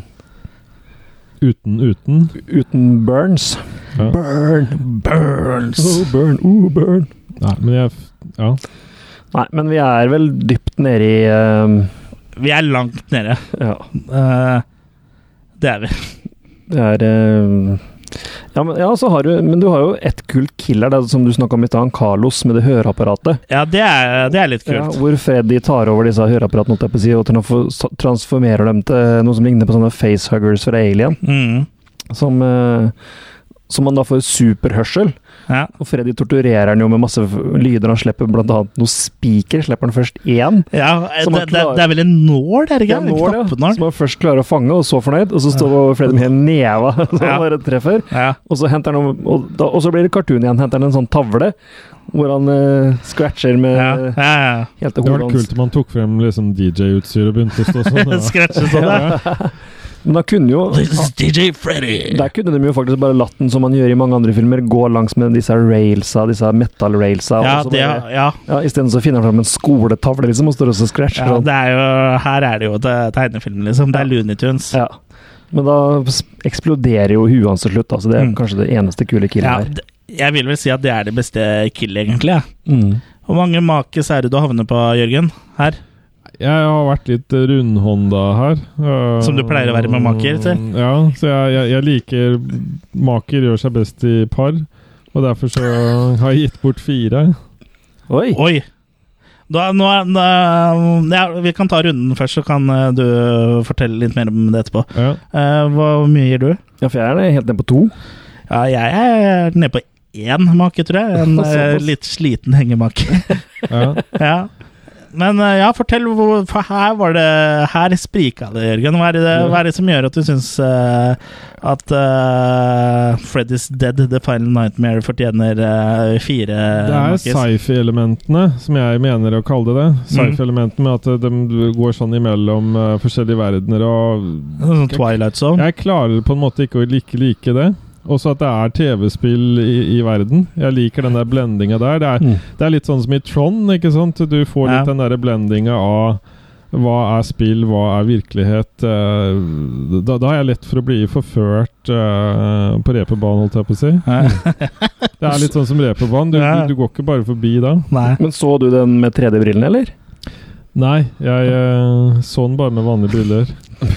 Uten uten. uten Burns. Ja. Burn, Burns! Oh, burn, oh, burn. Nei, men jeg Ja. Nei, men vi er vel dypt nede i eh, Vi er langt nede. Ja. Eh, det er vi. Det er eh, ja, men, ja, så har du Men du har jo et kult killer, det er som du snakka om i stad, han Carlos med det høreapparatet. Ja, det er, det er litt Ja, kult. hvor Freddy tar over disse høreapparatene holdt jeg på å si, og transfor- transformerer dem til noe som ligner på sånne facehuggers fra Alien. Mm. Som, eh, som han da får superhørsel. Ja. Og Freddy torturerer han jo med masse f- lyder. Han slipper blant annet noe spiker. Slipper han først én. Ja, eh, Som det, han det, klarer- det er vel en nål, er det ikke? En nål, ja. Knappenål. Som han først klarer å fange, og så fornøyd. Og så står Freddy med neva som Ja. han bare treffer. Ja. Og så henter han noe- og, da, og så blir det cartoon igjen. Henter han en sånn tavle hvor han eh, scratcher med eh, Ja, ja, ja. helt til Det var hodet hans. kult om han tok frem liksom DJ-utstyr og begynte å stå sånn. da. Scratche sånn, ja. Men da kunne jo ah, This is DJ Freddy. Der kunne de jo faktisk bare latt den, som man gjør i mange andre filmer, gå langs med disse railsa, disse metal-railsa. Ja, og så det, bare- ja. ja, Isteden så finner han fram en skoletavle, liksom, og står også og scratcher. ja sånn. det er jo, her er det jo te- tegnefilm, liksom. Det er Looney Tunes. Ja. Men da s- eksploderer jo huet hans til slutt, da, så det er Mm. kanskje det eneste kule killet Ja, her. d- jeg vil vel si at det er det beste killet, egentlig. ja. Mm. Hvor mange makes er det du havner på, Jørgen? Her? Jeg har vært litt rundhånda her. øh, Som du pleier å være med maker til. Ja, så jeg, jeg, jeg liker Maker gjør seg best i par, og derfor så har jeg gitt bort fire. Oi! Oi! Da, nå, er- nå, er- ja, vi kan ta runden først, så kan eh, du fortelle litt mer om det etterpå. Ja. Eh, Hvor mye gir du? Ja, for jeg er ned- helt ned på to. Ja, jeg er nede på én make, tror jeg. En eh, Såpass. litt sliten hengemake. Ja. ja. Men eh, ja, fortell, hvor, for her var det Her sprika det, Jørgen. Hva er det, hva er det som gjør at du syns eh, at eh, Freddy's Dead, The Final Nightmare, fortjener eh, fire Det er makis? sci-fi-elementene, som jeg mener å kalle det. Mm. det. Sci-fi-elementene med at de går sånn imellom øh, forskjellige verdener og Sånn Twilight Zone? Jeg klarer på en måte ikke å like, like det. Også at det er TV-spill i, i verden. Jeg liker den der blendinga der. Det er, Mm. det er litt sånn som i Trond, ikke sant? Du får litt Ja. den derre blendinga av hva er spill, hva er virkelighet? eh, Da, da har jeg lett for å bli forført eh, på reperbanen, holdt jeg på å si. Det er litt sånn som reperbanen. Du, Ja. du, du går ikke bare forbi da. Nei. Men så du den med 3D-brillene, eller? Nei, jeg eh, så den bare med vanlige briller.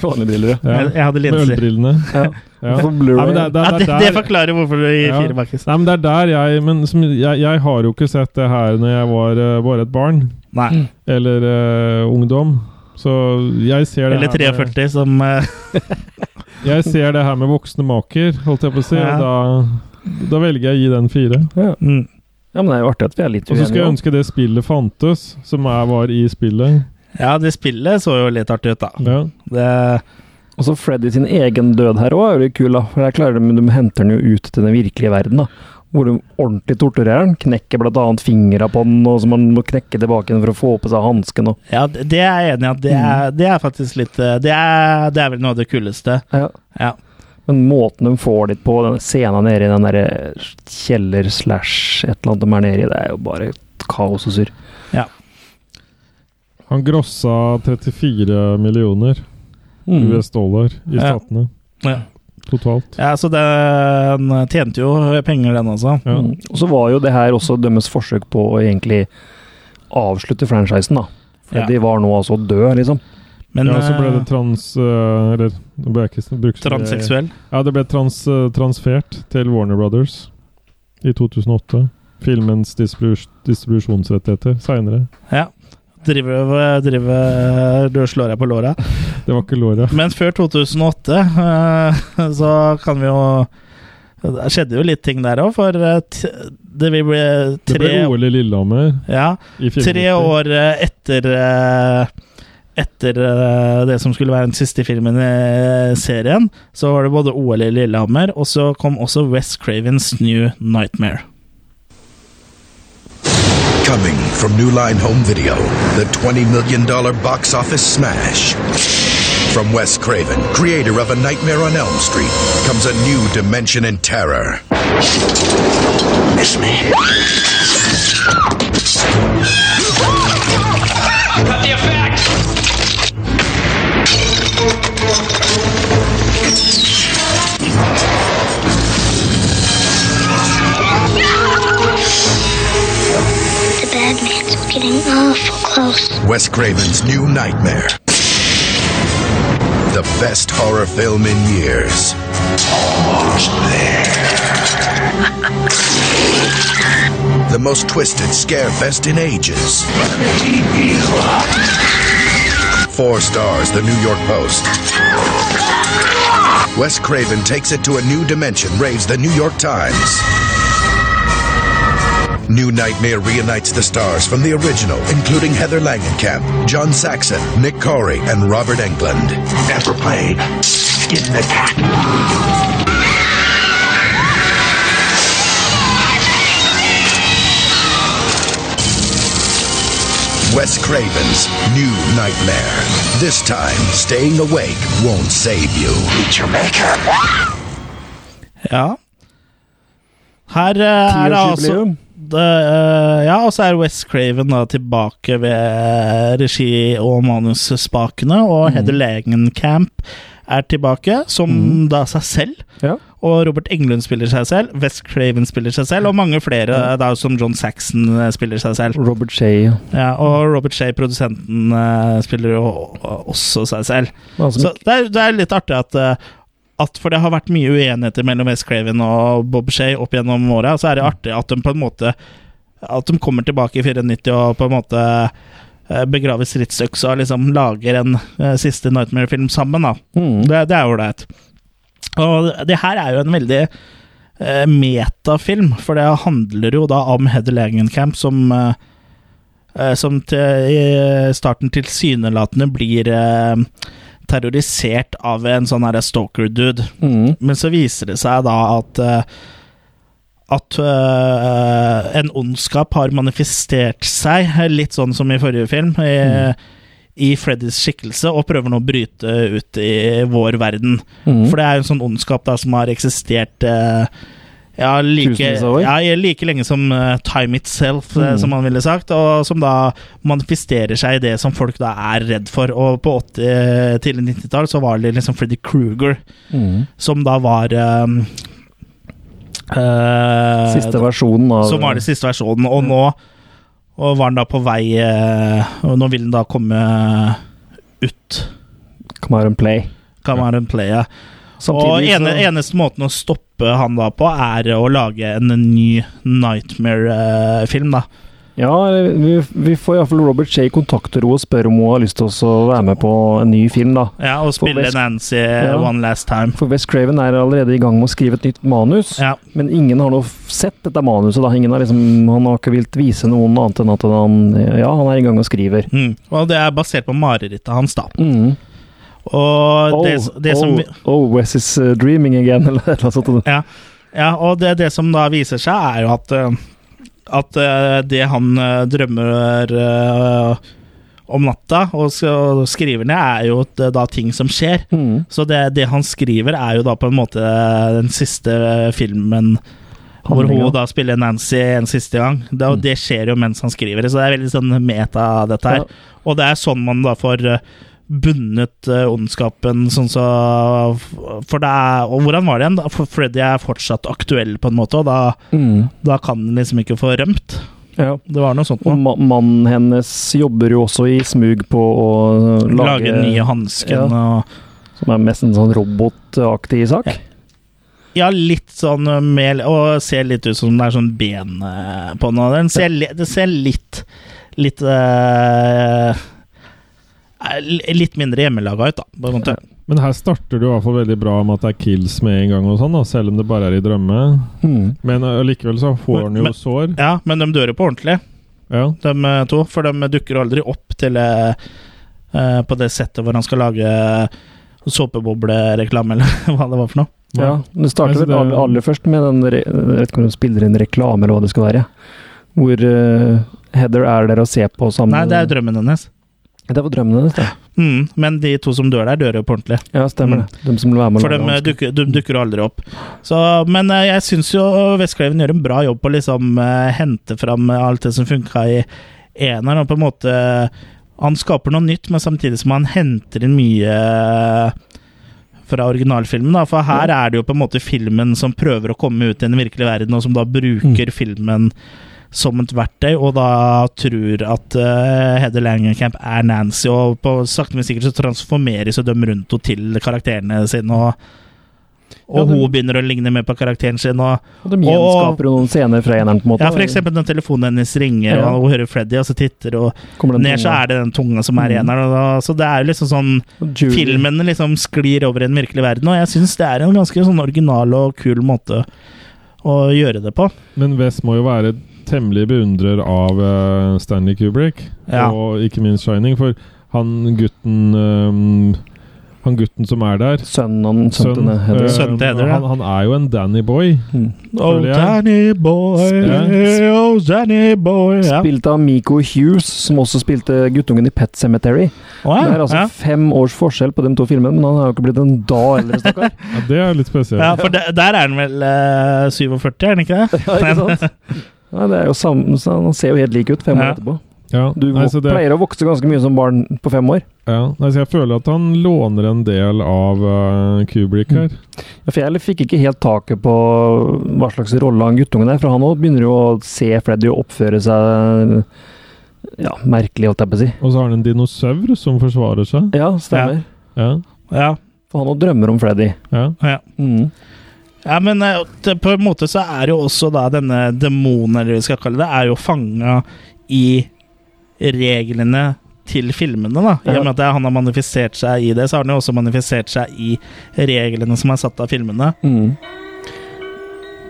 Vanlige briller, ja. Ja. Jeg, jeg hadde Med linser. ølbrillene. Ja. Ja. For Blu-ray. Nei, men det, Ja, det, det, det, det forklarer hvorfor du gir Ja. Mm. fire makis. Nei, men det er der jeg Men som, jeg, jeg har jo ikke sett det her når jeg var eh, bare et barn. Nei. Eller eh, ungdom. Så jeg ser det Eller her med- 43, som eh, Jeg ser det her med voksne maker, holdt jeg på å si. Ja. og Da, da velger jeg å gi den fire. mm. Ja, men det er jo artig at vi er litt Og så skal jeg uenige. ønske det spillet fantes, som jeg var i spillet. Ja, det spillet så jo litt artig ut, da. Ja. Det, Og så Freddy sin egen død her òg er jo litt kul, da. For der klarer de, de henter den jo ut til den virkelige verden, da. Hvor de ordentlig torturerer den. Knekker bl.a. fingra på den, og så man må knekke tilbake den for å få på seg hansken og ja, det det er jeg enig i at Mm. det er, det er faktisk litt eh, det er, det er vel noe av det kuleste. ja. Ja. Men måten de får det på, den scenen nede i den derre kjeller slash et eller annet de er nede i, det er jo bare kaos og surr. Han grossa 34 millioner Mm. US dollar i Ja. statene Ja. totalt. Ja, så den tjente jo penger, den også. Ja. Mm. Og så var jo det her også deres forsøk på å egentlig avslutte franchisen, da. Freddy var nå altså død, liksom. Men ja, så ble det eh, trans... eh, Eller nå bør jeg ikke bruke transseksuell. Ja, det ble trans, eh, transfert til eh, Warner Brothers. i 2008. Filmens distribus distribusjonsrettigheter seinere. Ja. Driver, driver Du slår deg på låra. Det var ikke låra. Men før 2008 eh, så kan vi jo Det skjedde jo litt ting der òg, for eh, t- det vil bli Det tre ble OL i Lillehammer. ja, I Tre år eh, etter eh, Etter eh, det som skulle være den siste filmen i eh, serien, så var det både OL i Lillehammer, og så kom også West Cravens New Nightmare. Coming from New Line Home Video, the $20 million box office smash. From Wes Craven, creator of A Nightmare on Elm Street, comes a new dimension in terror. Miss me? Cut the effect! The bad man's getting awful close. Wes Craven's new nightmare. The best horror film in years. Almost there. The most twisted scare fest in ages. Four stars, The New York Post. Wes Craven takes it to a new dimension, raves The New York Times. New Nightmare reunites the stars from the original, including Heather Langenkamp, John Saxon, Nick Corey, and Robert Englund. Never played. In the Wes Craven's New Nightmare. This time, staying awake won't save you. Meet your maker. Ja. Her eh, er det altså Tiårsjubileum. det, eh, Ja, og så er Wes Craven da tilbake ved eh, regi- og manusspakene, og Heather Langenkamp er tilbake, som da seg selv. Og Robert Englund spiller seg selv, Wes Craven spiller seg selv, og mange flere eh, da som John Saxon eh, spiller seg selv. Robert Shea. Ja, og Robert Shea, produsenten, eh, spiller jo også seg selv. Men altså, Så det er, det er litt artig at, eh, at For det har vært mye uenigheter mellom Wes Craven og Bob Shea opp gjennom åra, så er det artig at de på en måte At de kommer tilbake i 94 og på en måte eh, begraver stridsøksa og liksom lager en eh, siste Nightmare-film sammen, da. mm. Mm, Det, det er ålreit. Og det her er jo en veldig eh, metafilm, for det handler jo da om Heather Langenkamp som eh, eh, som til, i starten tilsynelatende blir eh, terrorisert av en sånn her stalker-dude. Mm. Men så viser det seg da at eh, at eh, en ondskap har manifestert seg, litt sånn som i forrige film, i, Mm. i Freddys skikkelse, og prøver nå å bryte ut i vår verden. Mhm. For det er jo en sånn ondskap da som har eksistert eh, ja, like, Tusenvis av år. ja, like lenge som eh, time itself, eh, Mhm. som man ville sagt, og som da manifesterer seg i det som folk da er redd for. Og på 80- til 90-tall så var det liksom Freddy Kruger, Mhm. som da var eh, eh, Siste versjonen av Som var den siste versjonen, og nå og var den da på vei eh, Og nå vil den da komme ut. Come out and play. Cameron Playa. Og Samtidig ene, så- eneste måten å stoppe han da på, er å lage en ny Nightmare-film, da. Ja, vi, vi får iallfall Robert Shea kontakter henne og spør om hun har lyst til å være med på en ny film, da. Ja, og For spille Wes- Nancy eh, Ja. One Last Time. For West Craven er allerede i gang med å skrive et nytt manus, Ja. men ingen har nå f- sett dette manuset. da. Ingen har liksom, Han har ikke villet vise noen annet enn at han ja, han er i gang og skriver. Mm. Og det er basert på marerittet hans, da. Mm. Og Oh, det, det oh, som vi- oh, Wes is uh, dreaming again, eller et eller annet sånt. Ja, ja og det, det som da viser seg, er jo at eh, At eh, det han eh, drømmer eh, om natta og s- og skriver ned, er jo at det da ting som skjer. Mm. Så det, det han skriver, er jo da på en måte eh, den siste filmen hvor Handlinga. hun da spiller Nancy en siste gang. Det, og det skjer jo mens han skriver, så det er veldig sånn meta, dette her. Ja. Og det er sånn man da får eh, bundet eh, ondskapen, sånn så For det er Og hvordan var det igjen? da? For Freddy er fortsatt aktuell, på en måte, og da, Mm. da kan den liksom ikke få rømt. Ja. Det var noe sånt Og noe. ma mannen hennes jobber jo også i smug på å uh, Lage lage, den nye hansken Ja. og Som er mest en sånn robotaktig sak. Ja, litt sånn mel Og ser litt ut som det er sånn ben eh, på den. og den ser, li- det ser litt Litt eh, eh, Litt mindre hjemmelaga ut, da. På en måte. Men her starter det jo i hvert fall veldig bra med at det er kills med en gang, og sånn da selv om det bare er i drømme. Mm. Men eh, likevel så får han jo Men- sår. Ja, men de dør jo på ordentlig, Ja. de eh, to. For de dukker aldri opp til eh, eh, På det settet hvor han skal lage eh, såpeboblereklame, eller hva det var for noe. Ja, det starter Altså, vel aller, aller først med den re- Jeg vet ikke om de spiller inn reklame eller hva det skal være. Hvor eh, Heather er der og ser på sammen Nei, det er jo drømmen hennes. Det var drømmen hennes, det. Mm, men de to som dør der, dør jo på ordentlig. Ja, stemmer Mm. det. De som vil være med og For de lage eh, vanskelig. dukker, de dukker aldri opp. Så, men eh, jeg syns jo Vestkleven gjør en bra jobb på å liksom eh, hente fram eh, alt det som funka i eneren, og på en måte eh, Han skaper noe nytt, men samtidig som han henter inn mye eh, fra originalfilmen, da. For her er det jo på en måte filmen som prøver å komme ut i den virkelige verden, og som da bruker filmen som et verktøy, og da tror at eh, Heather Langenkamp er Nancy, og på sakte, men sikkert så transformeres jo de rundt henne til karakterene sine, og, og Ja, de- hun begynner å ligne mer på karakteren sin, eh, og, Og de gjenskaper jo noen scener fra eneren, på en måte. ja, for eksempel når telefonen hennes ringer, Ja. og hun hører Freddy, og så titter hun Kommer den ned, så tunga. er det den tunga som er i Mm. eneren. og da- Så det er jo liksom sånn Julie. Filmene liksom sklir over i den virkelige verden, og jeg syns det er en ganske sånn original og kul måte å gjøre det på. Men Wes må jo være temmelig beundrer av eh, Stanley Kubrick, Ja. og ikke minst Shining, for han gutten ehm, han gutten som er der Sønnen, sønnen til Heather. Mm. eh, Sønnen til Heather, ja. han, han er jo en Danny boy. Oh, føler jeg. Danny boy, Spilt- oh, Danny boy ja. Spilt av Miko Hughes, som også spilte guttungen i Pet Cemetery. Å, ja, Det er altså Ah, ja. fem års forskjell på de to filmene, men han har jo ikke blitt en da eldre, stakkar. Ja, det er litt spesielt. Ja, for der, der er han vel eh, 47, er han ikke det? Ja, ikke sant? Nei, det er jo samme, så han ser jo helt lik ut fem år Ja. etterpå. Ja, Du nei, så det- pleier å vokse ganske mye som barn på fem år. Ja, nei, så jeg føler at han låner en del av eh, Kubrick her. Ja, For jeg fikk ikke helt taket på hva slags rolle han guttungen er, for han òg begynner jo å se Freddy og oppføre seg ja, merkelig, holdt jeg på å si. Og så har han en dinosaur som forsvarer seg. Ja, stemmer. Ja. Ja. For han òg drømmer om Freddy. Ja. Ja. Mm. Ja, men eh, det, på en måte så er jo også da denne demonen, eller hva vi skal kalle det, er jo fanga i reglene til filmene, da. I Ja. og med at det er han har manifestert seg i det, så har han jo også manifestert seg i reglene som er satt av filmene. Mm.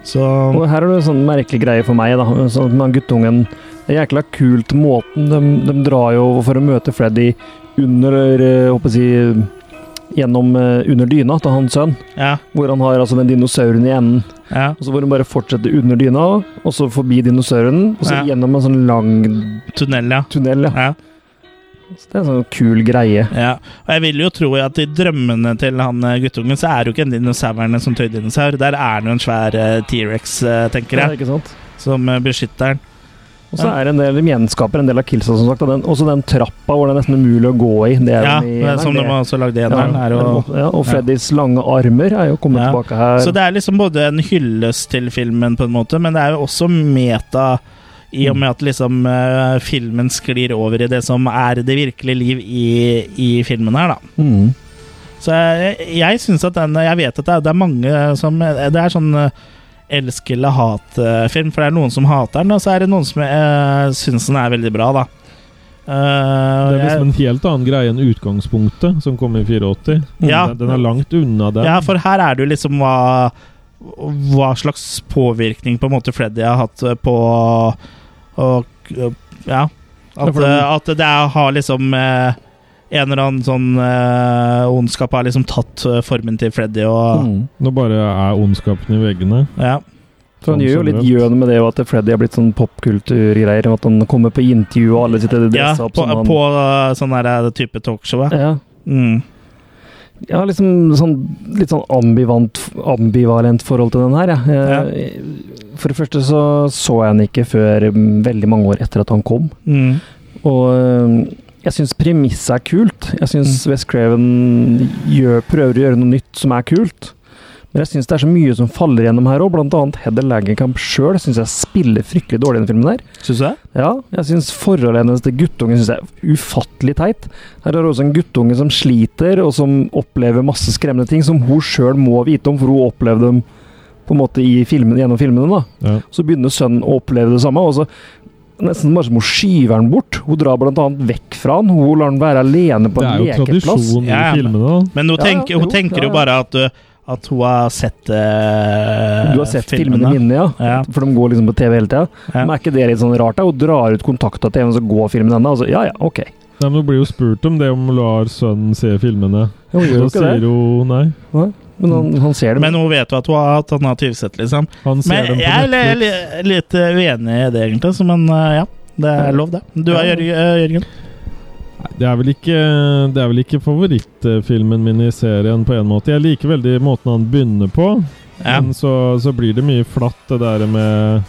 Så Og her er det en sånn merkelig greie for meg, da. Sånn at man guttungen Det er jækla kult måten de, de drar jo for å møte Freddy under eh, Håper jeg å si Gjennom eh, Under dyna til hans sønn. Ja. Hvor han har altså den dinosauren i enden. Ja. Og så hvor han bare fortsetter under dyna, og så forbi dinosauren, og så Ja. gjennom en sånn lang Tunnel, ja. tunnel. Ja. ja. Så det er en sånn kul greie. Ja, og jeg vil jo tro at i drømmene til han eh, guttungen, så er det jo ikke en dinosaur som tøydinosaur. Der er det jo en svær eh, T-rex, eh, tenker Ja, jeg, ikke sant? som eh, beskytter den. Og så er det en del, de gjenskaper en del av Kilsa, som sagt. Og den, også den trappa hvor det er nesten umulig å gå i. Det er Ja, den i, men som de også lagde i eneren. er jo- ja, og Freddys lange armer er jo kommet Ja. tilbake her. Så det er liksom både en hyllest til filmen, på en måte, men det er jo også meta i og med at liksom eh, filmen sklir over i det som er det virkelige liv i, i filmen her, da. Mm. Så jeg, jeg syns at den Jeg vet at det er, det er mange som Det er sånn eh, elsk eller hat-film, for det er noen som hater den, og så er det noen som uh, syns den er veldig bra, da. Eh, Det er jeg- liksom en helt annen greie enn utgangspunktet, som kom i 84. Ja. Den, den er langt unna den. Ja, for her er det jo liksom hva Hva slags påvirkning på en måte Freddy har hatt eh, på Og eh, ja Ja, At, eh, for den- at det er, har liksom eh, En eller annen sånn eh, ondskap har liksom tatt eh, formen til Freddy og Mm. Nå bare er ondskapen i veggene. Ja. For han gjør jo Sånn litt generelt. gjøn med det og at Freddy er blitt sånn popkulturgreier. og At han kommer på intervju, og alle sitter og ja dresser opp på, som han på eh, sånn der type talkshow. ja. ja. Mm. Jeg har liksom sånn, litt sånn ambivant, ambivalent forhold til den her, jeg. Jeg- For det første så så jeg den ikke før mm, veldig mange år etter at han kom. Mm. Og øhm, jeg syns premisset er kult. Jeg syns Wes Craven gjør, prøver å gjøre noe nytt som er kult. Men jeg syns det er så mye som faller gjennom her òg, blant annet Heather Langenkamp sjøl syns jeg spiller fryktelig dårlig i den filmen der. Syns du det? Ja, jeg syns forholdet hennes til guttungen synes jeg er ufattelig teit. Her er det også en guttunge som sliter, og som opplever masse skremmende ting som hun sjøl må vite om, for hun opplevde dem på en måte i filmen, gjennom filmene. da. Ja. Så begynner sønnen å oppleve det samme. og så Nesten bare som hun skyver han bort. Hun drar bl.a. vekk fra han. Hun lar han være alene på Det en er jo lekeplass. tradisjon i filmene. da. Men hun, Ja, ja, tenker, hun jo, tenker ja, jo ja. bare at, du- at hun har sett eh, Du har sett filmene mine, ja. For de går liksom på TV hele tida. Men er ikke det litt sånn rart? da? Hun drar ut kontakta til en, så går filmen ennå. Altså, ja ja, ok. Nei, men Hun blir jo spurt om det om hun lar sønnen se filmene. Ja, hun gjør jo Da ikke sier det. hun nei. Nei, Men han, han ser det. Men hun vet jo at hun har hatt alternativsett, liksom. Han ser Men dem på jeg er li- li- litt eh, uenig i det, egentlig. Så, men eh, ja, det er lov, det. Du er Jør- eh, Jørgen. Nei, Det er vel ikke, det er vel ikke favorittfilmen min i serien på en måte. Jeg liker veldig måten han begynner på, Ja. men så, så blir det mye flatt, det der med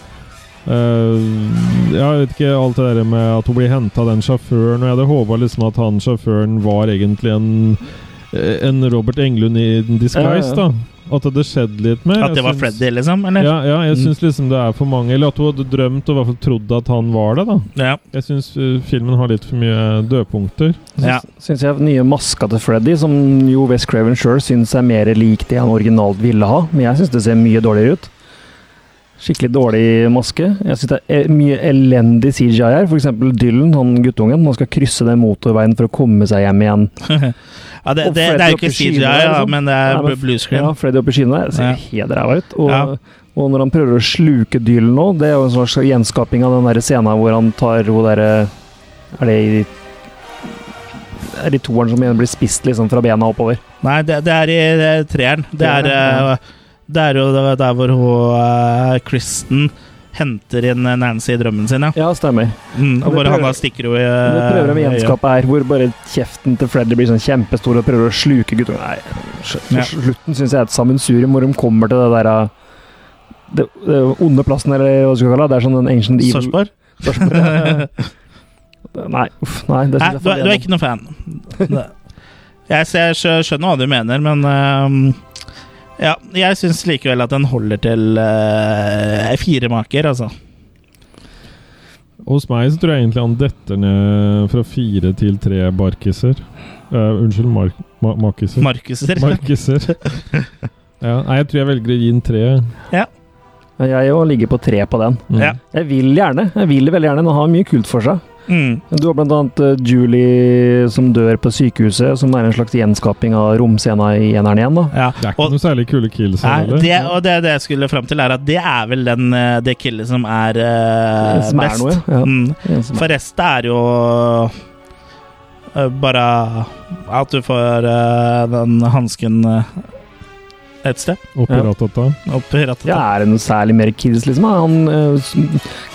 eh, Jeg vet ikke alt det der med at hun blir henta av den sjåføren, og jeg hadde håpa liksom at han sjåføren var egentlig en eh, en Robert Englund i Ja, disguise, ja. da. At det hadde skjedd litt mer. At det Jeg var syns- Freddy, liksom? Eller? Ja, ja, jeg syns liksom det er for mange. Eller at hun hadde drømt og i hvert fall trodd at han var det, da. Ja. Jeg syns eh, filmen har litt for mye dødpunkter. Ja. Syns jeg nye maska til Freddy, som jo West Craven sjøl syns er mer lik det han originalt ville ha, men jeg syns det ser mye dårligere ut. Skikkelig dårlig maske. Jeg syns det er eh, mye elendig CGI her. F.eks. Dylan, han guttungen, han skal krysse den motorveien for å komme seg hjem igjen. Ja, det, Og det, Freddy det er jo oppe i ikke CGI, skyene der, ja, liksom. men det er Nei, men- bluescreen. Ja, Freddy oppi skyene der ser Ja. helt ræva ut. Og, Ja. og når han prøver å sluke Dylan nå, det er jo en slags gjenskaping av den der scenen hvor han tar hun derre Er det i Er det i toeren som igjen blir spist liksom fra bena oppover? Nei, det, det er i eh, treeren. Det er, Treeren, eh, det er jo der- der hvor hun, eh, Kristen henter inn eh, Nancy i drømmen sin, ja. Ja, stemmer. Mm, Ja, det hvor han da prøver- stikker henne i Det eh, prøver de å øyet. gjenskape her, hvor bare kjeften til Freddy blir sånn kjempestor og prøver å sluke guttungen. Nei, sl- Ja. slutten syns jeg er et sammensurium, hvor de kommer til det der eh, det, det onde plassen, eller hva du skal kalle det. Det er sånn den ancient evil Sarpsborg? Sarpsborg, ja. Nei, uff, nei. Det Nei, synes jeg du, er- du er ikke noen fan. Det- Jeg, ser, skjø- skjønner hva du mener, men ehm, ja, jeg syns likevel at den holder til eh, fire maker, altså. Hos meg så tror jeg egentlig han detter ned fra fire til tre barkiser. Eh, unnskyld, mar ma makiser. Markuser. Markiser. ja, nei, jeg tror jeg velger å gi den tre. Ja, Jeg òg ligger på tre på den. Mm. Ja. Jeg vil gjerne. Jeg vil veldig gjerne. Den har mye kult for seg. Mm. Du har blant annet eh, Julie som dør på sykehuset, som er en slags gjenskaping av romscena i eneren igjen. da. Ja. Det er ikke Og, noe særlig kule kills her nei, heller. det, og det, det jeg skulle fram til, er at det er vel den, eh, det killet som er eh, Som er best. noe, ja. Mm. En som- For resten er jo eh, bare at du får eh, den hansken eh, et sted Og Piratata. opp i rattet. Ja, er det noe særlig mer kids, liksom? Han, eh, s-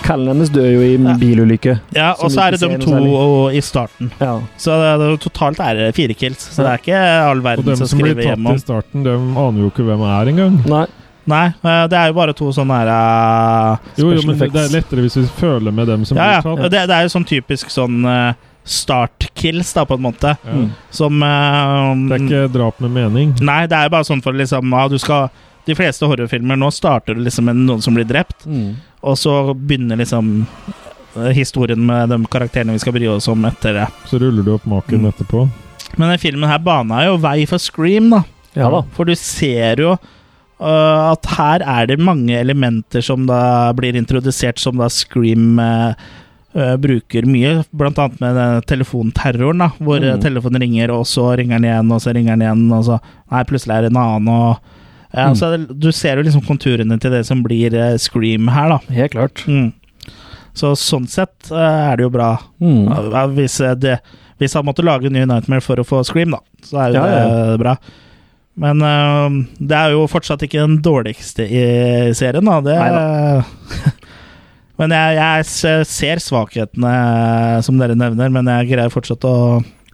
Kallen hennes dør jo i en bilulykke. Ja, Som og så vi er det ikke de ser to noe særlig. og, i starten. Ja. Så det, det, totalt er det fire kills. Så det er ikke all Og verden dem som som blir skriver tatt hjem i om. starten, dem aner jo ikke hvem er engang. Nei. Nei, eh, det er jo bare to sånne her eh, Jo, jo, men det Special det effects. er lettere hvis vi føler med dem som Ja, ja. blir tatt. Det, det er jo sånn typisk sånn eh, start-kills, da, på en måte. Ja. Som eh, Det er ikke drap med mening. Nei, det er bare sånn for liksom ja, du skal, De fleste horrorfilmer nå starter du liksom med noen som blir drept, Mm. og så begynner liksom eh, historien med de karakterene vi skal bry oss om etter det. Så ruller du opp maken Mm. etterpå. Men den filmen her bana jo vei for Scream, da. Ja da. For du ser jo øh, at her er det mange elementer som da blir introdusert, som da Scream øh, øh, bruker mye, blant annet med den telefonterroren, da, hvor Mm. øh, telefonen ringer, og så ringer den igjen, og så ringer den igjen, og så Nei, plutselig er det en annen, og ja, Mm. så er det- Du ser jo liksom konturene til det som blir øh, Scream her, da. Helt klart. Mm. Så sånn sett øh, er det jo bra. Mm. Ja, hvis, eh, det, hvis han måtte lage en ny Nightmare for å få Scream, da, så er jo Ja, ja. det bra. Men øhm, det er jo fortsatt ikke den dårligste i serien, da. Det, men jeg, jeg se- ser svakhetene eh, som dere nevner, men jeg greier fortsatt å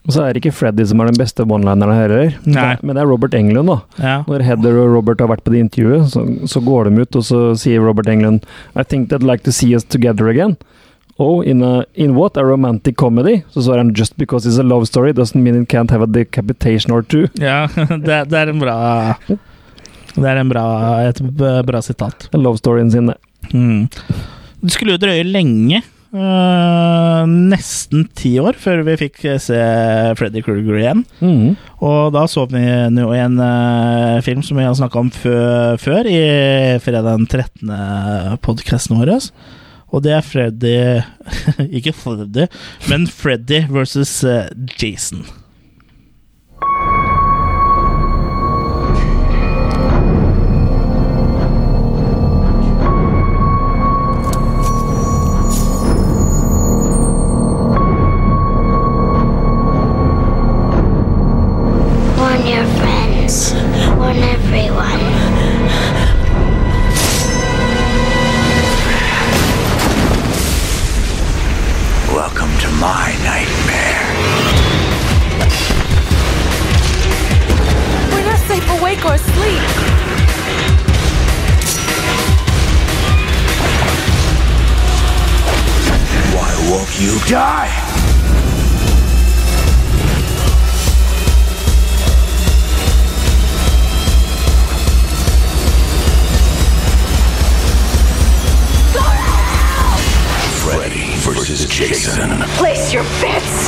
Og så er det ikke Freddy som er den beste one-lineren her heller. Nei. Men det er Robert Englund, da. Ja. Når Heather og Robert har vært på det intervjuet, så, så går de ut, og så sier Robert Englund I think they'd like to see us together again. Oh, in, a, in what? A romantic comedy? Så svarer han just because it's a love story doesn't mean it can't have a decapitation or two. ja det, det er en bra Det er en bra, et b- bra sitat. Love storyen sin, det. Mm. Det skulle jo drøye lenge øh, eh, nesten ti år før vi fikk se Freddy Kruger igjen. Mm. Og da så vi nå en eh, film som vi har snakka om fø før, i fredag den 13. podkasten vår. Og det er Freddy Ikke Freddy, men Freddy versus eh, Jason. Warn your friends. Warn everyone. Welcome to my nightmare. We're not safe awake or asleep. Why won't you die? Freddy versus Jason. Place your bets.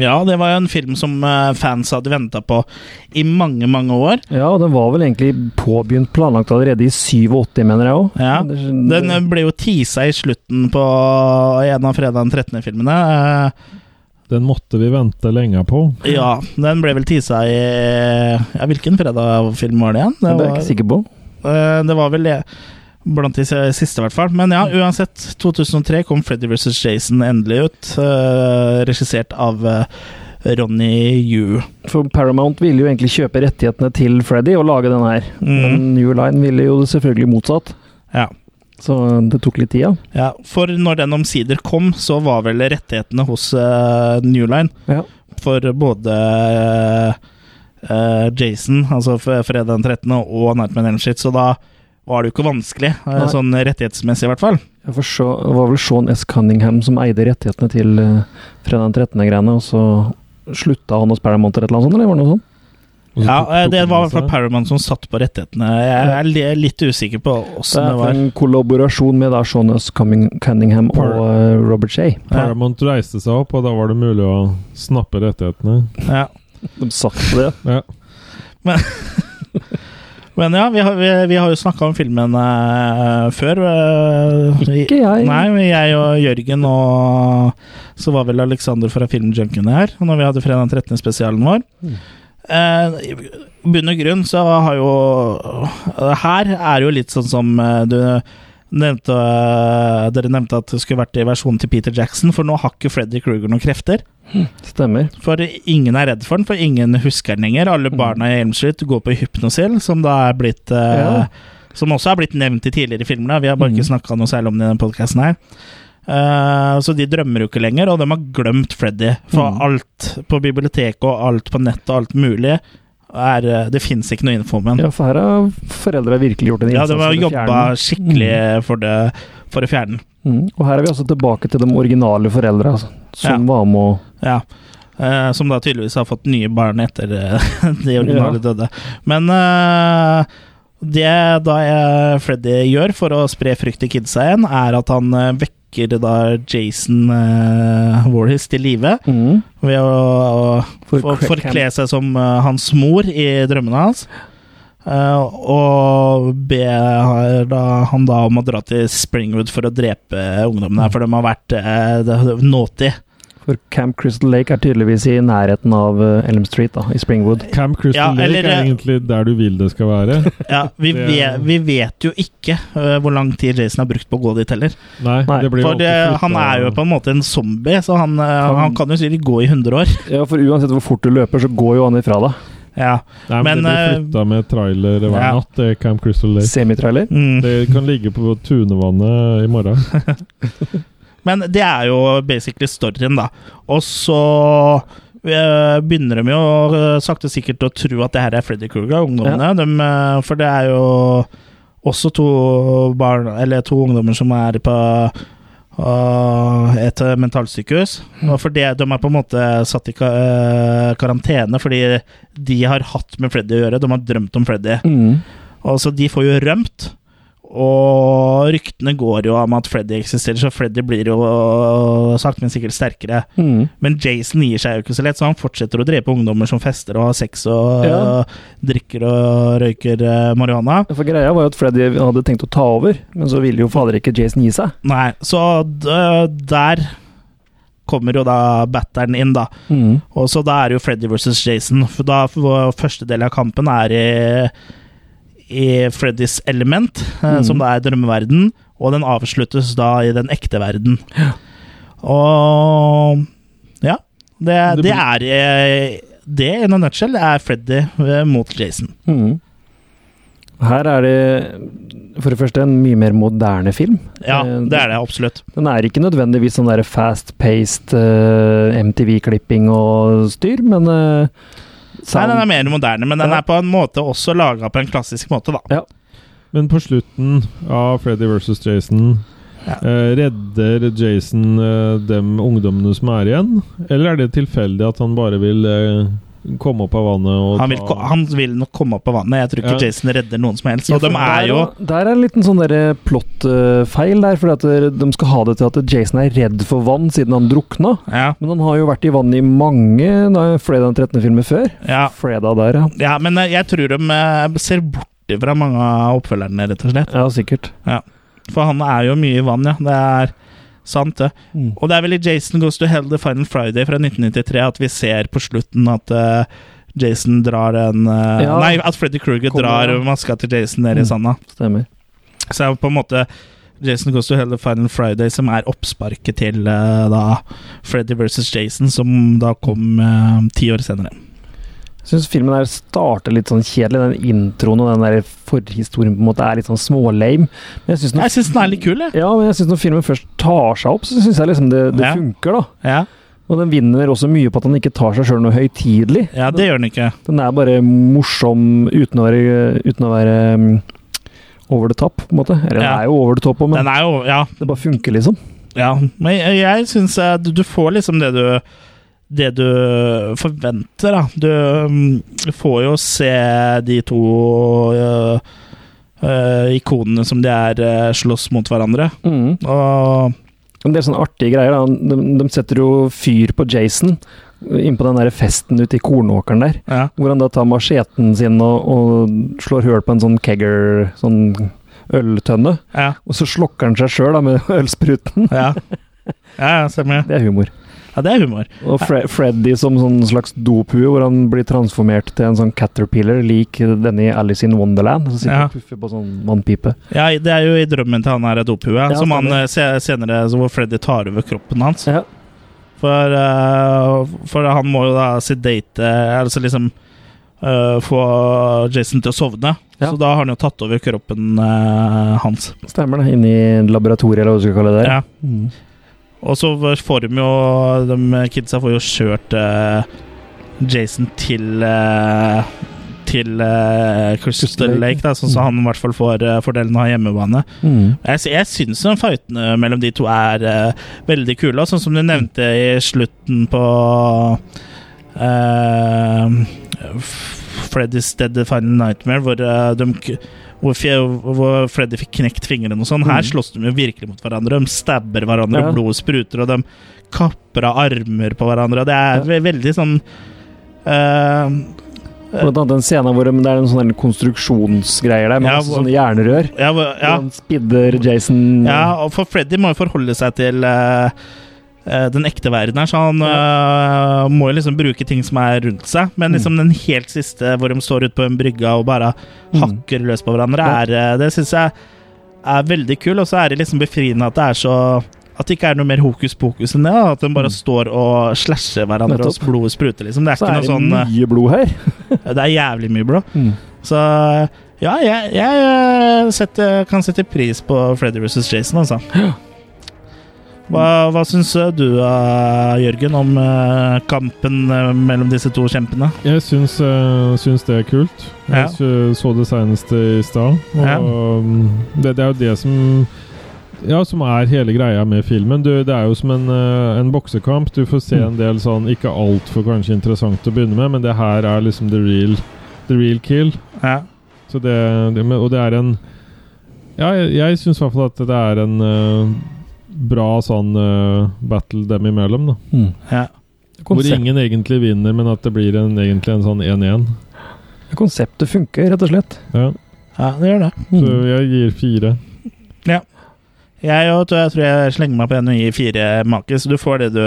Ja, det var jo en film som eh, fans hadde venta på i mange, mange år. Ja, og den var vel egentlig påbegynt planlagt allerede i 87, mener jeg òg. Ja. sånn- Den eh, ble jo teasa i slutten på en av fredag den 13.-filmene. Den måtte vi vente lenge på. Eh, Ja, den ble vel teasa i ja, Hvilken fredag-film var det igjen? Det er jeg ikke sikker på. Eh, Det var vel det. Blant de siste, i hvert fall. Men ja, Mm. uansett. 2003 kom Freddy vs. Jason endelig ut. eh, regissert av eh, Ronny Yu. For Paramount ville jo egentlig kjøpe rettighetene til Freddy og lage den her. Men New Line ville jo selvfølgelig Mm. motsatt. Ja. Så eh, det tok litt tid, ja. Ja, for når den omsider kom, så var vel rettighetene hos eh, New Line for både eh, eh, Jason, altså f- fredag den 13., og Nightmare on Elm Street, så da var det jo ikke vanskelig, eh, Nei. sånn rettighetsmessig i hvert fall. Ja, for så, det var vel Sean S. Cunningham som eide rettighetene til eh, fredag den 13. greiene, og så slutta han hos Paramount eller et eller annet sånt, eller var det noe sånt? Ja, eh, Det var i hvert fall Paramount som satt på rettighetene. Jeg er li- litt usikker på Det åssen Sånn det er var. en kollaborasjon med da Sean S. Cumming- Cunningham og eh, Robert Shea. Paramount reiste seg opp, og da var det mulig å snappe rettighetene. Ja. De satt på det. Ja. Men, men ja, vi har, vi, vi har jo snakka om filmen eh, før. eh, vi- Ikke jeg. Nei, men jeg og Jørgen og så var vel Alexander fra Filmjunkiene her når vi hadde fredag den 13. spesialen vår. Eh, I bunn og grunn så har jo det Her er jo litt sånn som eh, du nevnte eh, Dere nevnte at det skulle vært i versjonen til Peter Jackson, for nå har ikke Freddy Kruger noen krefter. Stemmer. For ingen er redd for den, for ingen husker den lenger. Mm. Alle barna i Elm Street går på hypnosil, som da er blitt eh, Ja. Mm. Som også er blitt nevnt i tidligere filmer. da. Vi har bare ikke snakka noe særlig om det i denne podkasten her. Eh, så de drømmer jo ikke lenger, og de har glemt Freddy. For Mm. alt på biblioteket og alt på nettet og alt mulig er eh, Det fins ikke noe info om den. Ja, for her har foreldra virkelig gjort en Ja, innsats. de har for å fjerne jobba den. skikkelig for, det, for å fjerne den. Mm. Og her er vi altså tilbake til de originale foreldra altså, som Ja. var med å Ja. Eh, som da tydeligvis har fått nye barn etter eh, de originale Ja. døde. Men eh, det da eh, Freddy gjør for å spre frykt til kidsa igjen, er at han eh, vekker da Jason eh, Warhis til live Mm. ved å, å For- for, forkle seg som eh, hans mor i drømmene hans. Eh, og be da, han da om å dra til Springwood for å drepe ungdommene, Mm. her, for de har vært uh, naughty. For Camp Crystal Lake er tydeligvis i nærheten av eh, Elm Street, da, i Springwood. Camp Crystal Ja, Lake eller- eh, er egentlig der du vil det skal være. Ja, vi, Det- vet, vi vet jo ikke øh, hvor lang tid Jason har brukt på å gå dit heller. Nei, Nei, det blir jo For det, alltid flyttet. han er jo på en måte en zombie, så han, øh, han kan jo sikkert gå i 100 år. Ja, for uansett hvor fort du løper, så går jo han ifra deg. Ja. Nei, men, men, Det eh, blir flytta med trailer hver ja. natt, det er Camp Crystal Lake. Semitrailer. Mm. Det kan ligge på Tunevannet i morgen. Men det er jo basically storyen, da. Og så øh, begynner de jo øh, sakte og sikkert å tro at det her er Freddy Kruger, ungdommene. De, øh, for det er jo også to barn, eller to ungdommer som er på øh, et øh, mentalsykehus. Og for det, de er på en måte satt i ka eh, Mm. øh, karantene fordi de har hatt med Freddy å gjøre. De har drømt om Freddy. Og så de får jo rømt. Og ryktene går jo om at Freddy eksisterer, så Freddy blir jo sakte, men sikkert sterkere. Mm. Men Jason gir seg jo ikke så lett, så han fortsetter å drepe ungdommer som fester og har sex og Ja. drikker og røyker eh, marihuana. For greia var jo at Freddy hadde tenkt å ta over, men så ville jo fader ikke Jason gi seg. Nei, så d der kommer jo da batteren inn, da. Mm. Og så da er det jo Freddy versus Jason. For da for første del av kampen er i, i Freddys element, eh, Mm. som da er drømmeverden, og den avsluttes da i den ekte verden. Og ja. Det, Det det, blir- er eh, det, in a nutshell, er Freddy eh, mot Jason. Mm. Her er det for det første en mye mer moderne film. Ja, Eh, det er det absolutt. Den er ikke nødvendigvis sånn der fast-paced eh, MTV-klipping og styr, men eh, Nei, sound- den er mer moderne, men den er på en måte også laga på en klassisk måte, da. Men på slutten av Freddy versus Jason eh, Redder Jason eh, dem ungdommene som er igjen? Eller er det tilfeldig at han bare vil eh, komme opp av vannet og Han vil, ko- han vil nok komme opp på vannet. Jeg tror ikke Ja. Jason redder noen som helst. Ja, Og de for er jo der, der er en liten sånn der plot-feil der, for at der- de skal ha det til at Jason er redd for vann siden han drukna. Ja. Men han har jo vært i vann i mange da, Fredag den 13. filmer før. Ja. Fredag der, ja. ja, men eh, jeg tror de eh, ser bort fra mange av oppfølgerne, rett og slett. Ja, sikkert. Ja. For han er jo mye i vann, ja. Det er sant, det. Mm. Og det er vel i Jason Goes to Hell The Final Friday fra 1993 at vi ser på slutten at eh, Jason drar en eh, Ja. Nei, at Freddy Kruger Kommer, drar ja. maska til Jason ned i Mm. sanda. Stemmer. Så det er jo på en måte Jason Goes to Hell The Final Friday som er oppsparket til eh, da Freddy versus Jason, som da kom eh, ti år senere. Syns filmen her starter litt sånn kjedelig. Den introen og den der forhistorien på en måte er litt sånn smålame. Men jeg syns Jeg når, syns den er litt kul, jeg. ja, men jeg synes når filmen først tar seg opp, så syns jeg liksom det, det Ja. funker, da. Ja. Og den vinner også mye på at han ikke tar seg sjøl noe høytidelig. ja, det gjør den ikke. Den er bare morsom uten å være, uten å være mm, over the top, på en måte. Eller Ja. den er jo over the top, men Den er jo Ja. det bare funker, liksom. ja. Men jeg, jeg syns du, du får liksom det du det du forventer, da. Du mm, får jo se de to øh, øh, ikonene som de er, øh, slåss mot hverandre. Mm. Og En del sånne artige greier. Da. De, de setter jo fyr på Jason eh, innpå den der festen ute i kornåkeren der. ja. Hvor han da tar macheten sin og, og slår høl på en sånn kegger Sånn øltønne. Ja. Og så slokker han seg sjøl med ølspruten. Ja, ja, ja stemmer det. Det er humor. Ja, det er humor. Og Fre Freddy som sånn slags dophue, hvor han blir transformert til en sånn caterpillar lik denne i Alice in Wonderland. Som sitter Ja. og puffer på sånn vannpipe. Ja, det er jo i drømmen til han her dophue, Ja, som han stemmer. eh, se- senere så Hvor Freddy tar over kroppen hans. Ja. For, eh, for han må jo da sedate eh, Altså liksom eh, få Jason til å sovne. Ja. Så da har han jo tatt over kroppen eh, hans. Stemmer det. Inni laboratoriet, eller hva du skal kalle det. der. Ja. Mm. Og så får de jo De kidsa får jo kjørt eh, Jason til eh, til eh, Crystal Crystal Lake. Lake, da, sånn så han i hvert fall får eh, fordelen av hjemmebane. Mm. Jeg, sy- jeg syns de fightene mellom de to er eh, veldig kule. og Sånn som du nevnte i slutten på eh, F- Freddy's Dead The Final Nightmare, hvor, eh, de, k- hvor, fje- hvor Freddy fikk knekt fingrene og sånn. Her Mm. slåss de jo virkelig mot hverandre. De stabber hverandre, Ja. og blodet spruter, og de kapper av armer på hverandre. Og det Ja. er ve- veldig sånn eh, Blant annet den scenen hvor det er en sånn der konstruksjonsgreier der, med Ja, masse hvor- sånne jernrør. ja, hvor- ja. Han spidder Jason Ja, og for Freddy må jo forholde seg til eh, eh, den ekte verden her, så han eh, må jo liksom bruke ting som er rundt seg. Mm. Men liksom den helt siste, hvor de står ute på en brygge og bare hakker løs på hverandre, Mm. Ja. er, eh, det syns jeg er veldig kul. Og så er det liksom befriende at det er så at det ikke er noe mer hokus pokus enn det. da. At de bare står og slasher hverandre Mm. og Nettopp. blodet spruter, liksom. Det er Så ikke er noe det sånn eh, mye blod her. Mm. Det er jævlig mye blod. Så ja, jeg, jeg eh, setter, kan sette pris på Freddy vs. Jason, altså. Hva, hva syns eh, du, eh, Jørgen, om eh, kampen eh, mellom disse to kjempene? Jeg syns, eh, syns det er kult. Jeg Ja. sy- så det senest i stad. Og Ja. mm, det, det er jo det som ja, som er hele greia med filmen. Du, det er jo som en, eh, en boksekamp. Du får se en del sånn ikke altfor kanskje interessant å begynne med, men det her er liksom the real, the real kill. Ja. Så det, det med, og det er en Ja, jeg, jeg syns i hvert fall at det er en eh, bra sånn eh, battle dem imellom, da. Mm. Ja. Hvor Konsept- ingen egentlig vinner, men at det blir en, egentlig en sånn 1-1. Konseptet funker, rett og slett. Ja. Ja, det gjør det. Så eh, jeg gir fire. Ja. Jeg, og, jeg tror jeg slenger meg på en og gir fire make, så du får det du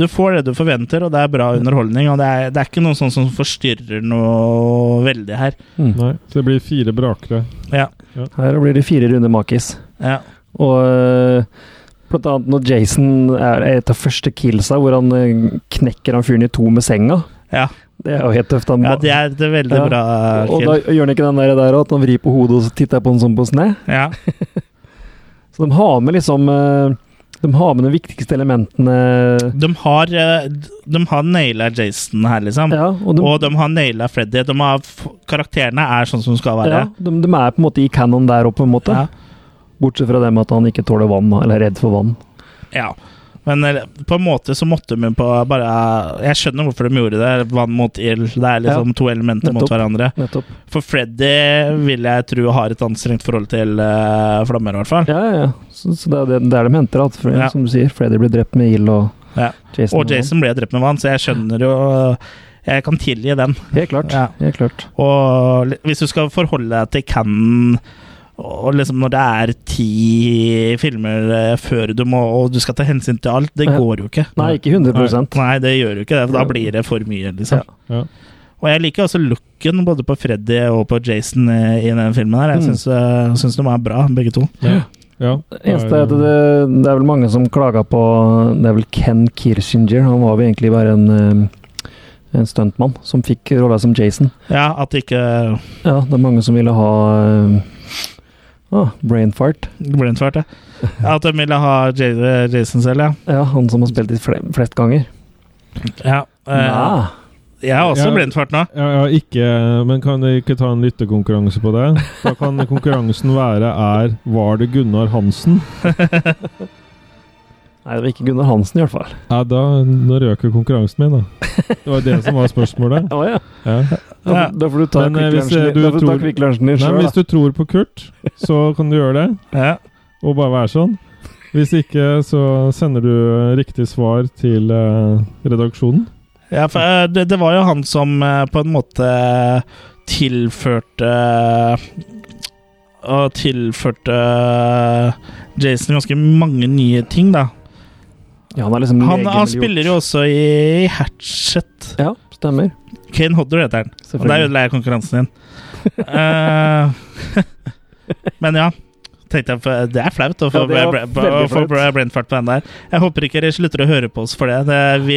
du får det du forventer, og det er bra underholdning. Og det er, det er ikke noe sånt som forstyrrer noe veldig her. Nei, så det blir fire brakere. Ja. Mm. Her blir det fire runder makis. Ja. Og øh, blant annet når Jason er et av første killsa, hvor han øh, knekker han fyren i to med senga. Ja. Det er jo helt tøft. Han Ja, må- det er et veldig Ja. bra Og kill. da gjør han ikke den der, der at han vrir på hodet og så titter jeg på han sånn på snø. Ja. Så de har med liksom øh, De har med de viktigste elementene. De har, eh, de har naila Jason her, liksom. og, de, Og de har naila Freddy. De har, f- karakterene er sånn som skal være. ja, de, de er på en måte i canon der oppe, på en måte. Ja. Bortsett fra det med at han ikke tåler vann, eller er redd for vann. Ja. Men eh, på en måte så måtte de på bare eh, Jeg skjønner hvorfor de gjorde det. Vann mot ild. Det er liksom Ja. to elementer Nettopp. mot hverandre. Nettopp. For Freddy vil jeg tro har et anstrengt forhold til eh, flammer, i hvert fall. Ja, ja, ja. Så, så det er det, det er de henter alt, for, Ja. som du sier. Freddy blir drept med ild, og Ja. Jason Og Jason ble drept med vann, så jeg skjønner jo eh, Jeg kan tilgi den. sånn. Helt klart. Ja. Helt klart. Og li- hvis du skal forholde deg til canon og liksom når det er ti filmer eh, før du må Og du skal ta hensyn til alt, det Ja. går jo ikke. Nei, ikke 100 Nei, det gjør jo ikke det, for da blir det for mye, liksom. Ja. Og jeg liker også looken både på Freddy og på Jason eh, i den filmen her. Jeg Mm. syns, eh, syns de er bra, begge to. Ja. ja. Det eneste er at det, det er vel mange som klager på Det er vel Ken Kirsinger. Han var jo egentlig bare en, eh, en stuntmann som fikk rolla som Jason. Ja, at det ikke Ja, det er mange som ville ha eh, ah, brain fart. ble en svart, ja. At de ville ha J Jason selv, ja. Ja, han som har spilt i fle- flest ganger. ja. eh, Nei. Jeg har også Ja. blindfart nå. Ja, ja, ikke, men kan dere ikke ta en lyttekonkurranse på det? Da kan konkurransen være er Var det Gunnar Hansen? Nei, det var ikke Gunnar Hansen i hvert fall. Ja, da, nå røk jo konkurransen min, da. Det var det som var spørsmålet. Å ja. Ja. Da, da får du ta Men, eh, hvis, eh, du tror- Quick Lunsjen din Nei, men sjøl, hvis da. du tror på Kurt, så kan du gjøre det. Ja. Og bare være sånn. Hvis ikke, så sender du riktig svar til eh, redaksjonen. Ja, for eh, det, det var jo han som eh, på en måte tilførte eh, Og tilførte eh, Jason ganske mange nye ting, da. Ja, han er liksom Han, han legemiddelgjort. spiller jo også i Hatchet. Ja, stemmer. Kane Hodder heter han. Og der Selvfølgelig. ødela jeg konkurransen din. Eh, men ja. Tenkte jeg, for eh, Det er flaut å få, Ja, det var bra- bra- å veldig få flaut. bra brainfart på den der. Jeg håper ikke dere slutter å høre på oss for det. det vi,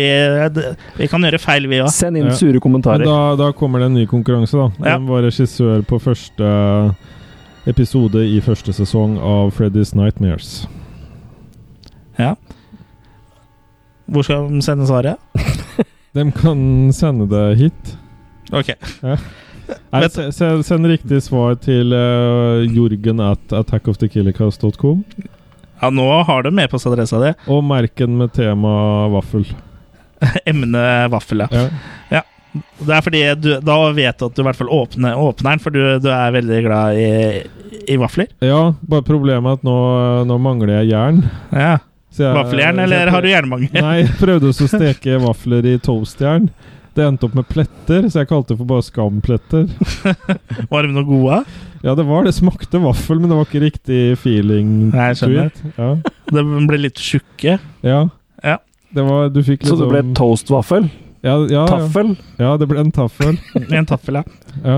det vi kan gjøre feil, vi òg. Send inn Ja. sure Men kommentarer. da, da kommer det en ny konkurranse, da. Ja. Hvem var regissør på første episode i første sesong av Freddy's Nightmares? Hvor skal de sende svaret? De kan sende det hit. Ok. Nei, Vet- se- se- send riktig svar til uh, jorgen at attackofthekillercast.com. Ja, nå har de med postadressa di. Og merk den med tema vaffel. Emne vaffel, ja. Ja. Det er fordi du, da vet du at du i hvert fall åpner, åpner den, for du, du er veldig glad i, i vafler. ja, bare problemet er at nå, nå mangler jeg jern. Ja. Så jeg- Vaffeljern, eller har du jernmangel? Nei, jeg prøvde også å steke vafler i toastjern. Det endte opp med pletter, så jeg kalte det for bare skampletter. Var de noe gode? Ja, det var det. Smakte vaffel, men det var ikke riktig feeling. Nei, jeg to skjønner. it. Ja. De ble litt tjukke. ja. Ja. Det var, du fikk Så liksom det ble toastvaffel? ja, ja, ja. Taffel? Ja, det ble en taffel. I en taffel, ja. Ja.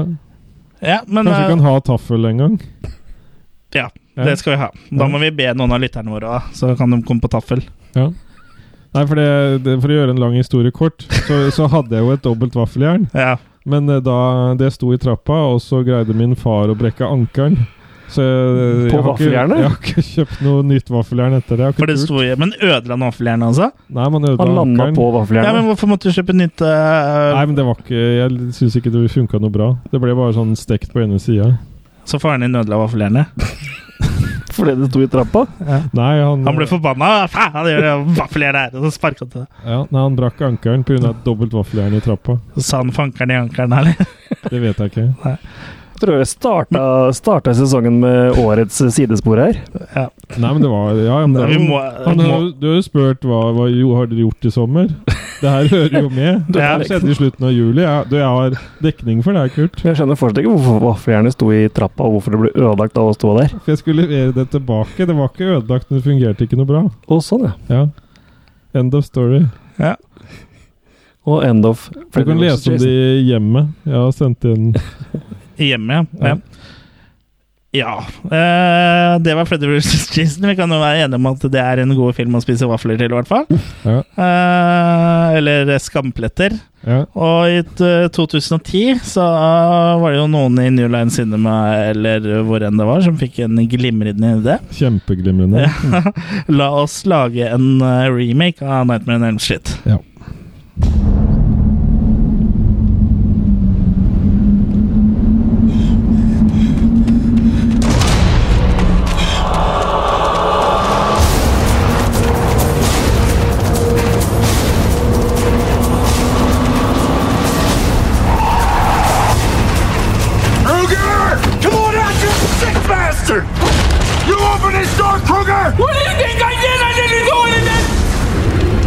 ja men Kanskje vi kan eh, ha taffel en gang? ja, Ja. det skal vi ha. Da må vi be noen av lytterne våre òg, så kan de komme på taffel. Ja. Nei, for, det, det, for å gjøre en lang historie kort, så, så hadde jeg jo et dobbelt vaffeljern. Ja. Men eh, da det sto i trappa, og så greide min far å brekke ankeren. Så jeg, På jeg, har ikke, vaffeljernet? jeg har ikke kjøpt noe nytt vaffeljern etter det. Jeg har For det ikke kult. sto i Men ødela han vaffeljernet, altså? Nei, man ødela Han landa ankeren. på Ja, men vaffeljernet. hvorfor måtte du kjøpe nytt eh, Nei, men det var ikke Jeg syns ikke det funka noe bra. Det ble bare sånn stekt på ene sida. Så faren din ødela vaffeljernet? Fordi det sto i trappa? Nei, han, Han ble forbanna! Faen, han gjør det vaffeljernet her! Og så sparka han til det. ja, nei, han brakk ankeren pga. et dobbelt vaffeljern i trappa. Så sa han fankeren i ankeren, eller? Det vet jeg ikke. Jeg tror jeg starta, starta sesongen med årets sidespor her. Nei, men det var Ja, ja, men det var, Vi må- Han har- du har jo spurt hva, hva jo, har dere gjort i sommer. Det her hører jo med. Det Ja. her skjedde i slutten av juli. Jeg, du, jeg har dekning for det, her, Kurt. Jeg skjønner fortsatt ikke hvorfor vaffeljernet sto i trappa, og hvorfor det ble ødelagt av å stå der. For jeg skulle levere det tilbake. Det var ikke ødelagt, men det fungerte ikke noe bra. Å, sånn, ja. End of story. Og end of. Du kan lese om det i hjemmet. Jeg har sendt inn Hjemme, ja. ja. Ja eh, Det var Freddy vs. Jason. Vi kan jo være enige om at det er en god film å spise vafler til, i hvert fall. Ja. Eh, eller skampletter. Ja. Og i t- eh, 2010 så eh, var det jo noen i New Line Cinema eller hvor enn det var, som fikk en glimrende idé. Kjempeglimrende. Ja. La oss lage en eh, remake av Nightmare on Elm Street. Ja. Kruger! Come on out, you sick bastard! You open this door, Kruger! What do you think I did? I didn't do anything!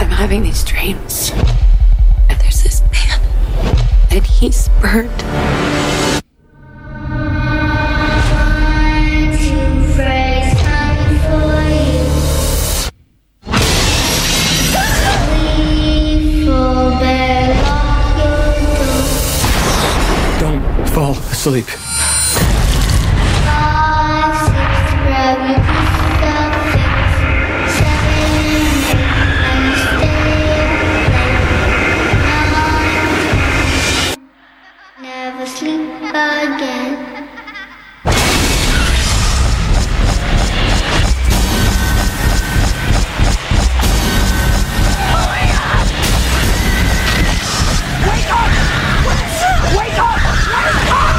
I'm having these dreams. And there's this man. And he's burned. Don't fall asleep. Never sleep again. Wake up! Wake up!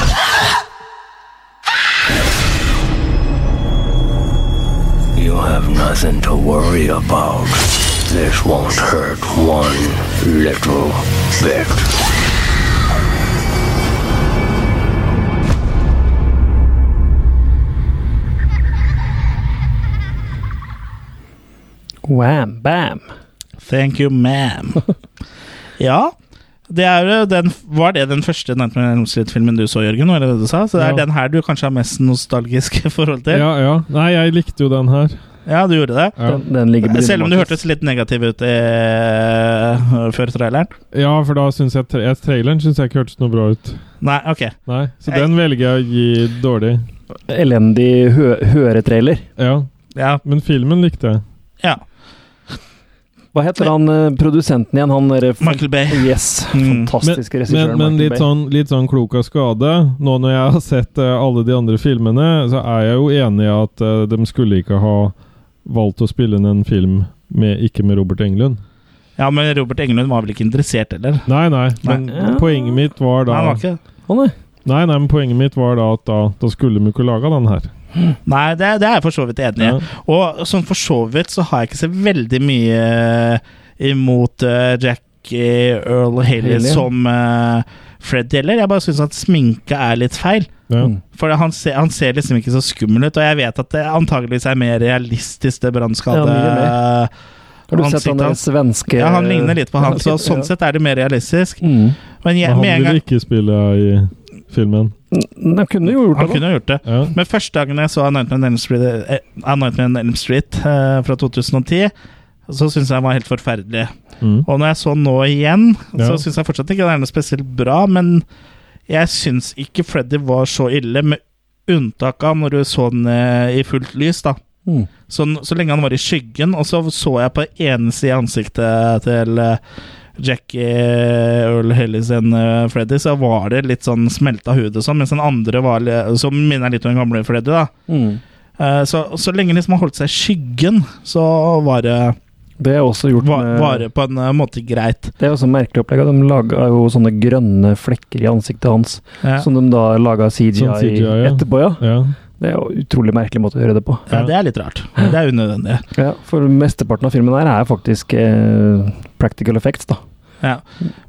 You have nothing to worry about. This won't hurt one little bit. Wham, bam. Thank you, ma'am. ja, det er jo den, var det den første Nightmare on Elm Street-filmen du så, Jørgen? Var det det du sa? Så det er Ja. den her du kanskje har mest nostalgisk forhold til? Ja, ja. Nei, jeg likte jo den her. Ja, du gjorde det? Ja. Den- den ligger på Selv om du din hørtes litt negativ ut eh, før traileren? Ja, for da syns jeg, tra jeg- traileren synes jeg ikke hørtes noe bra ut. Nei, ok. Nei, Så Jeg- den velger jeg å gi dårlig. Elendig hø høretrailer. Ja. Men filmen likte jeg. Ja. Hva heter han eh, produsenten igjen? Han derre Michael Mm. Bay. Yes. Fantastiske men, regissøren men Michael litt, Bay. sånn, litt sånn klok av skade. Nå når jeg har sett eh, alle de andre filmene, så er jeg jo enig i at eh, de skulle ikke ha valgt å spille inn en film med, ikke med Robert Englund. Ja, men Robert Englund var vel ikke interessert, eller? Nei, nei, men Nei. poenget mitt var da Nei, han var ikke det. Nei, nei, men poenget mitt var da at da, da skulle de ikke lage den her. Nei, det, det er jeg for så vidt enig i. Og sånn for så vidt så har jeg ikke så veldig mye imot eh, Jackie Earl Haley Haley. som eh, Fred heller. Jeg bare syns at sminke er litt feil. For han ser, han ser liksom ikke så skummel ut, og jeg vet at det antageligvis er mer realistisk, det brannskade... Ja, mye mer. Har du sett ansiktet han der hans. svenske Ja, han ligner litt på han, så Ja. Mm. sånn sett er det mer realistisk. Men, jeg, Men han med en ville gang ikke spille i filmen. Han kunne jo gjort Han det. da. kunne ha gjort det. Men første gangen jeg så A Nightmare on Elm Street, eh, A Nightmare on Elm Street eh, fra 2010, så syns jeg den var helt forferdelig. Mm. Og når jeg så den nå igjen, Ja. så syns jeg fortsatt ikke det er noe spesielt bra, men jeg syns ikke Freddy var så ille, med unntak av når du så den eh, i fullt lys, da. Mm. Så, så lenge han var i skyggen, og så så jeg på ene side av ansiktet til eh, Jackie Earl Haley sin eh, Freddy, så var det litt sånn smelta hud og sånn, mens den andre var li- som minner litt om den gamle Freddy, da. Mm. Eh, Så, så lenge liksom han holdt seg i skyggen, så var det Det er også gjort Va- med- Vare på en eh, måte greit. Det er også merkelig opplegg. at De laga jo sånne grønne flekker i ansiktet hans, Ja. som de da laga CGI, Sånn CGI, ja. etterpå, ja. Ja. Det er jo utrolig merkelig måte å gjøre det på. Ja, det er litt rart. Det er unødvendig. Ja, for mesteparten av filmen her er faktisk eh, practical effects, da. Ja.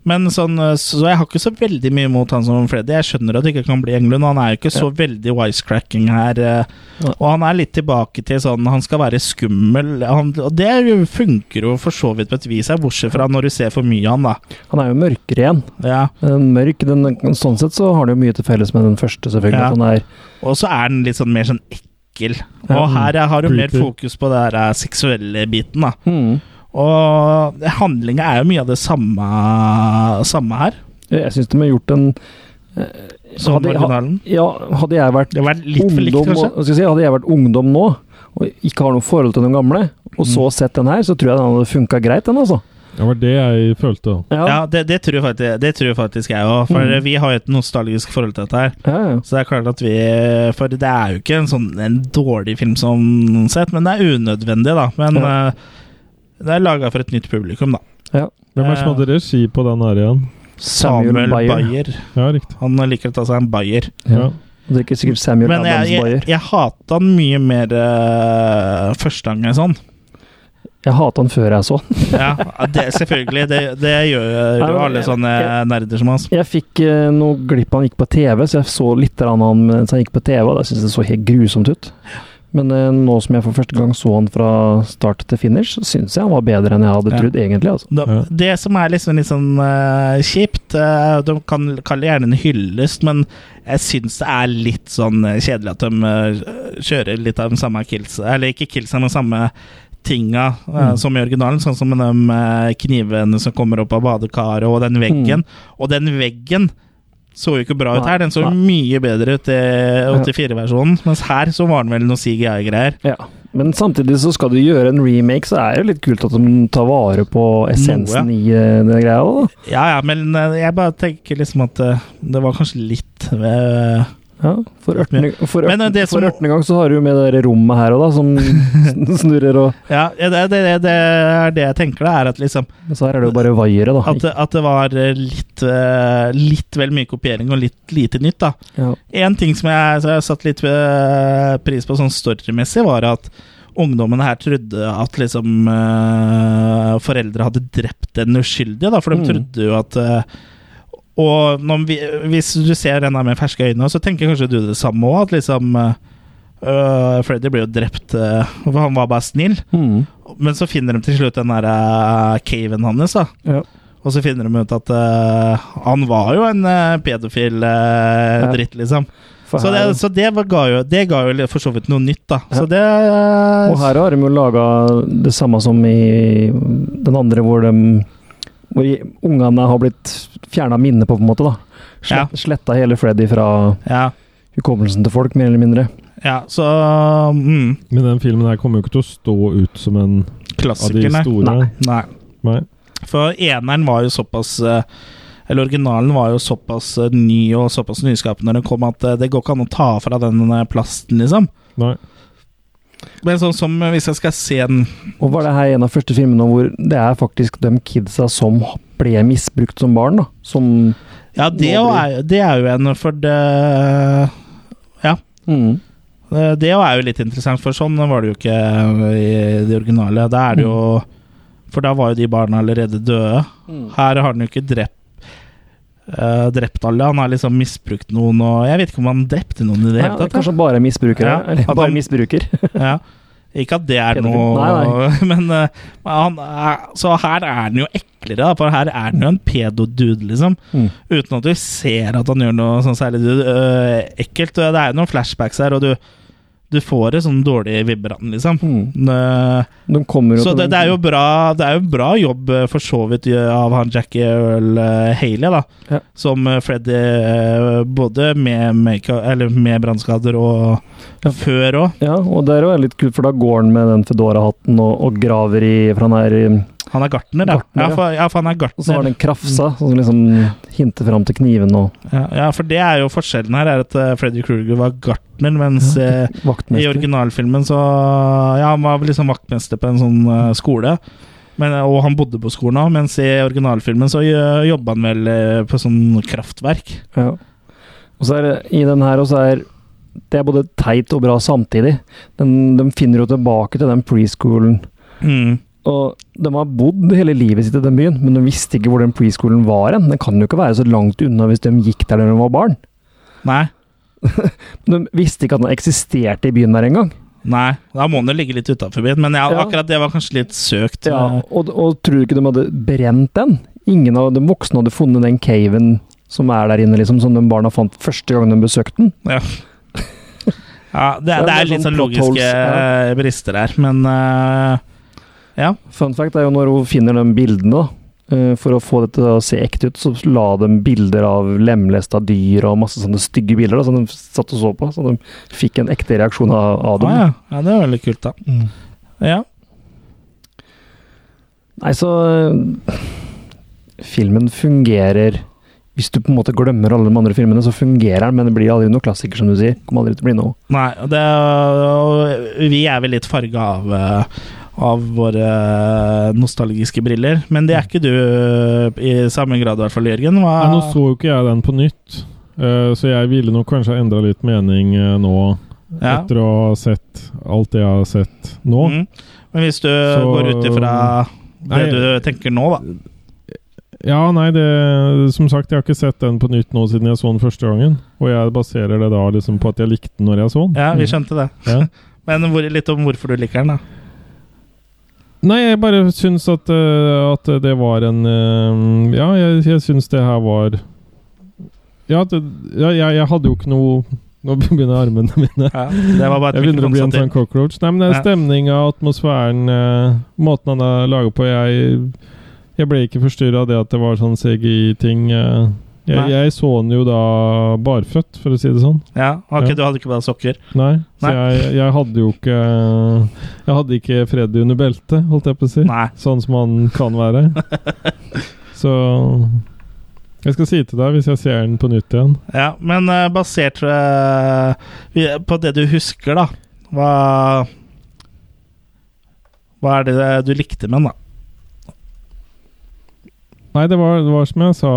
Men sånn, eh, så jeg har ikke så veldig mye imot han som Freddy. Jeg skjønner at det ikke kan bli Englund. Han er jo ikke så veldig wisecracking her. eh, Og han er litt tilbake til sånn Han skal være skummel. Han, og det jo funker jo for så vidt på et vis, her, bortsett fra når du ser for mye av han, da. Han er jo mørkeren. Ja. Den mørk, den, sånn sett så har han jo mye til felles med den første, selvfølgelig. Ja. At han er Og så er han litt sånn mer sånn ekkel. Og Ja, her er- har du mer creepy. fokus på det her eh, seksuelle biten, da. Og handlinga er jo mye av det samme, samme her. Jeg syns de har gjort en eh, Som hadde- originalen? Ja, hadde jeg vært, Det har vært litt for likt, ungdom, kanskje? og- hva skal jeg si, Hadde jeg vært ungdom nå, og ikke har noe forhold til den gamle, og så sett den her, så tror jeg den hadde funka greit, den altså. Det var det jeg følte. Ja, det, det, tror jeg faktisk, det tror jeg faktisk jeg òg, for Mm. vi har jo et nostalgisk forhold til dette her. Så det er klart at vi For det er jo ikke en sånn en dårlig film sånn sett, men det er unødvendig, da. Men Ja. eh, det er laga for et nytt publikum, da. Hvem er det som hadde regi på den her igjen? Samuel, Bayer. Ja, riktig. Han liker å ta seg en Bayer. Ja. Og det er ikke sikkert Samuel Men jeg, Adams jeg, Bayer. jeg hata han mye mer uh, første gang jeg så han. Jeg hata han før jeg så den. Ja, det, selvfølgelig. Det, det gjør Nei, jo men alle jeg- sånne nerder som hans. Jeg fikk eh, noe glipp av han gikk på TV, så jeg så litt av han mens han gikk på TV, og jeg syns det så helt grusomt ut. Men eh, nå som jeg for første gang så han fra start til finish, så syns jeg han var bedre enn jeg hadde Ja. trodd, egentlig. altså. Da, Det som er liksom litt sånn eh, kjipt eh, De kan kalle det gjerne en hyllest, men jeg syns det er litt sånn eh, kjedelig at de eh, kjører litt av de samme killsa Eller ikke killsa, men samme tinga eh, Mm. som i originalen. Sånn som med de eh, knivene som kommer opp av badekaret, og den veggen. Og den veggen så jo ikke bra ut Mm. Nei, her. Den så nei. mye bedre ut i 84-versjonen, mens her så var den vel noe CGI-greier. Ja, Men samtidig så skal du gjøre en remake, så er det jo litt kult at de tar vare på essensen i eh, den greia òg, da. Ja ja, men eh, jeg bare tenker liksom at eh, det var kanskje litt eh, Ja, for ørtende, for Men, eh, ørtende, det som- for ørtende gang så har du jo med det der rommet her òg, da, som sn- snurrer og Ja, det, det, det, det er det jeg tenker, da, er at liksom Men så her er det jo bare vaiere, da. At, det- at det var eh, litt, eh, litt vel mye kopiering og litt lite nytt, da. Ja. En ting som jeg, som jeg satt litt eh, pris på sånn storymessig, var at ungdommen her trodde at liksom eh, foreldre hadde drept den uskyldige, da, for de Mm. trodde jo at eh, Og når vi, hvis du ser den her med ferske øyne, så tenker kanskje du det samme òg, at liksom eh, øh, Freddy ble jo drept, eh, for han var bare snill. Men så finner de til slutt den der eh, caven hans, da. Ja. Og så finner de ut at eh, han var jo en eh, pedofil eh, Ja. dritt, liksom. For så her- det, så det, var, ga jo, det ga jo litt- for så vidt noe nytt, da. Ja. Så det eh, Og her har de jo laga det samme som i den andre, hvor de hvor i- ungene har blitt fjerna minnet på, på en måte. da. Ja. Sletta hele Freddy fra Ja. hukommelsen til folk, mer eller mindre. ja, så mm, Men den filmen her kommer jo ikke til å stå ut som en Klassiker, av nei. de store. Nei. nei. Nei. For eneren var jo såpass eh, Eller originalen var jo såpass eh, ny og såpass nyskapende når den kom, at eh, det går ikke an å ta fra den eh, plasten, liksom. Nei. Men sånn som eh, hvis jeg skal se den Og var det her en av første filmene hvor det er faktisk de kidsa som ble misbrukt som barn, da? Som Ja, det, Nå jo blir- er, det er jo en For det Ja. Eh, Det jo er jo litt interessant, for sånn var det jo ikke i det originale. Da er det jo For da var jo de barna allerede døde. Mm. Her har han jo ikke drept eh, drept alle. Han har liksom misbrukt noen, og jeg vet ikke om han drepte noen i det ja, hele tatt. Kanskje bare misbrukere? Ja, Eller at bare han- misbruker? Ja. Ikke at det er Pedofil. noe Nei, Men eh, han er, Så her er han jo eklere, da, for her er han jo en pedodude, liksom. Mm. Uten at du ser at han gjør noe sånn særlig øh, ekkelt. Og Det er jo noen flashbacks her, og du, du får et sånn dårlig vibran, liksom. Nø- Mm. De kommer jo så til det, den- det, er jo bra, det er jo bra jobb eh, for så vidt eh, av han Jackie Earl eh, Haley, da. Ja. Som eh, Freddy, eh, både med, make- eller med brannskader og før òg. Ja, og det er jo litt kult, for da går han med den Fedora-hatten og, og graver i For han er i- Han er gartner, da. Gartner, ja, for, ja, for han er Og så har gartner. den krafsa, som liksom hinter fram til kniven og Ja, ja, for det er jo forskjellen her, er at eh, Freddy Kruger var gartner, mens eh, i vaktmester. originalfilmen så Ja, han var vel liksom vaktmester på en sånn eh, skole. Men, og han bodde på skolen òg, mens i originalfilmen så jo- jobba han vel eh, på sånn kraftverk. Ja. Og så er det, I den her også er det er både teit og bra samtidig. Den, de finner jo tilbake til den preschoolen. Mm. Og de har bodd hele livet sitt i den byen, men de visste ikke hvor den preschoolen var hen. Den kan jo ikke være så langt unna hvis de gikk der da de var barn. Nei. de visste ikke at den eksisterte i byen der engang. Nei, da må han jo ligge litt utafor byen, men ja, Ja. akkurat det var kanskje litt søkt. Eh, Ja, og, og tror du ikke de hadde brent den? Ingen av de voksne hadde funnet den caven som er der inne, liksom, som de barna fant første gang de besøkte den. Ja. Ja, det, Så det det er er litt sånn sånn plot logiske holes, ja. eh, brister her, men eh, ja. Fun fact er jo når hun finner de bildene, da. eh, For å få dette til å se ekte ut, så la de bilder av lemlesta dyr og masse sånne stygge bilder da, som de satt og så på. Så de fikk en ekte reaksjon av, av dem. Ah, ja. ja, det Mm. er veldig kult, da. Ja. Nei, så eh, Filmen fungerer Hvis du på en måte glemmer alle de andre filmene, så fungerer den, men det blir aldri noen klassiker, som du sier. Kommer aldri til å bli noe. Nei, og det, og vi er vel litt farga av, eh, av våre eh, nostalgiske briller, men det er ikke du i samme grad, i hvert fall, Jørgen. Hva, Nei, nå så jo ikke jeg den på nytt, eh, så jeg ville nok kanskje ha endra litt mening eh, nå. Ja. Etter å ha sett alt det jeg har sett nå. Mm. Men hvis du Så- går ut ifra det Nei. du tenker nå, da. Ja, nei, det Som sagt, jeg har ikke sett den på nytt nå siden jeg så den første gangen. Og jeg baserer det da liksom på at jeg likte den når jeg så den. Ja, vi skjønte det. Ja. Men hvor, litt om hvorfor du liker den, da. Nei, jeg bare syns at, eh, at det var en eh, Ja, jeg, jeg syns det her var Ja, det, ja jeg, jeg hadde jo ikke noe Nå begynner armene mine. det var bare et jeg begynner å bli en mikrofonstativ. sånn cockroach. Nei, men den Ja. stemninga, atmosfæren, eh, måten han er laga på Jeg jeg ble ikke forstyrra av det at det var sånn CGI-ting. eh. Jeg, Nei. jeg så den jo da barføtt, for å si det sånn. Ja, ok, Ja. Du hadde ikke bare sokker? Nei, så Nei. jeg, jeg hadde jo ikke Jeg hadde ikke Freddy under beltet, holdt jeg på å si. Sånn som han kan være. Så Jeg skal si til deg hvis jeg ser den på nytt igjen. Ja, men eh, basert eh, vi- på det du husker, da Hva Hva er det eh, du likte med den, da? Nei, det var, det var som jeg sa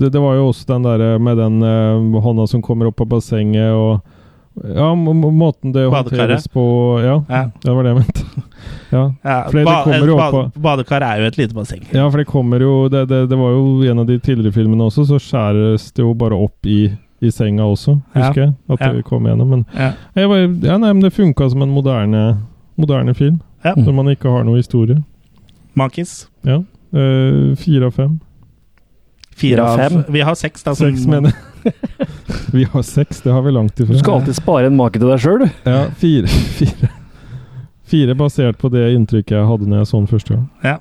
Det, det var jo også den derre med den eh, hånda som kommer opp av bassenget og Ja, må- må- måten det håndteres Badekaret. på ja, Ja. det var det jeg mente. Ja. Ja, Fordi det ba- kommer jo et opp bad- Badekar er jo et lite basseng. Ja, for det kommer jo det, det, det var jo en av de tidligere filmene også, så skjæres det jo bare opp i, i senga også, husker Ja. jeg. At Ja. det kom gjennom. Men Ja. jeg bare, ja, nei, men det funka som en moderne, moderne film. Ja. Når man ikke har noe historie. Monkeys. Ja. Eh, fire av fem. Fire av av fem. Vi har seks, da. Seks, mener jeg. Vi har seks, det har vi langt ifra. Du skal alltid spare en make til deg sjøl, du. Ja, fire, fire. Fire basert på det inntrykket jeg hadde når jeg så den første gang. Ja.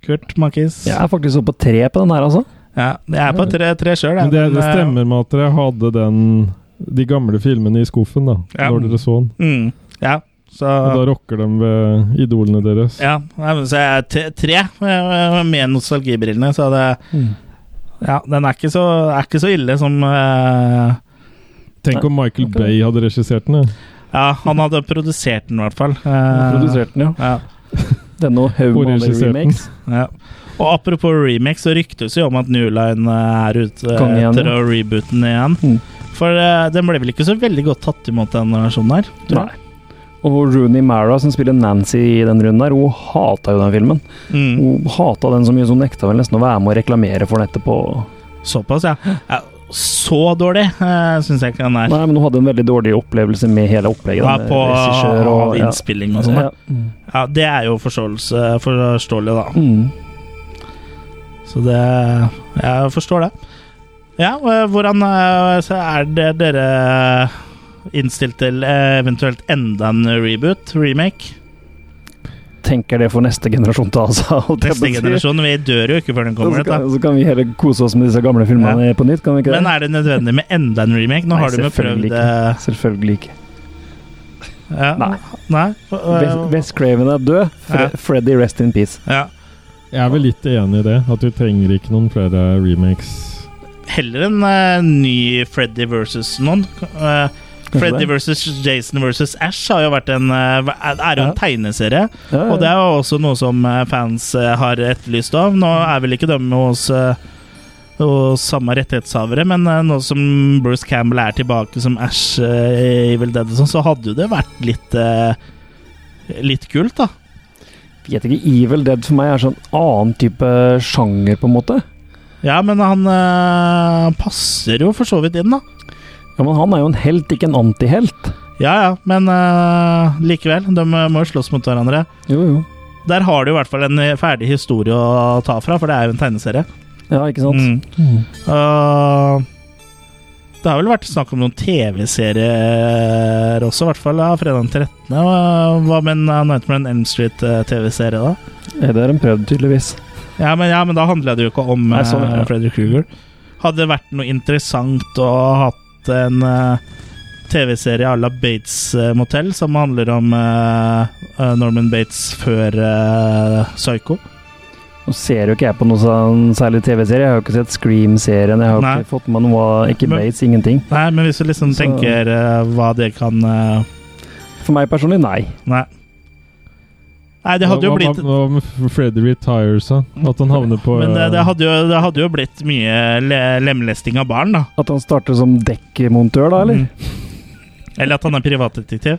Kult, Monkeys. Jeg er faktisk oppe på tre på den her, altså. Ja, jeg er på tre, tre sjøl, Men det, eh, det stemmer med at dere hadde den, de gamle filmene i skuffen da, Ja. når dere så den. Mm, ja, Og da så rocker de ved idolene deres. ja, nei, men så er jeg t- tre eh, med nostalgibrillene, så det Ja, den er ikke så, er ikke så ille som eh, Tenk om Michael Bay hadde regissert den. ja. Ja, han hadde produsert den i hvert fall. Du Eh, Produserte den, ja. ja. Denne og haug med andre Horisert den. remakes. ja. Og apropos remake, så ryktes det jo om at New Line eh, er ute eh, Kom igjen, etter ja. Mm. å reboote den igjen. For eh, den ble vel ikke så veldig godt tatt imot, den versjonen her? tror jeg. Og Rooney Mara, som spiller Nancy i den runden her, hun hata jo den filmen. Mm. Hun hata den så mye, så hun nekta vel nesten å være med og reklamere for den etterpå. Oh. Såpass, ja. ja så dårlig uh, syns jeg ikke den er. Nei, men hun hadde en veldig dårlig opplevelse med hele opplegget. Ja, da, med på regissør og- ja. innspilling og sånn. Ja. da. Ja, det er jo forståelse, forståelig, da. Mm. Så det Jeg forstår det. Ja, og hvordan eh, så er det dere innstilt til eh, eventuelt enda en reboot? Remake? Tenker det for neste generasjon til, altså. holdt jeg på Neste å si. generasjon. Vi dør jo ikke før den Så kommer. kan, Dette. så kan vi heller kose oss med disse gamle filmene på nytt, kan vi ikke det? Men er det nødvendig med enda en remake? Nå Nei, har du jo prøvd selvfølgelig eh, ikke. Selvfølgelig ikke. ja. Nei. Wes, Eh, Wes Craven er død. Fre Ja. Freddy, rest in peace. Jeg er vel litt enig i det. At vi trenger ikke noen flere remakes. Heller en eh, ny Freddy versus noen. Eh, Freddy versus Jason versus Ash har jo vært en, eh, er jo en tegneserie. ja. Og det er jo også noe som eh, fans eh, har etterlyst av. Nå er vel ikke de hos, eh, hos samme rettighetshavere, men eh, nå som Bruce Campbell er tilbake som Ash eh, i Evil Dead, og sånn, så hadde jo det vært litt eh, Litt kult, da. Vet ikke, Evil Dead for meg er sånn annen type sjanger, på en måte. Ja, men han eh, passer jo for så vidt inn, da. Ja, Men han er jo en helt, ikke en antihelt. Ja ja, men eh, likevel. De må jo slåss mot hverandre. Jo, jo. Der har du i hvert fall en eh, ferdig historie å ta fra, for det er jo en tegneserie. Ja, ikke sant? Mm. Uh, det har vel vært snakk om noen TV-serier også, i hvert fall. Ja, fredag den 13. Hva- Hva med en eh, Nightmare on Elm Street-TV-serie, da? Eh, Det har de prøvd, tydeligvis. Ja men, ja, men da handla det jo ikke om Nei, sånn, eh, ja. Freddy Krueger. Hadde det vært noe interessant å ha hatt en eh, TV-serie à la Bates eh, Motel, som handler om eh, eh, Norman Bates før eh, Psycho. Nå ser jo ikke jeg på noe sånn særlig TV-serie. Jeg har jo ikke sett Scream-serien. Jeg har jo Nei. ikke fått med noe av Ikke Men- Bates, ingenting. Nei, men hvis du liksom Så- tenker eh, hva det kan eh, For meg personlig, nei. Nei. Nei, det hadde jo Hva- hva- blitt Mm. Hva om Freddy retires, da? At han havner på Men det, eh, det, hadde jo, det hadde jo blitt mye le lemlesting av barn, da. At han starter som dekkmontør, da, eller? Mm. Eller at han er privatdetektiv.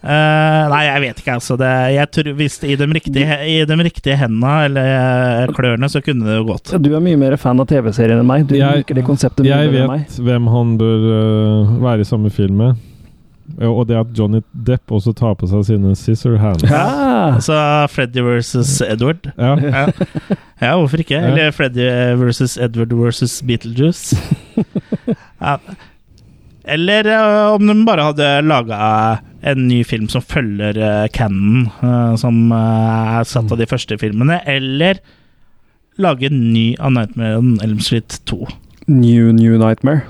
Eh, nei, jeg vet ikke, altså. Det, jeg tror, hvis i de riktige, i de riktige hendene eller eh, klørne, så kunne det jo gått. Du er mye mer fan av TV-serien enn meg. Du Jeg- liker det konseptet mye Jeg bedre enn meg. vet hvem han bør øh, være i samme film med. Ja, Og det at Johnny Depp også tar på seg sine scissor hands. Ja. Altså Freddy versus Edward. Ja. eh, Ja. ja, hvorfor ikke? Ja. Eller Freddy versus Edward versus Beetlejuice. ja. Eller eh, om de bare hadde laga en ny film som følger uh, canon, eh, som eh, er satt av de første filmene, eller lage en ny av Nightmare on Elm Street 2. New New Nightmare.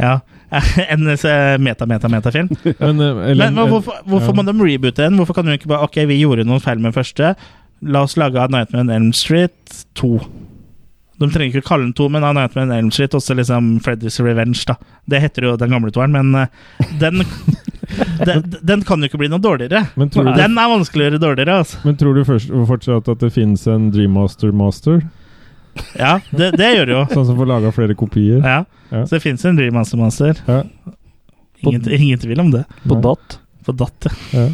Ja. en eh, meta-meta-metafilm. Men, øh, eller- Men hva- hvorfor, hvorfor må de reboote den? Hvorfor kan de ikke bare Ok, vi gjorde noen feil med den første. La oss lage A Nightmare on Elm Street 2. De trenger ikke å kalle den 2, men A Nightmare on Elm Street, også liksom Freddy's Revenge, da. Det heter jo den gamle toeren, men eh, den den, den kan jo ikke bli noe dårligere. Men tror du- Den er vanskeligere dårligere, altså. Men tror du først, fortsatt at det finnes en Dreammaster Master? Ja, det, det gjør det jo. Sånn som får laga flere kopier? Ja. Ja. Så det fins en Dream Master Master. Ja. Ingen, ingen tvil om det. På Nei. datt. På datt, ja. Ja.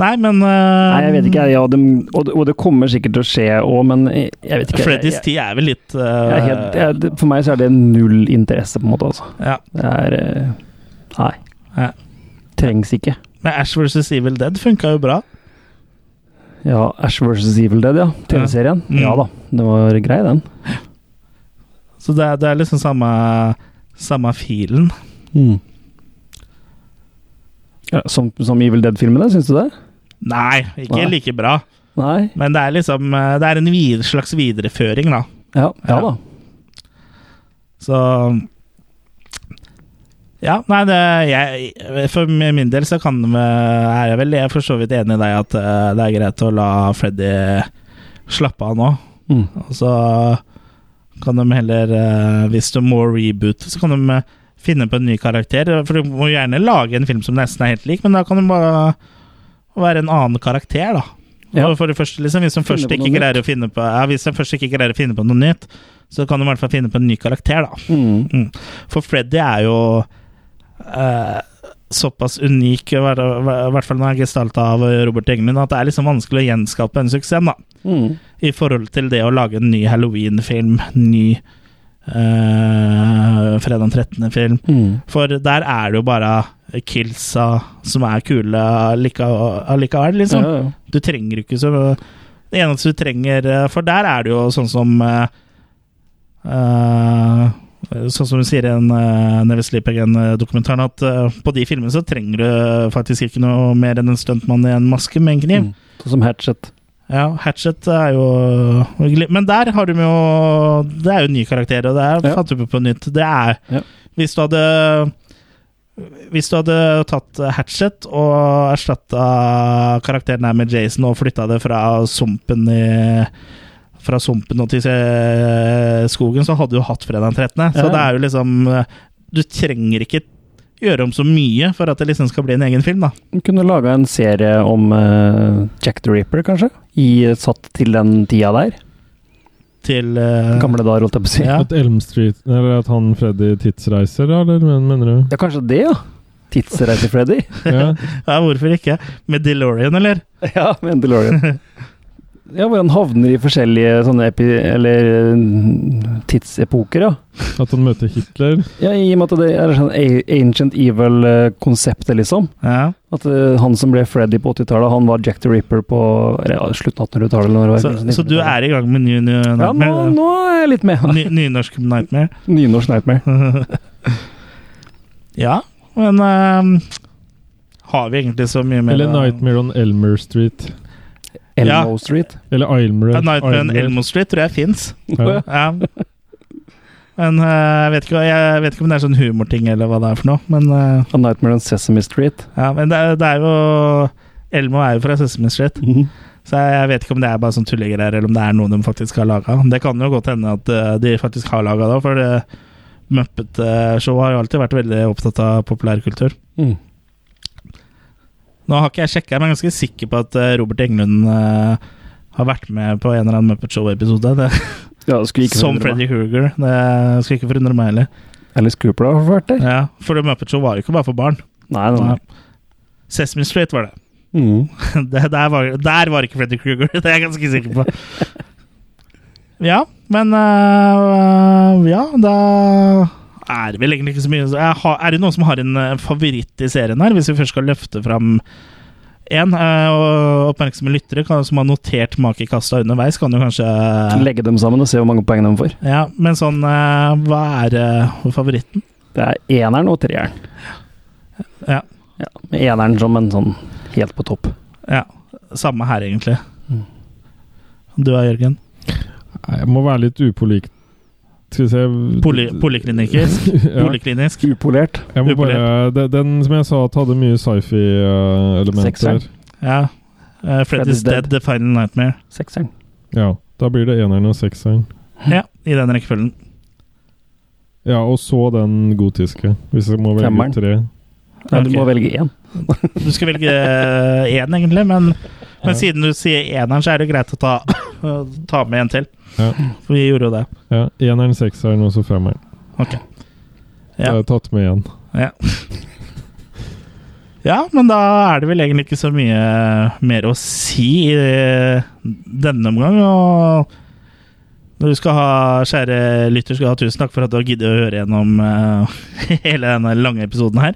Nei, men eh, Nei, jeg vet ikke. Ja, de, og, det- og det kommer sikkert til å skje òg, men jeg, jeg vet ikke. Freddy's jeg, jeg, tid er vel litt eh, jeg, er helt, jeg, det- For meg så er det null interesse, på en måte. Altså. ja. Det er eh, Nei. Ja. Trengs ikke. Men Ash vs. Evil Dead funka jo bra. Ja, Ash vs. Evil Dead, ja. TV-serien. Ja. Mm. Ja da, det var grei, den. Så det er, det er liksom samme Samme filen. Mm. Ja, som, som Evil Dead-filmene, syns du det? Nei, ikke Nei. like bra. Nei? Men det er liksom eh, Det er en vid, slags videreføring, da. Ja, ja, Ja. da. Så Ja, nei, det jeg, For min del så kan Er jeg vel jeg er for så vidt enig i deg at eh, det er greit å la Freddy slappe av nå. Mm. Og så kan de heller, eh, hvis de må reboote, så kan de eh, finne på en ny karakter. For du må gjerne lage en film som nesten er helt lik, men da kan de bare være en annen karakter, da. Ja. Og For det første, liksom, hvis de Finne først på noe ikke greier å finne på ja, Hvis de først ikke greier å finne på noe nytt, så kan de i hvert fall finne på en ny karakter, da. Mm. Mm. For Freddy er jo eh, såpass unik, i hvert i hvert fall når han er gestalta av Robert Englund, at det er liksom vanskelig å gjenskape en suksess, da Mm. i forhold til det å lage en ny Halloween-film, ny eh, fredag den 13.-film. Mm. For der er det jo bare killsa som er kule allike- allikevel, liksom. Ja, ja. Du trenger ikke så Det eneste du trenger eh, For der er det jo sånn som eh, eh, Sånn som du sier i en eh, Never Sleep Again-dokumentaren, at eh, på de filmene så trenger du faktisk ikke noe mer enn en stuntmann i en maske med en kniv. Mm. Sånn som Hatchet. Ja, Hatchet er jo Men der har de jo Det er jo en ny karakter, og det er Ja. fant du på på nytt. Det er Ja. Hvis du hadde Hvis du hadde tatt Hatchet og erstatta karakteren her med Jason og flytta det fra sumpen i fra sumpen og til eh, skogen, så hadde du hatt fredag den 13. Så Ja. det er jo liksom Du trenger ikke gjøre om så mye for at det liksom skal bli en egen film, da. Du kunne laga en serie om eh, Jack the Ripper, kanskje? I, eh, satt til den tida der? Til eh, Gamle dager, holdt jeg på å si. Ja. At Elm Street Eller at han Freddy tidsreiser, da, eller men- mener du? Ja, kanskje det, ja. Tidsreise-Freddy? Ja. Ja, hvorfor ikke? Med DeLorean, eller? ja, med en DeLorean. Ja, hvor han havner i forskjellige sånne epi... Eller mm, tidsepoker, ja. At han møter Hitler? Ja, I og med at det er sånn a- ancient evil-konseptet, liksom. Ja. At eh, han som ble Freddy på 80-tallet, han var Jack the Ripper på eller, ja, slutten av 1800-tallet. eller når det Så, var, så du er i gang med New, new Ja, nå, Nightmare? nå er jeg litt med. Ny, nynorsk Nightmare? Nynorsk Nightmare. ja, men ehm, har vi egentlig så mye mer Eller eh, å- Nightmare on Elmer Street? Elmo Street. Eller Ilmer? Ja, Nightmare on Elmo Street tror jeg fins. Ja. Ja. Men eh, jeg, vet ikke, jeg vet ikke om det er sånn humorting eller hva det er for noe. Men, eh, A Nightmare on Sesame Street. ja, men det, er, det er jo Elmo er jo fra Sesame Street. Så jeg, jeg vet ikke om det er bare sånn tullegreier, eller om det er noe de faktisk har laga. Det kan jo godt hende at eh, de faktisk har laga det, for eh, det Muppet-showet har jo alltid vært veldig opptatt av populærkultur. Mm. Nå har ikke jeg sjekka, men jeg er ganske sikker på at eh, Robert Englund eh, har vært med på en eller annen Muppet Show-episode. Det- Ja, det skulle ikke Som forundre Freddy meg. Hooger. Det skulle ikke forundre meg heller. Alice Cooper har vært der. Ja, for det Muppet Show var jo ikke bare for barn. Nei, nei, nei. Sesame Street var det. Mm. det der, var, der var ikke Freddy Krueger, det er jeg ganske sikker på. Ja, men øh, Ja, da er det vel egentlig ikke så mye jeg har, Er det noen som har en øh, favoritt i serien her, hvis vi først skal løfte fram én? Øh, og oppmerksomme lyttere kan, som har notert makekasta underveis, kan jo kanskje Legge dem sammen og se hvor mange poeng de får. Ja, men sånn øh, Hva er øh, favoritten? Det er eneren og treeren. Ja. Ja, med eneren som en sånn helt på topp. ja. Samme her, egentlig. Mm. Du da, Jørgen? Nei, Jeg må være litt upolik... Skal vi se Poly poliklinikisk? Ja. Poliklinisk? Upolert. Jeg må Upolert. bare, de- den som jeg sa at hadde mye eh, sci-fi-elementer. Sekseren. Ja. Uh, Freddy's Freddy's Dead, Dead. The Final Nightmare. Sekseren. Ja, da blir det eneren og sekseren. Ja, I den rekkefølgen. Ja, og så den gotiske, hvis jeg må velge Femmeren. tre. Ja, du Ok. må velge én. Du skal velge eh, én, egentlig, men, men siden du sier eneren, så er det greit å ta, å ta med en til. Ja. For vi gjorde jo det. Ja, eneren, sekseren og så femmeren. Ok. Jeg Ja. har tatt med igjen. Ja. ja, men da er det vel egentlig ikke så mye mer å si i denne omgang. Og når du skal ha, kjære lytter, skal du ha tusen takk for at du har giddet å høre gjennom eh, hele denne lange episoden her.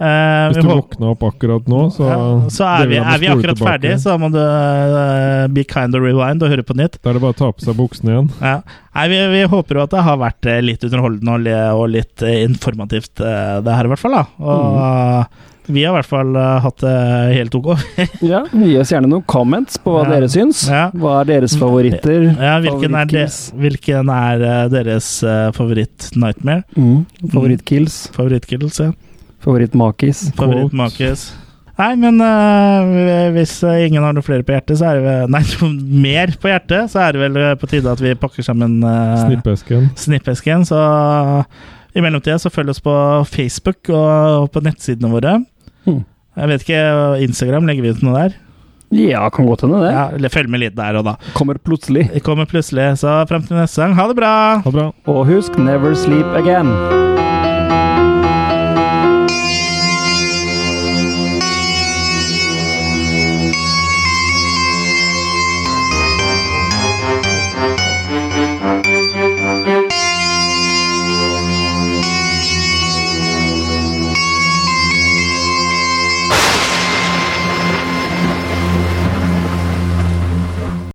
Eh, Hvis vi du håper- våkna opp akkurat nå, så Ja, så er vi, det vil jeg må er vi spole akkurat tilbake. ferdige, så da må du eh, be kind of rewind og høre på nytt. Da er det bare å ta på seg buksene igjen. Ja. Nei, vi, vi håper jo at det har vært eh, litt underholdende og, li- og litt eh, informativt, eh, det her i hvert fall. da Og Mm. eh, vi har i hvert fall eh, hatt det helt ok. Ja, Gi oss gjerne noen comments på hva Ja. dere syns. Ja. Mm. Hva er deres favoritter? Ja, hvilken, er det, Favorittkills? hvilken er eh, deres eh, favoritt-nightmare? Mm. Favorittkills? Favorittkills? Ja. Favorittmakis? Favorittmakis? Nei, men eh, hvis eh, ingen har noe flere på hjertet, så er det vel- Nei, noe mer på hjertet, så er det vel eh, på tide at vi pakker sammen eh, Snippesken. snippesken. Så i mellomtida så følg oss på Facebook og på nettsidene våre. Mm. Jeg vet ikke, Instagram, legger vi ut noe der? Ja, kan godt hende det. Ja, eller Følg med litt der og da. Kommer plutselig. Det kommer plutselig, så fram til neste gang. Ha det bra! Ha det bra. Og husk, never sleep again.